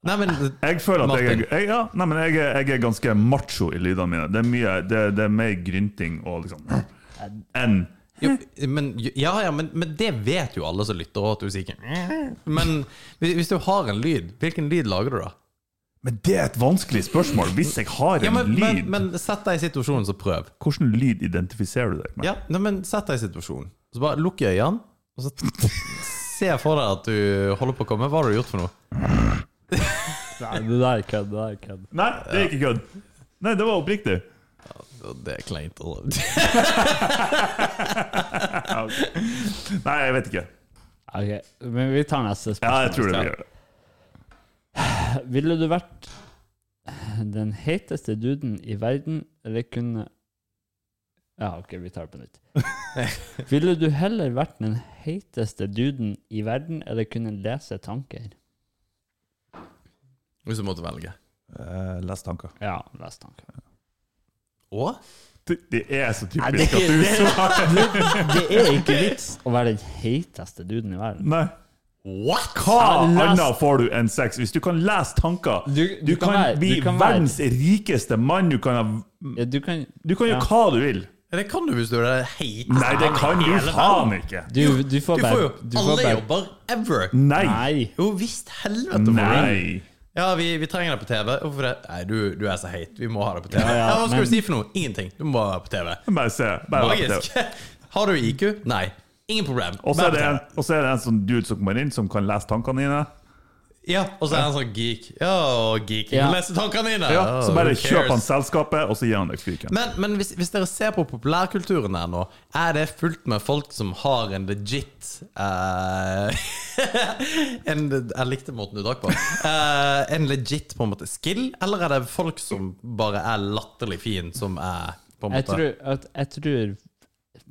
Speaker 2: Nei, men
Speaker 3: Jeg føler at jeg,
Speaker 2: Martin.
Speaker 3: er- jeg, ja, nei, men jeg, er- jeg er ganske macho i lydene mine. Det er, mye, det, det er mer grynting og liksom enn
Speaker 2: jo, men, Ja, ja, men, men det vet jo alle som lytter òg, at du sier ikke "Mm." Men hvis hvis du har en lyd, hvilken lyd lager du da?
Speaker 3: Men det er et vanskelig spørsmål! Hvis jeg har en
Speaker 2: Ja, men, men,
Speaker 3: lyd,
Speaker 2: men sett deg i situasjonen, så prøv.
Speaker 3: hvordan lyd identifiserer du deg med?
Speaker 2: Ja, nei, men Sett deg i situasjonen. Så bare lukk øynene, og så se for deg at du holder på å komme. Hva har du gjort for noe?
Speaker 4: Nei, det der er kødd. Det der er kødd.
Speaker 3: Nei, det er ikke kødd! Nei, det var oppriktig.
Speaker 2: Og Det er kleint. altså. og-
Speaker 3: Ja, ok. Nei, jeg vet ikke.
Speaker 4: Ok, men vi tar neste spørsmål.
Speaker 3: Ja, jeg tror det vi gjør det.
Speaker 4: Ville du vært den heteste duden i verden, eller kunne Ja, ok, vi tar det på nytt. Ville du heller vært den heteste duden i verden, eller kunne lese tanker?
Speaker 2: Hvis du måtte velge.
Speaker 3: Eh, les tanker.
Speaker 4: Ja, lese tanker.
Speaker 2: Og?
Speaker 3: Det, det er så
Speaker 4: Nei, det,
Speaker 3: typisk
Speaker 4: er
Speaker 3: at du
Speaker 4: ikke-
Speaker 3: svarer
Speaker 4: det er ikke vits å være den heteste duden i verden.
Speaker 3: Nei.
Speaker 2: What?
Speaker 3: Hva
Speaker 4: Ja, les-
Speaker 3: annet får du enn sex? Hvis du kan lese tanker Du,
Speaker 4: Du- du kan
Speaker 3: kan,
Speaker 4: være-
Speaker 3: bli
Speaker 4: du kan være-
Speaker 3: verdens rikeste mann. Du kan, ha,
Speaker 4: Ja, du kan
Speaker 3: du kan gjøre
Speaker 4: Ja. Ah,
Speaker 3: hva du vil.
Speaker 2: Det kan du hvis du er heit.
Speaker 3: Nei, det kan du faen ikke!
Speaker 4: Du, du får
Speaker 2: Du får
Speaker 4: bare
Speaker 2: jo
Speaker 4: du får
Speaker 2: alle
Speaker 4: bare-
Speaker 2: jobber ever.
Speaker 3: Nei!
Speaker 4: Nei.
Speaker 2: Jo visst, helvete. Nei.
Speaker 3: Nei.
Speaker 2: Ja, vi, vi trenger deg på TV. Hvorfor det? Nei, du, du er så heit. Vi må ha deg på TV.
Speaker 4: Ja,
Speaker 2: Ja,
Speaker 4: ja,
Speaker 2: Hva skal
Speaker 4: men-
Speaker 2: du si for noe? Ingenting. Du må bare være på TV.
Speaker 3: Bare se. Bare vent
Speaker 2: Magisk. Har du IQ? Nei. Ingen problem.
Speaker 3: Og så er, det
Speaker 2: Bare
Speaker 3: en- og så er det en sånn dude som kommer inn, som kan lese tankene dine.
Speaker 2: Ja, og så er han sånn geek. Ja, geek.
Speaker 4: Ja.
Speaker 2: Leser tankene dine!
Speaker 3: Ja,
Speaker 2: Oh,
Speaker 3: så bare
Speaker 2: who
Speaker 3: kjøper han
Speaker 2: cares?
Speaker 3: selskapet, og så gir han deg fyken.
Speaker 2: Men, men hvis, hvis dere ser på populærkulturen her nå, er det fullt med folk som har en legit eh, en, Jeg likte måten du drakk på. Eh, en legit på en måte skill, eller er det folk som bare er latterlig fin, som er på en
Speaker 4: Jeg
Speaker 2: måte
Speaker 4: tror, at, jeg tror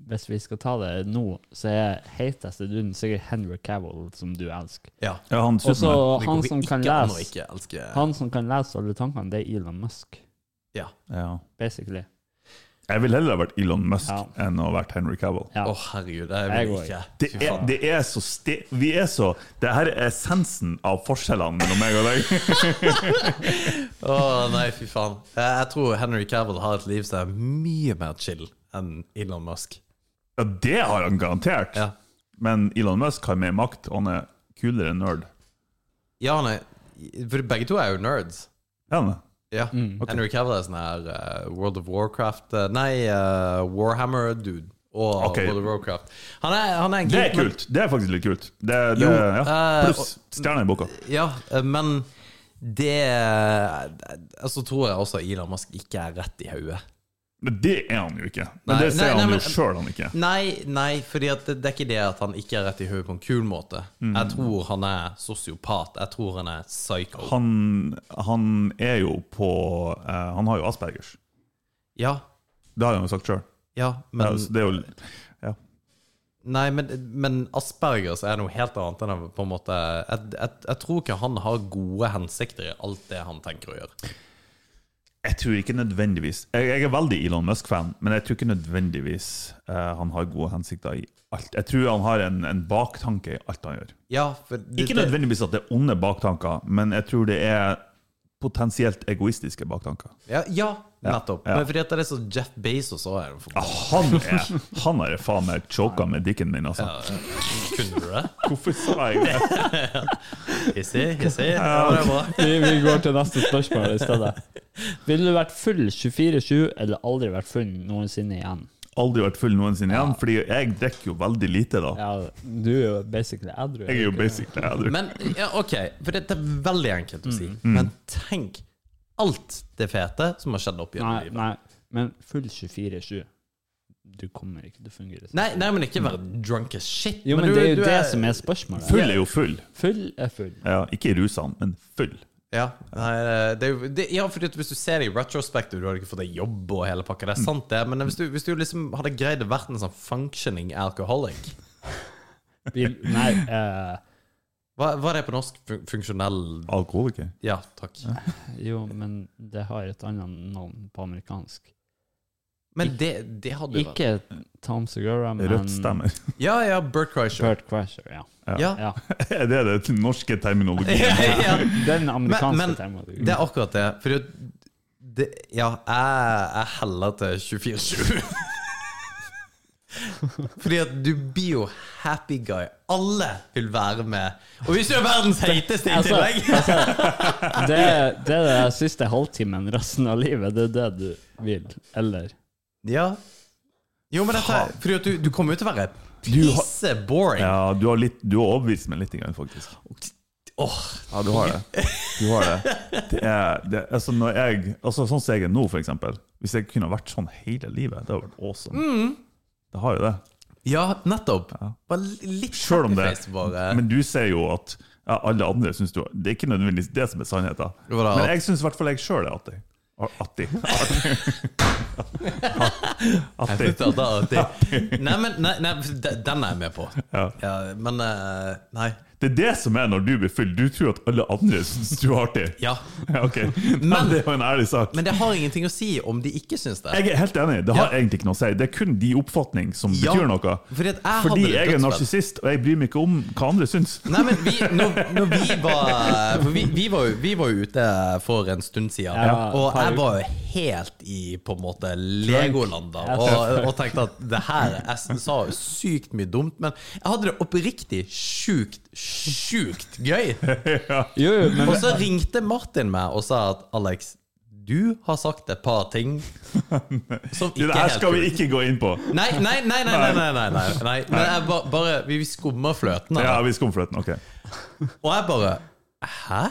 Speaker 4: Hvis vi skal ta det nå, så er heteste duden sikkert Henry Cavill, som du elsker.
Speaker 2: Ja.
Speaker 3: Ja, han
Speaker 4: Og så
Speaker 3: Superman.
Speaker 4: han som kan
Speaker 2: ikke an å
Speaker 4: lese
Speaker 2: ikke elske
Speaker 4: Han som kan lese alle tankene, det er Elon Musk,
Speaker 2: Ja.
Speaker 3: Ja.
Speaker 4: basically.
Speaker 3: Jeg ville heller ha vært Elon Musk
Speaker 4: Ja.
Speaker 3: enn å ha vært Henry Cavill.
Speaker 4: Ja.
Speaker 2: Å, herregud, det
Speaker 4: Jeg
Speaker 2: vil
Speaker 4: går
Speaker 2: jeg ikke.
Speaker 3: Det er, det er så ste... Vi er så Det her er essensen av forskjellene mellom meg og deg.
Speaker 2: Å nei, fy faen. Eh, Jeg tror Henry Cavill har et liv som er mye mer chill enn Elon Musk.
Speaker 3: Ja, det har han garantert.
Speaker 2: Ja,
Speaker 3: Men Elon Musk har mer makt, og han er kulere nerd.
Speaker 2: ja nei, for begge to er jo nerds.
Speaker 3: Er han det?
Speaker 2: Ja.
Speaker 3: Mm,
Speaker 2: Henry Cavill er sånn her eh, World of Warcraft eh, Nei, eh, Warhammer-dude. Og
Speaker 3: Ok.
Speaker 2: World of Warcraft. Han er, han er en
Speaker 3: Det er
Speaker 2: geek, men-
Speaker 3: kult. Det er faktisk litt kult. Det, det,
Speaker 2: Jo,
Speaker 3: ja.
Speaker 2: eh,
Speaker 3: Pluss stjerner i boka.
Speaker 2: Ja, eh, men det eh, Så tror jeg også Elon Musk ikke er rett i hodet.
Speaker 3: Men det er han jo ikke. Men
Speaker 2: Nei,
Speaker 3: det
Speaker 2: nei,
Speaker 3: ser
Speaker 2: nei,
Speaker 3: han
Speaker 2: men-
Speaker 3: jo sjøl han ikke.
Speaker 2: Nei, nei, fordi at det, det er ikke det at han ikke er rett i hodet på en kul måte. Jeg tror han er sosiopat. Jeg tror han er psycho.
Speaker 3: Han, han er jo på eh, Han har jo Aspergers.
Speaker 2: Ja,
Speaker 3: Det har han jo sagt sjøl.
Speaker 2: ja,
Speaker 3: altså, Det,
Speaker 2: men,
Speaker 3: er jo ja.
Speaker 2: nei, men, men Aspergers er noe helt annet enn å på en måte jeg, jeg, jeg tror ikke han har gode hensikter i alt det han tenker å gjøre.
Speaker 3: Jeg tror ikke nødvendigvis Jeg, jeg er veldig Elon Musk-fan, men jeg tror ikke nødvendigvis eh, han har gode hensikter i alt. Jeg tror han har en, en baktanke i alt han gjør.
Speaker 2: Ja, for det,
Speaker 3: Ikke
Speaker 2: det,
Speaker 3: nødvendigvis at det er onde baktanker, men jeg tror det er potensielt egoistiske baktanker.
Speaker 2: ja, ja, nettopp.
Speaker 3: ja. Ah.
Speaker 2: Men fordi at det er så Jeff Bezos òg er en forbanna
Speaker 3: Han er Han har jeg faen meg choka med dikken min, altså.
Speaker 2: Kunne du det?
Speaker 3: Hvorfor sa jeg det?
Speaker 2: Hissig, hissig. Ja, det er bra.
Speaker 4: Vi, vi går til neste spørsmål i stedet. Ville du vært full 24-7 eller aldri vært full noensinne igjen?
Speaker 3: Aldri vært full noensinne igjen, fordi jeg drikker jo veldig lite da.
Speaker 4: Ja, du er jo basically edru.
Speaker 3: Jeg er jo basically edru.
Speaker 2: Men ja, OK, for dette er veldig enkelt å si.
Speaker 4: Mm.
Speaker 2: Men tenk alt det fete som har skjedd opp gjennom
Speaker 4: Nei,
Speaker 2: livet.
Speaker 4: nei, men full 24-7 Du kommer ikke til å fungere sånn.
Speaker 2: Nei, nei, men ikke være drunk as shit.
Speaker 4: Jo, men,
Speaker 2: du-
Speaker 4: det er jo
Speaker 2: du
Speaker 4: det som er spørsmålet.
Speaker 3: Full er jo full.
Speaker 4: Full er full.
Speaker 3: Ja, ikke i rusene, men full.
Speaker 2: Ja, nei, det er jo det, Ja, fordi at hvis du ser det i retrospective, du hadde ikke fått deg jobb og hele pakka,
Speaker 4: Mm.
Speaker 2: det er sant, det, men hvis du, hvis du liksom hadde greid å vært en sånn functioning alcoholic
Speaker 4: Bil, nei, eh,
Speaker 2: Hva, hva er det på norsk? Fun- Funksjonell
Speaker 3: Alkoholiker.
Speaker 2: Ja, takk.
Speaker 4: jo, men det har et annet navn på amerikansk.
Speaker 2: Men det, det hadde jo vært
Speaker 4: Ikke Tom Segura, men
Speaker 3: Rødt stemmer.
Speaker 2: Ja, ja, Bert Kreischer.
Speaker 4: Bert Crusher, ja.
Speaker 2: Ja.
Speaker 4: ja.
Speaker 3: Det er den norske terminologien.
Speaker 2: ja, ja.
Speaker 4: Den amerikanske
Speaker 2: Men- men-
Speaker 4: termen.
Speaker 2: Det er akkurat det. Fordi at det, Ja, jeg, jeg heller til 24-7. Fordi at du blir jo happy guy. Alle vil være med. Og hvis du er verdens heiteste i
Speaker 4: Altså,
Speaker 2: tillegg
Speaker 4: altså, det, er- det er den siste halvtimen resten av livet. Det er det du vil. Eller
Speaker 2: Ja. Jo, men dette Fordi at du, du kommer jo til å være
Speaker 3: Du har-
Speaker 2: pisse boring.
Speaker 3: Ja, du har, litt, du har overbevist meg litt, grann, faktisk.
Speaker 2: Åh,
Speaker 3: Ja, du har det. Du har det. det, er, det altså når jeg, altså sånn som jeg er nå, for eksempel. Hvis jeg kunne vært sånn hele livet, det hadde vært awesome. Det har jo det.
Speaker 2: ja, nettopp. Bare litt
Speaker 3: Selv om det
Speaker 2: happy face, bare.
Speaker 3: Men du sier jo at ja, alle andre syns du Det er ikke nødvendigvis det som er sannheten.
Speaker 2: Jo da.
Speaker 3: Men jeg syns i hvert fall jeg sjøl er artig. Ar- Artig. Artig.
Speaker 2: Putter da alltid. Nei, men nei, nei, de- den er jeg med på.
Speaker 3: Ja.
Speaker 2: Ja, men eh, Nei.
Speaker 3: Det er det som er når du blir full. Du tror at alle andre syns du er artig.
Speaker 2: Ja.
Speaker 3: Ja, ok. Nei,
Speaker 2: Men-
Speaker 3: det er jo en ærlig sak.
Speaker 2: Men det har ingenting å si om de ikke syns det.
Speaker 3: Jeg er helt enig. Det har
Speaker 2: Ja.
Speaker 3: egentlig ikke noe å si. Det er kun de oppfatning som
Speaker 2: Ja,
Speaker 3: betyr noe.
Speaker 2: fordi at jeg hadde
Speaker 3: Fordi
Speaker 2: det
Speaker 3: jeg er
Speaker 2: dødsfett.
Speaker 3: narsissist, og jeg bryr meg ikke om hva andre syns.
Speaker 2: Nei, men vi, når, når vi var For vi, vi, var, jo- vi var jo ute for en stund siden,
Speaker 4: Ja,
Speaker 2: og
Speaker 4: par
Speaker 2: jeg
Speaker 4: uker.
Speaker 2: var jo helt i på en måte Legoland da, og, og tenkte at det her Jeg sa jo sykt mye dumt, men jeg hadde det oppriktig sjukt, sjukt gøy.
Speaker 4: Jo, jo, men
Speaker 2: Og så ringte Martin meg og sa at Alex, Du har sagt et par ting som ikke
Speaker 3: Det
Speaker 2: er
Speaker 3: her
Speaker 2: helt
Speaker 3: skal vi
Speaker 2: kult.
Speaker 3: ikke gå inn på.
Speaker 2: Nei, nei, nei, nei, nei, nei, nei, nei, nei. Men jeg ba, bare, vi vi skummer fløten her.
Speaker 3: Ja, vi skumfløten. Ok.
Speaker 2: Og jeg bare Hæ?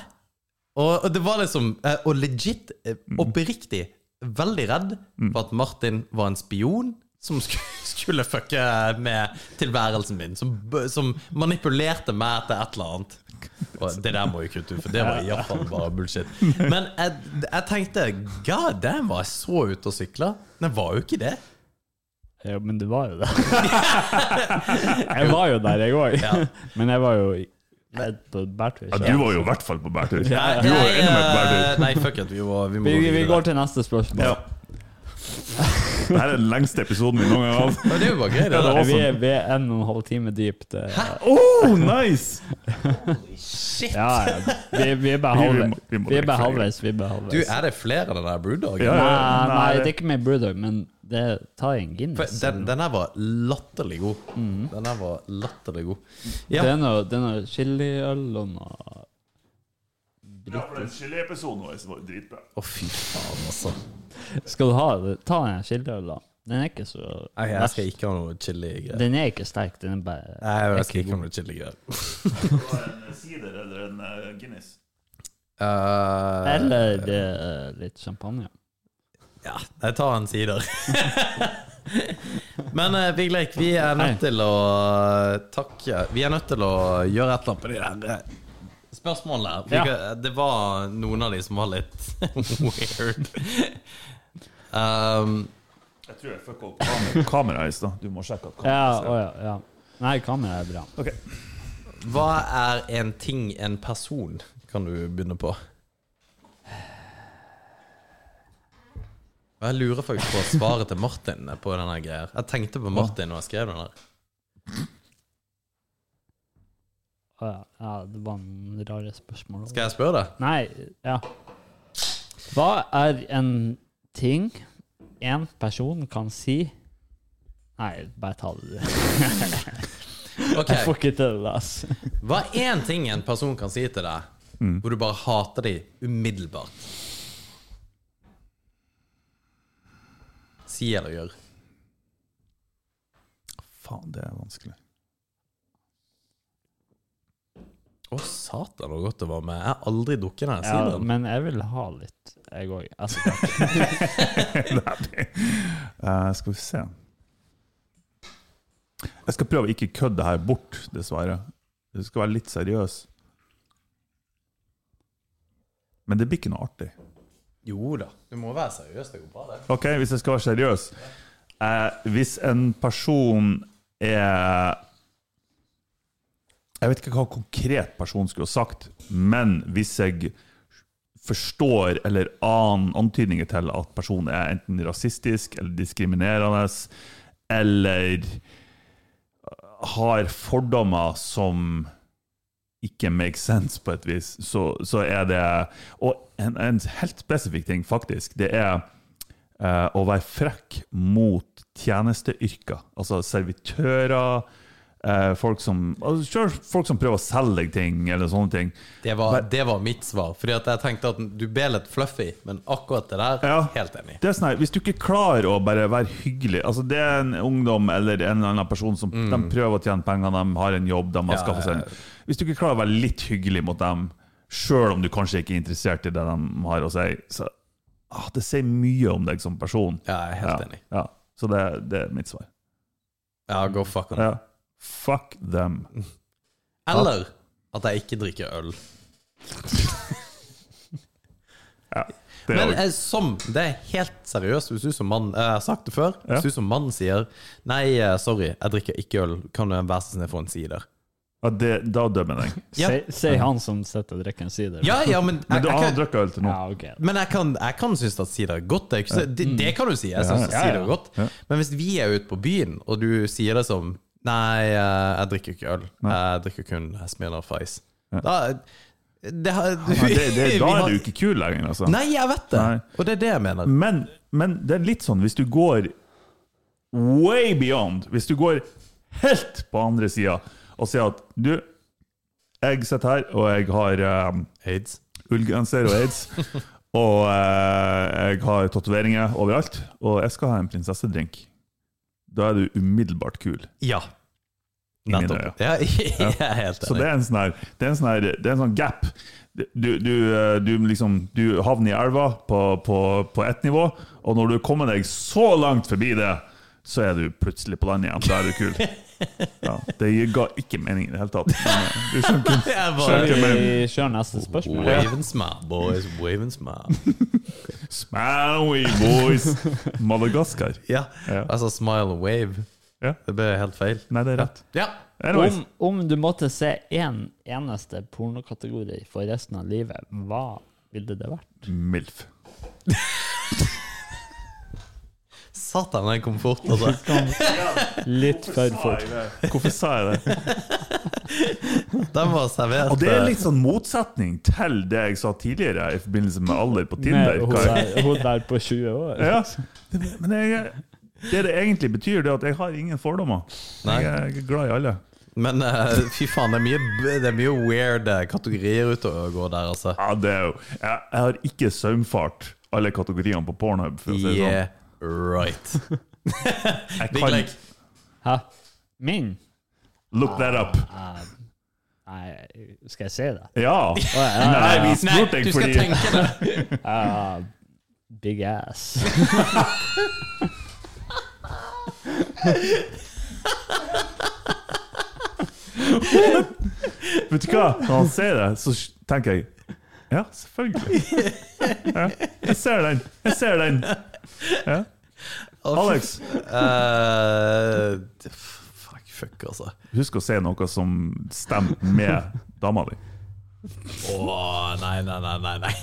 Speaker 2: Og, og det var liksom eh, Og legit, eh, oppriktig, veldig redd for at Martin var en spion som sk- skulle fucke med tilværelsen min. Som, b- som manipulerte meg til et eller annet. Og det der må jo kutte ut, for det var iallfall bare bullshit. Men jeg, jeg tenkte God damn, var jeg så ute og sykla? Men jeg var jo ikke det.
Speaker 4: Ja, men du var jo det. jeg var jo der, jeg òg.
Speaker 2: Ja.
Speaker 4: Men jeg var jo i- på bærtur.
Speaker 3: Ja,
Speaker 4: så-
Speaker 3: du var jo i hvert fall på bærtur. Du
Speaker 4: Ja,
Speaker 3: var
Speaker 4: ja.
Speaker 3: jo enda mer
Speaker 2: eh,
Speaker 3: på bærtur.
Speaker 2: nei, fuck it, vi, må- vi må
Speaker 4: Vi, vi
Speaker 2: videre.
Speaker 4: går til neste spørsmål.
Speaker 3: Ja. Det her er den lengste episoden vi noen gang har hatt.
Speaker 2: Men det er jo bare gøy, det.
Speaker 3: Ja,
Speaker 2: da.
Speaker 3: det var
Speaker 4: Vi er, vi er en og en halv time dypt. eh. Hæ?
Speaker 3: Oh, nice!
Speaker 2: Shit!
Speaker 4: Ja, ja. Vi, vi er bare
Speaker 3: Vi- vi
Speaker 4: halvveis.
Speaker 3: må- vi må
Speaker 4: Vi er
Speaker 3: drikke
Speaker 4: bare
Speaker 3: flere.
Speaker 4: halvveis. Vi er bare
Speaker 2: Altså, Du,
Speaker 4: halvveis.
Speaker 2: er det flere av den der brewdoggen?
Speaker 3: Ja, ja. Nei,
Speaker 4: Nei, nei,
Speaker 3: det-
Speaker 4: det er ikke med Brewdog, men det tar en
Speaker 2: For
Speaker 4: Guinness.
Speaker 2: Den, den her var latterlig god. Den her var latterlig god. Ja.
Speaker 4: Det er noe, det er noe chiliøl og noe
Speaker 3: Chiliepisoden var dritbra.
Speaker 2: Å, fy faen, altså.
Speaker 4: Skal du ha det? Ta en chiliøl, da. Den er ikke så
Speaker 2: Nei, jeg skal ikke ha noe chili-greier.
Speaker 4: Den er ikke sterk, den er bare
Speaker 2: Nei, jeg skal ikke ha noe chili-greier.
Speaker 3: Det var en eh, sider eller en Guinness.
Speaker 2: Eh,
Speaker 4: Eller det er litt champagne.
Speaker 2: Ja, jeg tar en sider. Men uh, Big Lake, vi er nødt til å eh, takke Vi er nødt til å gjøre et eller annet på de der eh, spørsmålene. her. Vi
Speaker 4: Ja.
Speaker 2: kan- eh, Det var noen av de som var litt weird. Um,
Speaker 3: Jeg tror jeg fucka opp kameraet kamera i stad. Du må sjekke at
Speaker 4: Ja,
Speaker 3: kameraet
Speaker 4: å ja, ja. Nei, kamera er bra.
Speaker 3: Ok.
Speaker 2: Hva er en ting, en person? Kan du begynne på? Og Jeg lurer faktisk på svaret til Martin på denne greia. Jeg tenkte på Martin når jeg skrev den her.
Speaker 4: Å ja. ja, det var en rare spørsmål.
Speaker 2: Skal jeg spørre deg?
Speaker 4: Nei, ja. Hva er en ting en person kan si Nei, bare ta det. du. Jeg får
Speaker 2: Ok,
Speaker 4: ikke til det, altså.
Speaker 2: Hva er en ting en person kan si til deg,
Speaker 3: Mm.
Speaker 2: hvor du bare hater dem umiddelbart? Si eller gjør.
Speaker 3: Faen, det er vanskelig.
Speaker 2: Å, satan, så godt det var med. Jeg har aldri drukket denne
Speaker 4: Ja,
Speaker 2: siden.
Speaker 4: men jeg vil ha litt, jeg òg. Altså,
Speaker 3: Eh, skal vi se Jeg skal prøve å ikke kødde det her bort, dessverre. Du skal være litt seriøs. Men det blir ikke noe artig.
Speaker 2: Jo da, du må være seriøs. Det går bra, det.
Speaker 3: Ok, hvis jeg skal være seriøs eh, Hvis en person er Jeg vet ikke hva konkret personen skulle ha sagt, men hvis jeg forstår eller aner antydninger til at personen er enten rasistisk eller diskriminerende, eller har fordommer som ikke make sense på et vis, så, så er det Og en, en helt spesifikk ting, faktisk, det er eh, å være frekk mot tjenesteyrker. Altså servitører, eh, folk som altså, selv folk som prøver å selge deg ting, eller sånne ting.
Speaker 2: Det var, det var mitt svar. Fordi at jeg tenkte at du ble litt fluffy, men akkurat det der
Speaker 3: Ja.
Speaker 2: Helt enig.
Speaker 3: Det er sånn her, Hvis du ikke klarer å bare være hyggelig altså Det er en ungdom eller en eller annen person som de prøver å tjene penger, de har en jobb de har
Speaker 2: Mm. Ja,
Speaker 3: skaffet seg en. Hvis du ikke klarer å være litt hyggelig mot dem, sjøl om du kanskje ikke er interessert i det de har å si, så ah, det sier mye om deg som person.
Speaker 2: Ja, jeg er helt enig.
Speaker 3: Ja, Så det, det er mitt svar.
Speaker 2: Ja, go fuck on.
Speaker 3: Ja. Fuck them.
Speaker 2: Eller at jeg ikke drikker øl.
Speaker 3: Ja, det
Speaker 2: Men
Speaker 3: er
Speaker 2: eh, som, det er helt seriøst, hvis du som mann eh, Jeg har sagt det før.
Speaker 3: Ja.
Speaker 2: Hvis du som mann sier 'Nei, eh, sorry, jeg drikker ikke øl. Kan du være så snill å få en sider?'
Speaker 3: ja, det, da dømmer jeg deg.
Speaker 2: Ja.
Speaker 4: si- Si han som sitter og drikker en sider.
Speaker 2: Ja, ja, men jeg,
Speaker 3: Men du
Speaker 2: jeg,
Speaker 3: har
Speaker 2: kan-
Speaker 3: drukket øl til nå.
Speaker 4: ja ok.
Speaker 2: Men jeg kan, jeg kan synes at sider er godt. Det, er ikke, så- det, det kan du si. Jeg synes at
Speaker 4: Ja,
Speaker 2: sider
Speaker 4: ja.
Speaker 2: er godt.
Speaker 3: Ja.
Speaker 2: Men hvis vi er ute på byen, og du sier det som Nei, eh, jeg drikker ikke øl. Jeg drikker kun Smirnoff Ice. Da det, har-
Speaker 3: Ja, det, det,
Speaker 2: vi
Speaker 3: da
Speaker 2: har-
Speaker 3: er du ikke kul lenger, altså.
Speaker 2: Nei, jeg vet det!
Speaker 3: Nei.
Speaker 2: Og det er det jeg mener.
Speaker 3: Men, men det er litt sånn hvis du går way beyond, hvis du går helt på andre sida og sier at du, jeg sitter her og jeg har eh,
Speaker 2: Aids.
Speaker 3: ullgenser og aids, Og eh, jeg har tatoveringer overalt. Og jeg skal ha en prinsessedrink. Da er du umiddelbart kul.
Speaker 2: Ja.
Speaker 3: mine
Speaker 2: Nettopp. Ja, jeg er helt
Speaker 3: Så det
Speaker 2: enig.
Speaker 3: er en sånn her, det er en sånn her, det er en sånn gap. Du, du, eh, du, liksom, du havner i elva på, på, på ett nivå, og når du kommer deg så langt forbi det, så er du plutselig på land igjen. Da er du kul. Ja, det ga ikke mening i det hele tatt. Men, eh, du skjønte
Speaker 2: Det er
Speaker 4: Skal
Speaker 2: bare
Speaker 4: vi kjøre neste spørsmål?
Speaker 2: Wave and smile, boys. Wave and smile.
Speaker 3: Smaui boys! Madagaskar.
Speaker 2: Ja,
Speaker 3: Ja.
Speaker 2: altså smile and wave.
Speaker 3: Ja.
Speaker 2: Det ble helt feil.
Speaker 3: Nei, det er rett.
Speaker 2: Ja.
Speaker 3: Anyways,
Speaker 4: Om, om du måtte se én eneste pornokategori for resten av livet, hva ville det vært?
Speaker 3: MILF.
Speaker 2: Satan, den kom fort, altså.
Speaker 4: Litt for fort.
Speaker 3: Hvorfor sa jeg det?
Speaker 2: Den var servert.
Speaker 3: Og det er litt sånn motsetning til det jeg sa tidligere i forbindelse med alder på Tinder.
Speaker 4: Med hun
Speaker 3: hva jeg-
Speaker 4: der, hun der på 20 år.
Speaker 3: Ja. Det- Men jeg, det det egentlig betyr, det er at jeg har ingen fordommer.
Speaker 2: Nei.
Speaker 3: Jeg er glad i alle.
Speaker 2: Men eh, fy faen, det er mye, b- det er mye weird eh, kategorier ute og går der, altså.
Speaker 3: Ja, det er jo, jeg, jeg har ikke saumfart alle kategoriene på Pornhub. For å si det
Speaker 2: Yeah, right.
Speaker 3: sånn. Jeg
Speaker 2: Big
Speaker 3: kan
Speaker 2: leg.
Speaker 4: Hæ? Min?
Speaker 3: look that up.
Speaker 4: Eh, nei, skal jeg si det?
Speaker 3: Ja!
Speaker 4: ja,
Speaker 3: Nei, vi
Speaker 2: Nei,
Speaker 3: spurte
Speaker 2: du
Speaker 3: deg
Speaker 2: skal
Speaker 3: fordi
Speaker 2: tenke det!
Speaker 4: Eh, big ass.
Speaker 3: Vet du hva? Når han sier det, så tenker jeg Ja, selvfølgelig. Ja, jeg ser den. Jeg ser den. Ja. Alex,
Speaker 2: Eh, d- fuck, fuck, altså.
Speaker 3: husk å si noe som stemmer med dama di.
Speaker 2: Å, nei, nei, nei, nei.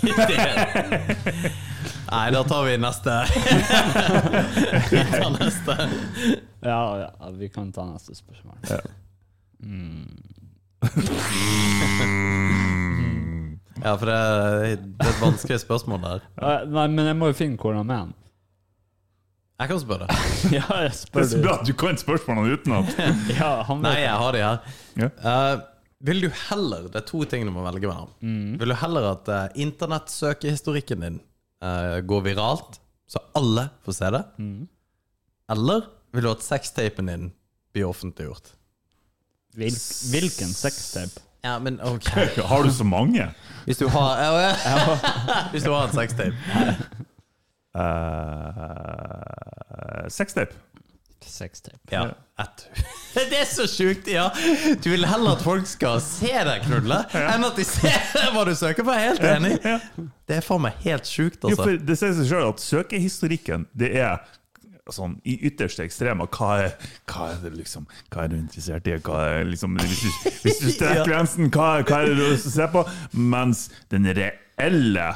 Speaker 2: Nei, det, nei da tar vi neste. Vi tar neste.
Speaker 4: Ja, ja, vi kan ta neste spørsmål.
Speaker 3: Ja.
Speaker 2: Ja, for det, det er et vanskelig spørsmål der.
Speaker 4: Eh, nei, men jeg må jo finne hvordan med han.
Speaker 2: Jeg kan spørre.
Speaker 4: Ja, jeg
Speaker 3: Det
Speaker 4: spør
Speaker 3: er så bra at du kan spørsmålene utenat.
Speaker 4: Ja, han
Speaker 2: Nei,
Speaker 4: vet.
Speaker 2: jeg har de her.
Speaker 3: Ja.
Speaker 2: Eh, vil du heller Det er to ting du må velge mellom. Vil du heller at uh, internettsøkehistorikken din eh, går viralt, så alle får se det? Eller vil du at sextapen din blir offentliggjort?
Speaker 4: Hvilk, hvilken sextape?
Speaker 2: Ja, men ok
Speaker 3: Har du så mange?
Speaker 2: Hvis du har ja, ja. Hvis du har en sextape.
Speaker 3: Uh, Sextape.
Speaker 4: Sextape.
Speaker 2: Ja. Et. Det er så sjukt, ja! Du vil heller at folk skal se deg knulle, enn at de ser hva du søker på. Jeg er helt enig.
Speaker 3: Ja.
Speaker 2: Det er faen meg helt sjukt,
Speaker 3: Jo,
Speaker 2: altså.
Speaker 3: for det sier seg sjøl at søkehistorikken, det er sånn i ytterste ekstremer. Hva er, hva er det liksom Hva er du interessert i? Hva er liksom Hvis du, hvis du strekker grensen, hva, hva er det du har lyst til å se på? Mens den reelle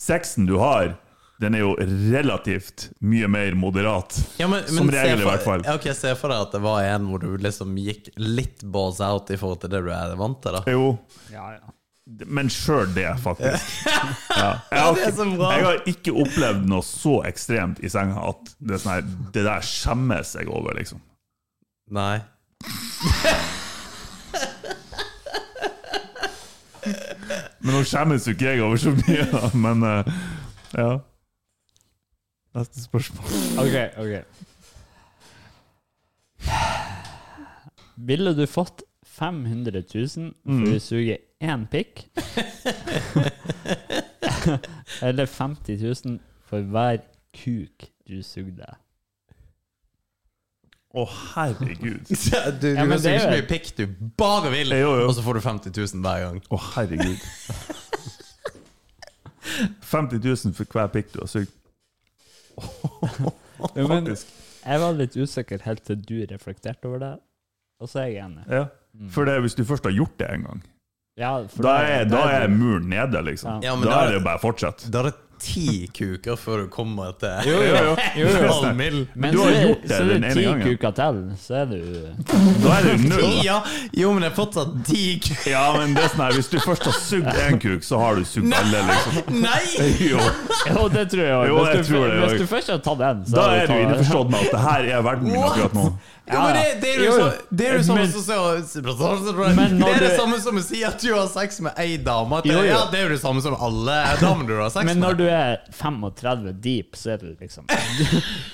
Speaker 3: sexen du har, den er jo relativt mye mer moderat.
Speaker 2: Ja, men, men
Speaker 3: som
Speaker 2: se
Speaker 3: regel, i
Speaker 2: for,
Speaker 3: hvert fall.
Speaker 2: ja, Ok, Se for deg at det var en hvor du liksom gikk litt balls out i forhold til det du er vant til. da
Speaker 3: Jo,
Speaker 4: Ja, ja.
Speaker 3: men sjøl det, faktisk. Ja. Jeg,
Speaker 2: Ja,
Speaker 3: har
Speaker 2: det er så
Speaker 3: ikke,
Speaker 2: bra.
Speaker 3: jeg har ikke opplevd noe så ekstremt i senga at det, er sånn her, det der skjemmes jeg over, liksom.
Speaker 2: Nei.
Speaker 3: Men nå skjemmes jo ikke jeg over så mye, da. Men eh, ja. Neste spørsmål.
Speaker 4: Ok, ok. Ville du fått 500 000
Speaker 3: Mm.
Speaker 4: for å suge én pikk? Eller 50 000 for hver kuk du sugde?
Speaker 3: Å, herregud.
Speaker 2: Du, du
Speaker 4: men
Speaker 2: kan
Speaker 4: det
Speaker 2: suge
Speaker 4: er
Speaker 2: så
Speaker 4: jo-
Speaker 2: mye pikk du bare vil,
Speaker 3: Jo, jo.
Speaker 2: og så får du 50 000 hver gang.
Speaker 3: Å, herregud. 50 000 for hver pikk du har sugd.
Speaker 4: Jo, men
Speaker 3: Faktisk.
Speaker 4: jeg var litt usikker helt til du reflekterte over det, og så er jeg enig.
Speaker 3: Ja. For det, er hvis du først har gjort det en gang,
Speaker 4: Ja, for
Speaker 3: da
Speaker 4: det-
Speaker 3: er,
Speaker 4: det
Speaker 3: da er
Speaker 4: du-
Speaker 3: muren nede, liksom.
Speaker 2: Ja, men
Speaker 3: da,
Speaker 2: da-
Speaker 3: er det jo bare å fortsette.
Speaker 2: Da er det ti kuker før du kommer til
Speaker 4: Jo, jo, jo.
Speaker 2: en
Speaker 4: jo.
Speaker 2: halv mil.
Speaker 4: Men
Speaker 3: Du
Speaker 4: så
Speaker 3: har
Speaker 4: er-
Speaker 3: gjort det
Speaker 4: så er
Speaker 3: den
Speaker 4: det
Speaker 3: ene
Speaker 4: ti
Speaker 3: gangen.
Speaker 4: kuker til, så er du
Speaker 3: Da er det jo null.
Speaker 2: Ja, jo, men det er fortsatt ti kuker.
Speaker 3: Ja, men det er sånn her, hvis du først har sugd én kuk, så har du sugd alle, liksom.
Speaker 2: Nei!
Speaker 3: Jo.
Speaker 4: Jo, det tror jeg
Speaker 3: Jo,
Speaker 4: også. Hvis
Speaker 3: jeg
Speaker 4: du-
Speaker 3: tror det
Speaker 4: Hvis
Speaker 3: også.
Speaker 4: du først har tatt den, så
Speaker 3: Da
Speaker 4: har du
Speaker 3: er du
Speaker 4: tatt-
Speaker 3: innforstått med at det her er verden
Speaker 2: What?
Speaker 3: akkurat nå.
Speaker 2: Jo, men det, det er jo
Speaker 4: Jo, jo.
Speaker 2: så- det er jo det samme
Speaker 4: Men-
Speaker 2: som
Speaker 4: Men
Speaker 2: sier-
Speaker 4: når
Speaker 2: Det er det
Speaker 4: du-
Speaker 2: samme som å si at du har sex med ei dame. at det-
Speaker 4: Jo, jo.
Speaker 2: Ja, det er jo det samme som alle damer du har sex
Speaker 4: Men når
Speaker 2: med.
Speaker 4: du er 35 deep, så er det liksom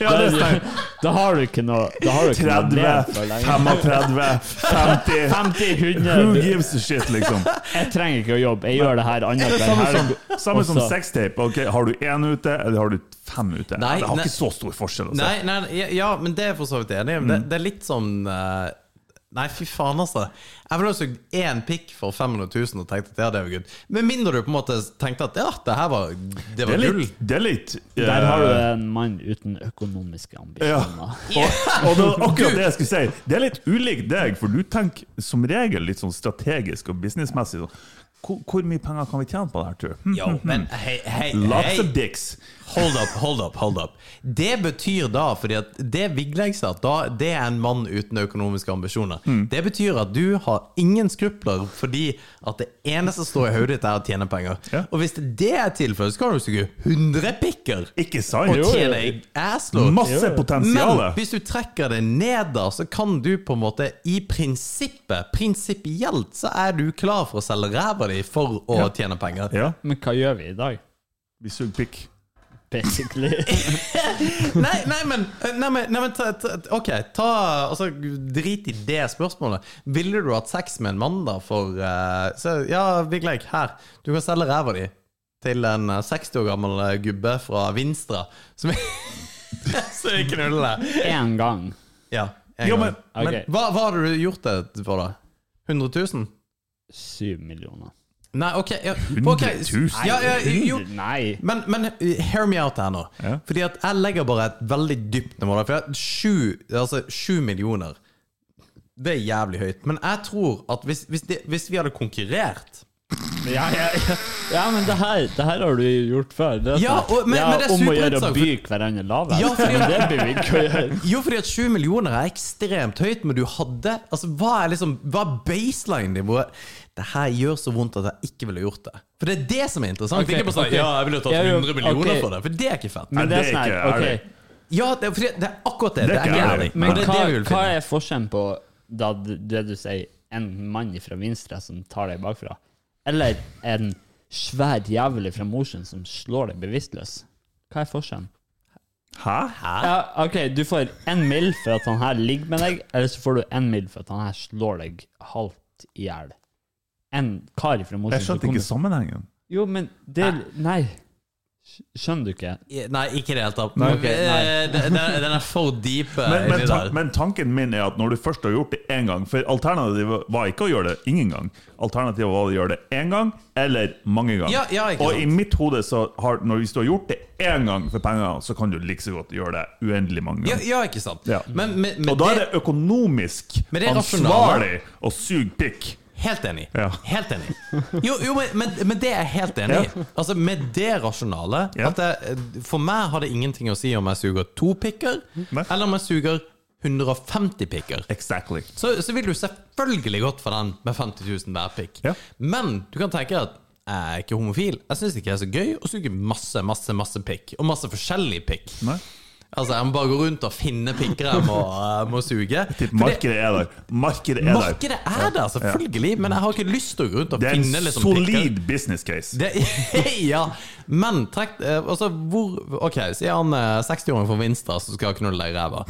Speaker 3: Ja, det
Speaker 4: da,
Speaker 3: stemmer.
Speaker 4: da har du ikke noe Da har du ikke noe
Speaker 3: 30,
Speaker 4: levd for lenge.
Speaker 3: 35, 50
Speaker 4: 50,
Speaker 3: Who
Speaker 4: 100
Speaker 3: gives a shit, liksom?
Speaker 4: Jeg trenger ikke å jobbe, jeg gjør det her
Speaker 3: Det er
Speaker 4: annet
Speaker 3: samme
Speaker 4: enn
Speaker 3: som, samme som
Speaker 4: Også-
Speaker 3: sextape. Ok, har du én ute, eller har du fem ute?
Speaker 2: Nei,
Speaker 3: det har
Speaker 2: nei.
Speaker 3: ikke så stor forskjell. Altså.
Speaker 2: Nei, nei, ja, ja, men det er jeg for så vidt enig i. men
Speaker 4: Mm.
Speaker 2: Det, det er litt sånn eh, Nei, fy faen, altså. Jeg ville ha søkt én pikk for 500 000 og tenkt at ja, det var good. Med mindre du på en måte tenkte at ja, det her var, det
Speaker 3: Det
Speaker 2: var
Speaker 3: er
Speaker 2: gull.
Speaker 3: litt, det er litt eh,
Speaker 4: Der har du en mann uten økonomiske
Speaker 3: ja.
Speaker 4: ambisjoner.
Speaker 3: Og, og det var akkurat det jeg skulle si. Det er litt ulikt deg, for du tenker som regel litt sånn strategisk og businessmessig. sånn, Hvor, hvor mye penger kan vi tjene på det her, tror du? Hm,
Speaker 2: Yo, men hei, hei,
Speaker 3: Lots
Speaker 2: hei.
Speaker 3: of dicks.
Speaker 2: Hold up, hold up, hold up. Det betyr da, fordi at det Vigleik sa, at da, det er en mann uten økonomiske ambisjoner.
Speaker 3: Mm.
Speaker 2: Det betyr at du har ingen skrupler fordi at det eneste som står i hodet ditt, er å tjene penger.
Speaker 3: Ja.
Speaker 2: Og hvis det er tilfellet, så kan du suge 100 pikker
Speaker 3: Ikke sant?
Speaker 2: og tjene assload.
Speaker 3: Masse
Speaker 2: Men
Speaker 3: potensial.
Speaker 2: hvis du trekker det ned, da, så kan du på en måte i prinsippet, prinsipielt, så er du klar for å selge ræva di for å tjene penger.
Speaker 3: Ja,
Speaker 4: Men hva gjør vi i dag?
Speaker 3: vi suger pikk.
Speaker 4: Basically.
Speaker 2: Nei, nei, men, eh, nei, men, nei, men ta, ta, Ok, ta altså, Drit i det spørsmålet. Ville du hatt sex med en mann, da, for eh, så, Ja, Vigleik, her. Du kan selge ræva di til en eh, 60 år gammel eh, gubbe fra Vinstra som Så vi knuller deg.
Speaker 4: Én gang.
Speaker 2: Ja. en
Speaker 3: Ja,
Speaker 2: gang.
Speaker 3: men-
Speaker 4: Ok,
Speaker 2: Men hva, hva hadde du gjort det for, da? 100 000?
Speaker 4: Syv millioner.
Speaker 2: Nei, ok. Ja,
Speaker 3: 100 000?
Speaker 2: ok, Ja, ja, jo,
Speaker 4: Nei.
Speaker 2: Men, men uh, hear me out her nå.
Speaker 3: Ja.
Speaker 2: Fordi at jeg legger bare et veldig dypt nivå der. For jeg- sju, altså, sju millioner, det er jævlig høyt. Men jeg tror at hvis, hvis, det, hvis vi hadde konkurrert
Speaker 4: Ja, ja, ja. ja men det her, det her har du gjort før. Det er
Speaker 2: Ja,
Speaker 4: sånn-
Speaker 2: og- men- men det er
Speaker 4: om å gjøre å
Speaker 2: superinteressant,
Speaker 4: by hverandre lavere.
Speaker 2: Ja, fordi-
Speaker 4: men det blir vi ikke å gjøre.
Speaker 2: Jo, fordi at sju millioner er ekstremt høyt, men du hadde Altså, hva er liksom Hva er baseline-nivået? Det her gjør så vondt at jeg ikke ville gjort det. For det er det som er interessant.
Speaker 4: Ok,
Speaker 2: det er ikke bare sånn
Speaker 4: ok.
Speaker 2: Ja, jeg ville
Speaker 4: Ja,
Speaker 2: tatt
Speaker 4: jo,
Speaker 2: 100 millioner
Speaker 4: ok.
Speaker 2: for det. For det er ikke fett.
Speaker 4: Men
Speaker 3: Nei, det
Speaker 4: det er
Speaker 3: er
Speaker 4: sånn
Speaker 3: ikke
Speaker 4: her,
Speaker 3: ærlig.
Speaker 4: ok.
Speaker 2: ja, det er, fordi det er akkurat det. Det
Speaker 3: Det er
Speaker 2: er
Speaker 3: ikke
Speaker 2: jævlig.
Speaker 3: ærlig.
Speaker 4: Men
Speaker 2: Og det er
Speaker 4: hva,
Speaker 2: det vi vil
Speaker 4: hva
Speaker 2: finne.
Speaker 4: er forskjellen på da, d- det du sier, en mann fra Vinstra som tar deg bakfra, eller en svær jævel fra Mosjøen som slår deg bevisstløs? Hva er forskjellen?
Speaker 3: Hæ?
Speaker 4: Ja, ok, Du får én mil for at han her ligger med deg, eller så får du én mil for at han her slår deg halvt i hjel. En kar fra Mosjøen
Speaker 3: Jeg skjønte ikke sammenhengen.
Speaker 4: Jo, men det Nei. Skj- Skjønner du ikke?
Speaker 2: Nei, ikke i det hele tatt.
Speaker 4: Nei, ok, nei.
Speaker 2: Eh, den, den- den er for deep. eh,
Speaker 3: Men, men,
Speaker 2: inni
Speaker 3: tan
Speaker 2: der.
Speaker 3: men tanken min er at når du først har gjort det én gang For alternativet var ikke å gjøre det ingen gang. Alternativet var å gjøre det én gang eller mange ganger.
Speaker 2: Ja, ja, ikke
Speaker 3: og
Speaker 2: sant.
Speaker 3: i mitt hode, så har, når hvis du har gjort det én gang for penger, så kan du like så godt gjøre det uendelig mange
Speaker 2: ja,
Speaker 3: ganger.
Speaker 2: ja, ikke sant.
Speaker 3: Ja.
Speaker 2: Men, men, men
Speaker 3: og da er
Speaker 2: det,
Speaker 3: det økonomisk
Speaker 2: Men det er
Speaker 3: ansvarlig å suge pikk.
Speaker 2: Helt enig.
Speaker 3: Ja.
Speaker 2: Helt enig. Jo, jo men, men, men det er jeg helt enig i.
Speaker 3: Ja.
Speaker 2: Altså, med det rasjonale
Speaker 3: Ja.
Speaker 2: at jeg, For meg har det ingenting å si om jeg suger to pikker,
Speaker 3: Nei.
Speaker 2: eller om jeg suger 150 pikker.
Speaker 3: Exactly.
Speaker 2: Så, så vil du selvfølgelig gått for den med 50 000 hver pikk.
Speaker 3: Ja.
Speaker 2: Men du kan tenke at jeg er ikke homofil. Jeg syns ikke det er så gøy å suge masse, masse, masse pikk. Og masse forskjellig pikk.
Speaker 3: Nei.
Speaker 2: Altså, jeg må bare gå rundt og finne pikker jeg må, jeg må eh, suge. For
Speaker 3: Typ,
Speaker 2: det-
Speaker 3: markedet er der. Markedet er der.
Speaker 2: Markedet er der, selvfølgelig, men jeg har ikke lyst til å gå rundt og
Speaker 3: Det er en
Speaker 2: finne liksom pikker.
Speaker 3: solid business case.
Speaker 2: Det, ja, men trekk eh, Altså, hvor Ok, sier han eh, 60-åringen fra Vinstra som skal knulle deg i ræva.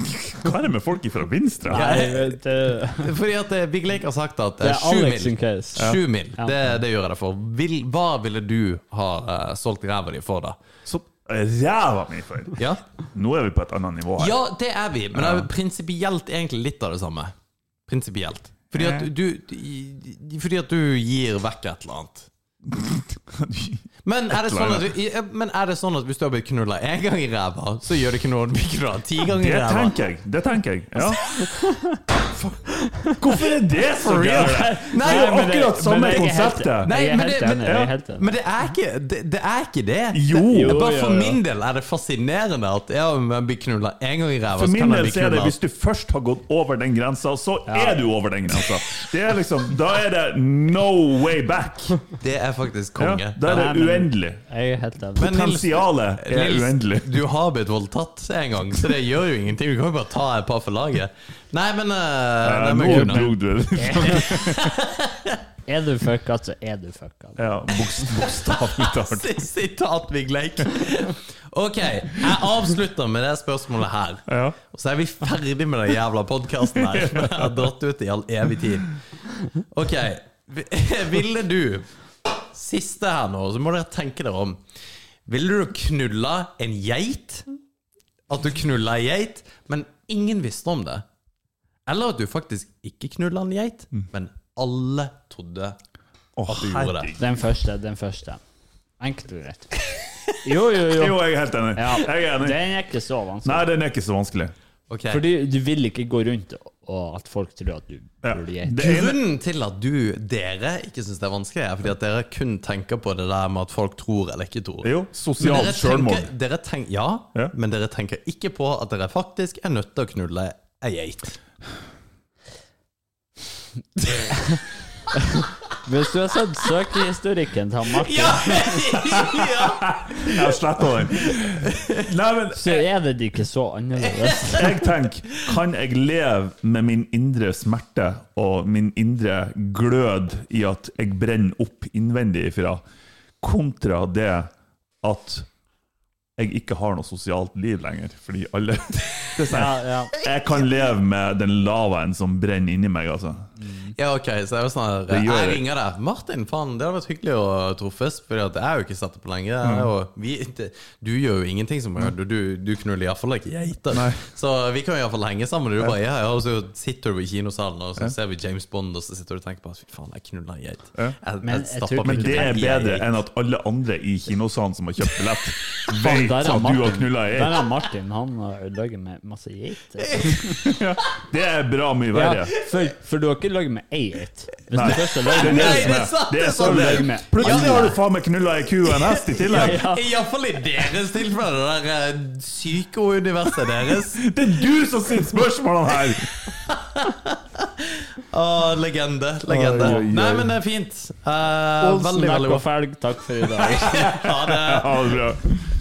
Speaker 3: Hva er det med folk fra Vinstra?
Speaker 4: vet du
Speaker 2: Fordi at eh, Big Lake har sagt at eh,
Speaker 4: Det er
Speaker 2: sju
Speaker 4: Alex sin
Speaker 2: mil,
Speaker 4: case.
Speaker 2: sju mil det, det gjør jeg det for. Vil, hva ville du ha eh, solgt ræva di for, da?
Speaker 3: Så ræva mi for!
Speaker 2: Ja?
Speaker 3: Nå er vi på et annet nivå her.
Speaker 2: ja, det er vi, men det er prinsipielt egentlig litt av det samme. Prinsipielt. Fordi at du, du Fordi at du gir vekk et eller annet. Men er, det
Speaker 3: Et
Speaker 2: sånn
Speaker 3: eller
Speaker 2: at du, i- men er det sånn at hvis du har blitt knulla én gang i ræva, så gjør det ikke noe om du blir knulla ti ganger i
Speaker 3: Det
Speaker 2: ræva?
Speaker 3: tenker jeg. Det tenker jeg. Ja. Hvorfor er det så
Speaker 4: For real?
Speaker 3: gærent?
Speaker 2: Nei,
Speaker 3: Det er
Speaker 4: men det-
Speaker 3: akkurat samme
Speaker 4: men jeg er helt-
Speaker 3: konseptet.
Speaker 2: Nei,
Speaker 4: Jeg er
Speaker 2: men
Speaker 4: helt
Speaker 2: det-
Speaker 4: enig.
Speaker 2: men-
Speaker 4: Jeg
Speaker 3: ja.
Speaker 4: er helt enig.
Speaker 2: Men det er ikke det. det, er ikke det.
Speaker 3: Jo.
Speaker 2: det
Speaker 3: Jo,
Speaker 2: bare for
Speaker 4: ja, ja.
Speaker 2: min del er det fascinerende at ja, om jeg blir knulla én gang i ræva,
Speaker 3: For
Speaker 2: så
Speaker 3: min
Speaker 2: kan jeg
Speaker 3: del
Speaker 2: bli
Speaker 3: så er det
Speaker 2: knulla
Speaker 3: hvis du først har gått over den grensa, så er du over den grensa. Det er liksom, da er det no way back.
Speaker 2: Det er faktisk
Speaker 3: Ja,
Speaker 2: konge.
Speaker 3: da er
Speaker 4: Nei,
Speaker 3: det
Speaker 4: men
Speaker 3: uendelig.
Speaker 4: Jeg er helt enig.
Speaker 2: Men- Nils-
Speaker 3: Potensialet er
Speaker 2: Nils,
Speaker 3: uendelig.
Speaker 2: Du har blitt voldtatt en gang, så det gjør jo ingenting. Du kan jo bare ta et par for laget. Nei, men eh,
Speaker 3: Ja,
Speaker 2: det
Speaker 3: Nå
Speaker 2: må kunne.
Speaker 3: dro du det.
Speaker 4: Er du fucka, så er du altså? fucka.
Speaker 3: Ja, bokst- bokstavelig talt.
Speaker 2: Sitat Big Lake. Ok, jeg avslutter med det spørsmålet her.
Speaker 3: Ja.
Speaker 2: Og så er vi ferdig med den jævla podkasten her. som Jeg har dratt ut i all evig tid. Ok, vi- ville du Siste her nå, så må dere tenke dere om. Ville du knulla en geit? At du knulla ei geit, men ingen visste om det? Eller at du faktisk ikke knulla en geit,
Speaker 3: Mm.
Speaker 2: men alle trodde
Speaker 3: Å,
Speaker 2: at du gjorde det?
Speaker 3: herregud.
Speaker 4: Den første, den første. Enkelt og greit. Jo, jo, jo.
Speaker 3: Jo, jeg er helt enig.
Speaker 4: Ja,
Speaker 3: Jeg er enig.
Speaker 4: Den er ikke så vanskelig.
Speaker 3: Nei, den er ikke så vanskelig.
Speaker 2: Ok.
Speaker 4: Fordi du vil ikke gå rundt og at folk tror at du
Speaker 3: Ja.
Speaker 4: burde geit.
Speaker 3: Det ene-
Speaker 2: Grunnen til at du, dere ikke syns det er vanskelig, er fordi at dere kun tenker på det der med at folk tror eller ikke tror.
Speaker 3: Jo,
Speaker 2: Men
Speaker 3: sosialt
Speaker 2: dere
Speaker 3: sjølmord.
Speaker 2: tenker, dere tenk, ja,
Speaker 3: Ja.
Speaker 2: men dere tenker ikke på at dere faktisk er nødt til å knulle ei geit.
Speaker 4: Hvis du har sett søkehistorikken til han Martin,
Speaker 2: Ja!
Speaker 3: Jeg sletta den. Nei, men
Speaker 4: så er det ikke så annerledes.
Speaker 3: jeg tenker Kan jeg leve med min indre smerte og min indre glød i at jeg brenner opp innvendig ifra, kontra det at jeg ikke har noe sosialt liv lenger, fordi alle Det er
Speaker 4: Ja,
Speaker 3: sånn,
Speaker 4: ja.
Speaker 3: Jeg kan leve med den lavaen som brenner inni meg, altså.
Speaker 2: ja, ok, så jeg, sånn, her,
Speaker 3: Det gjør
Speaker 2: jeg
Speaker 3: jeg.
Speaker 2: ringer deg. Martin, faen, det hadde vært hyggelig å truffes, for jeg har jo ikke sett det på lenge.
Speaker 3: Mm.
Speaker 2: Jeg er jo- vi, det, du gjør jo ingenting som jeg gjør, du, du knuller iallfall ikke geiter.
Speaker 3: Nei.
Speaker 2: Så vi kan iallfall henge sammen. Du bare, ja, ja, og så sitter du i kinosalen, og så ser vi James Bond, og så sitter du og tenker på at fy faen, jeg knulla en geit. Jeg,
Speaker 4: Men jeg
Speaker 2: stappa
Speaker 4: tror-
Speaker 2: meg
Speaker 3: Men
Speaker 2: ikke
Speaker 3: det er
Speaker 2: vekk i ei
Speaker 3: bedre
Speaker 2: geit.
Speaker 3: enn at alle andre i kinosalen som har kjøpt billett,
Speaker 4: Faen,
Speaker 3: vet
Speaker 4: der
Speaker 3: at
Speaker 4: er
Speaker 3: du har
Speaker 4: Martin,
Speaker 3: knulla ei
Speaker 4: der er Martin han har laget med masse geiter.
Speaker 3: Det er bra mye
Speaker 4: Ja,
Speaker 3: verre.
Speaker 4: for, for du har ikke laget med ei geit. Hvis
Speaker 3: Nei,
Speaker 4: du først har laget
Speaker 3: det
Speaker 4: med
Speaker 3: er
Speaker 2: Nei,
Speaker 3: som
Speaker 2: det er sant,
Speaker 3: Det
Speaker 2: det er
Speaker 3: er så
Speaker 2: sant.
Speaker 3: løgn.
Speaker 4: Med
Speaker 3: Plutselig
Speaker 4: alle.
Speaker 3: har du faen meg knulla ei ku og en hest i tillegg.
Speaker 4: Ja.
Speaker 2: Iallfall i deres tilfelle, det der eh, psykouniverset deres.
Speaker 3: Det er du som sitter spørsmålene her!
Speaker 2: Å, legende. Legende.
Speaker 3: Oi, oi, oi.
Speaker 2: Nei, men det er fint. Eh,
Speaker 4: Olsen
Speaker 2: veldig,
Speaker 4: Nakk
Speaker 2: veldig
Speaker 4: og
Speaker 2: bra.
Speaker 4: Felg, takk for i dag.
Speaker 2: Ha det.
Speaker 3: Ja, det er bra.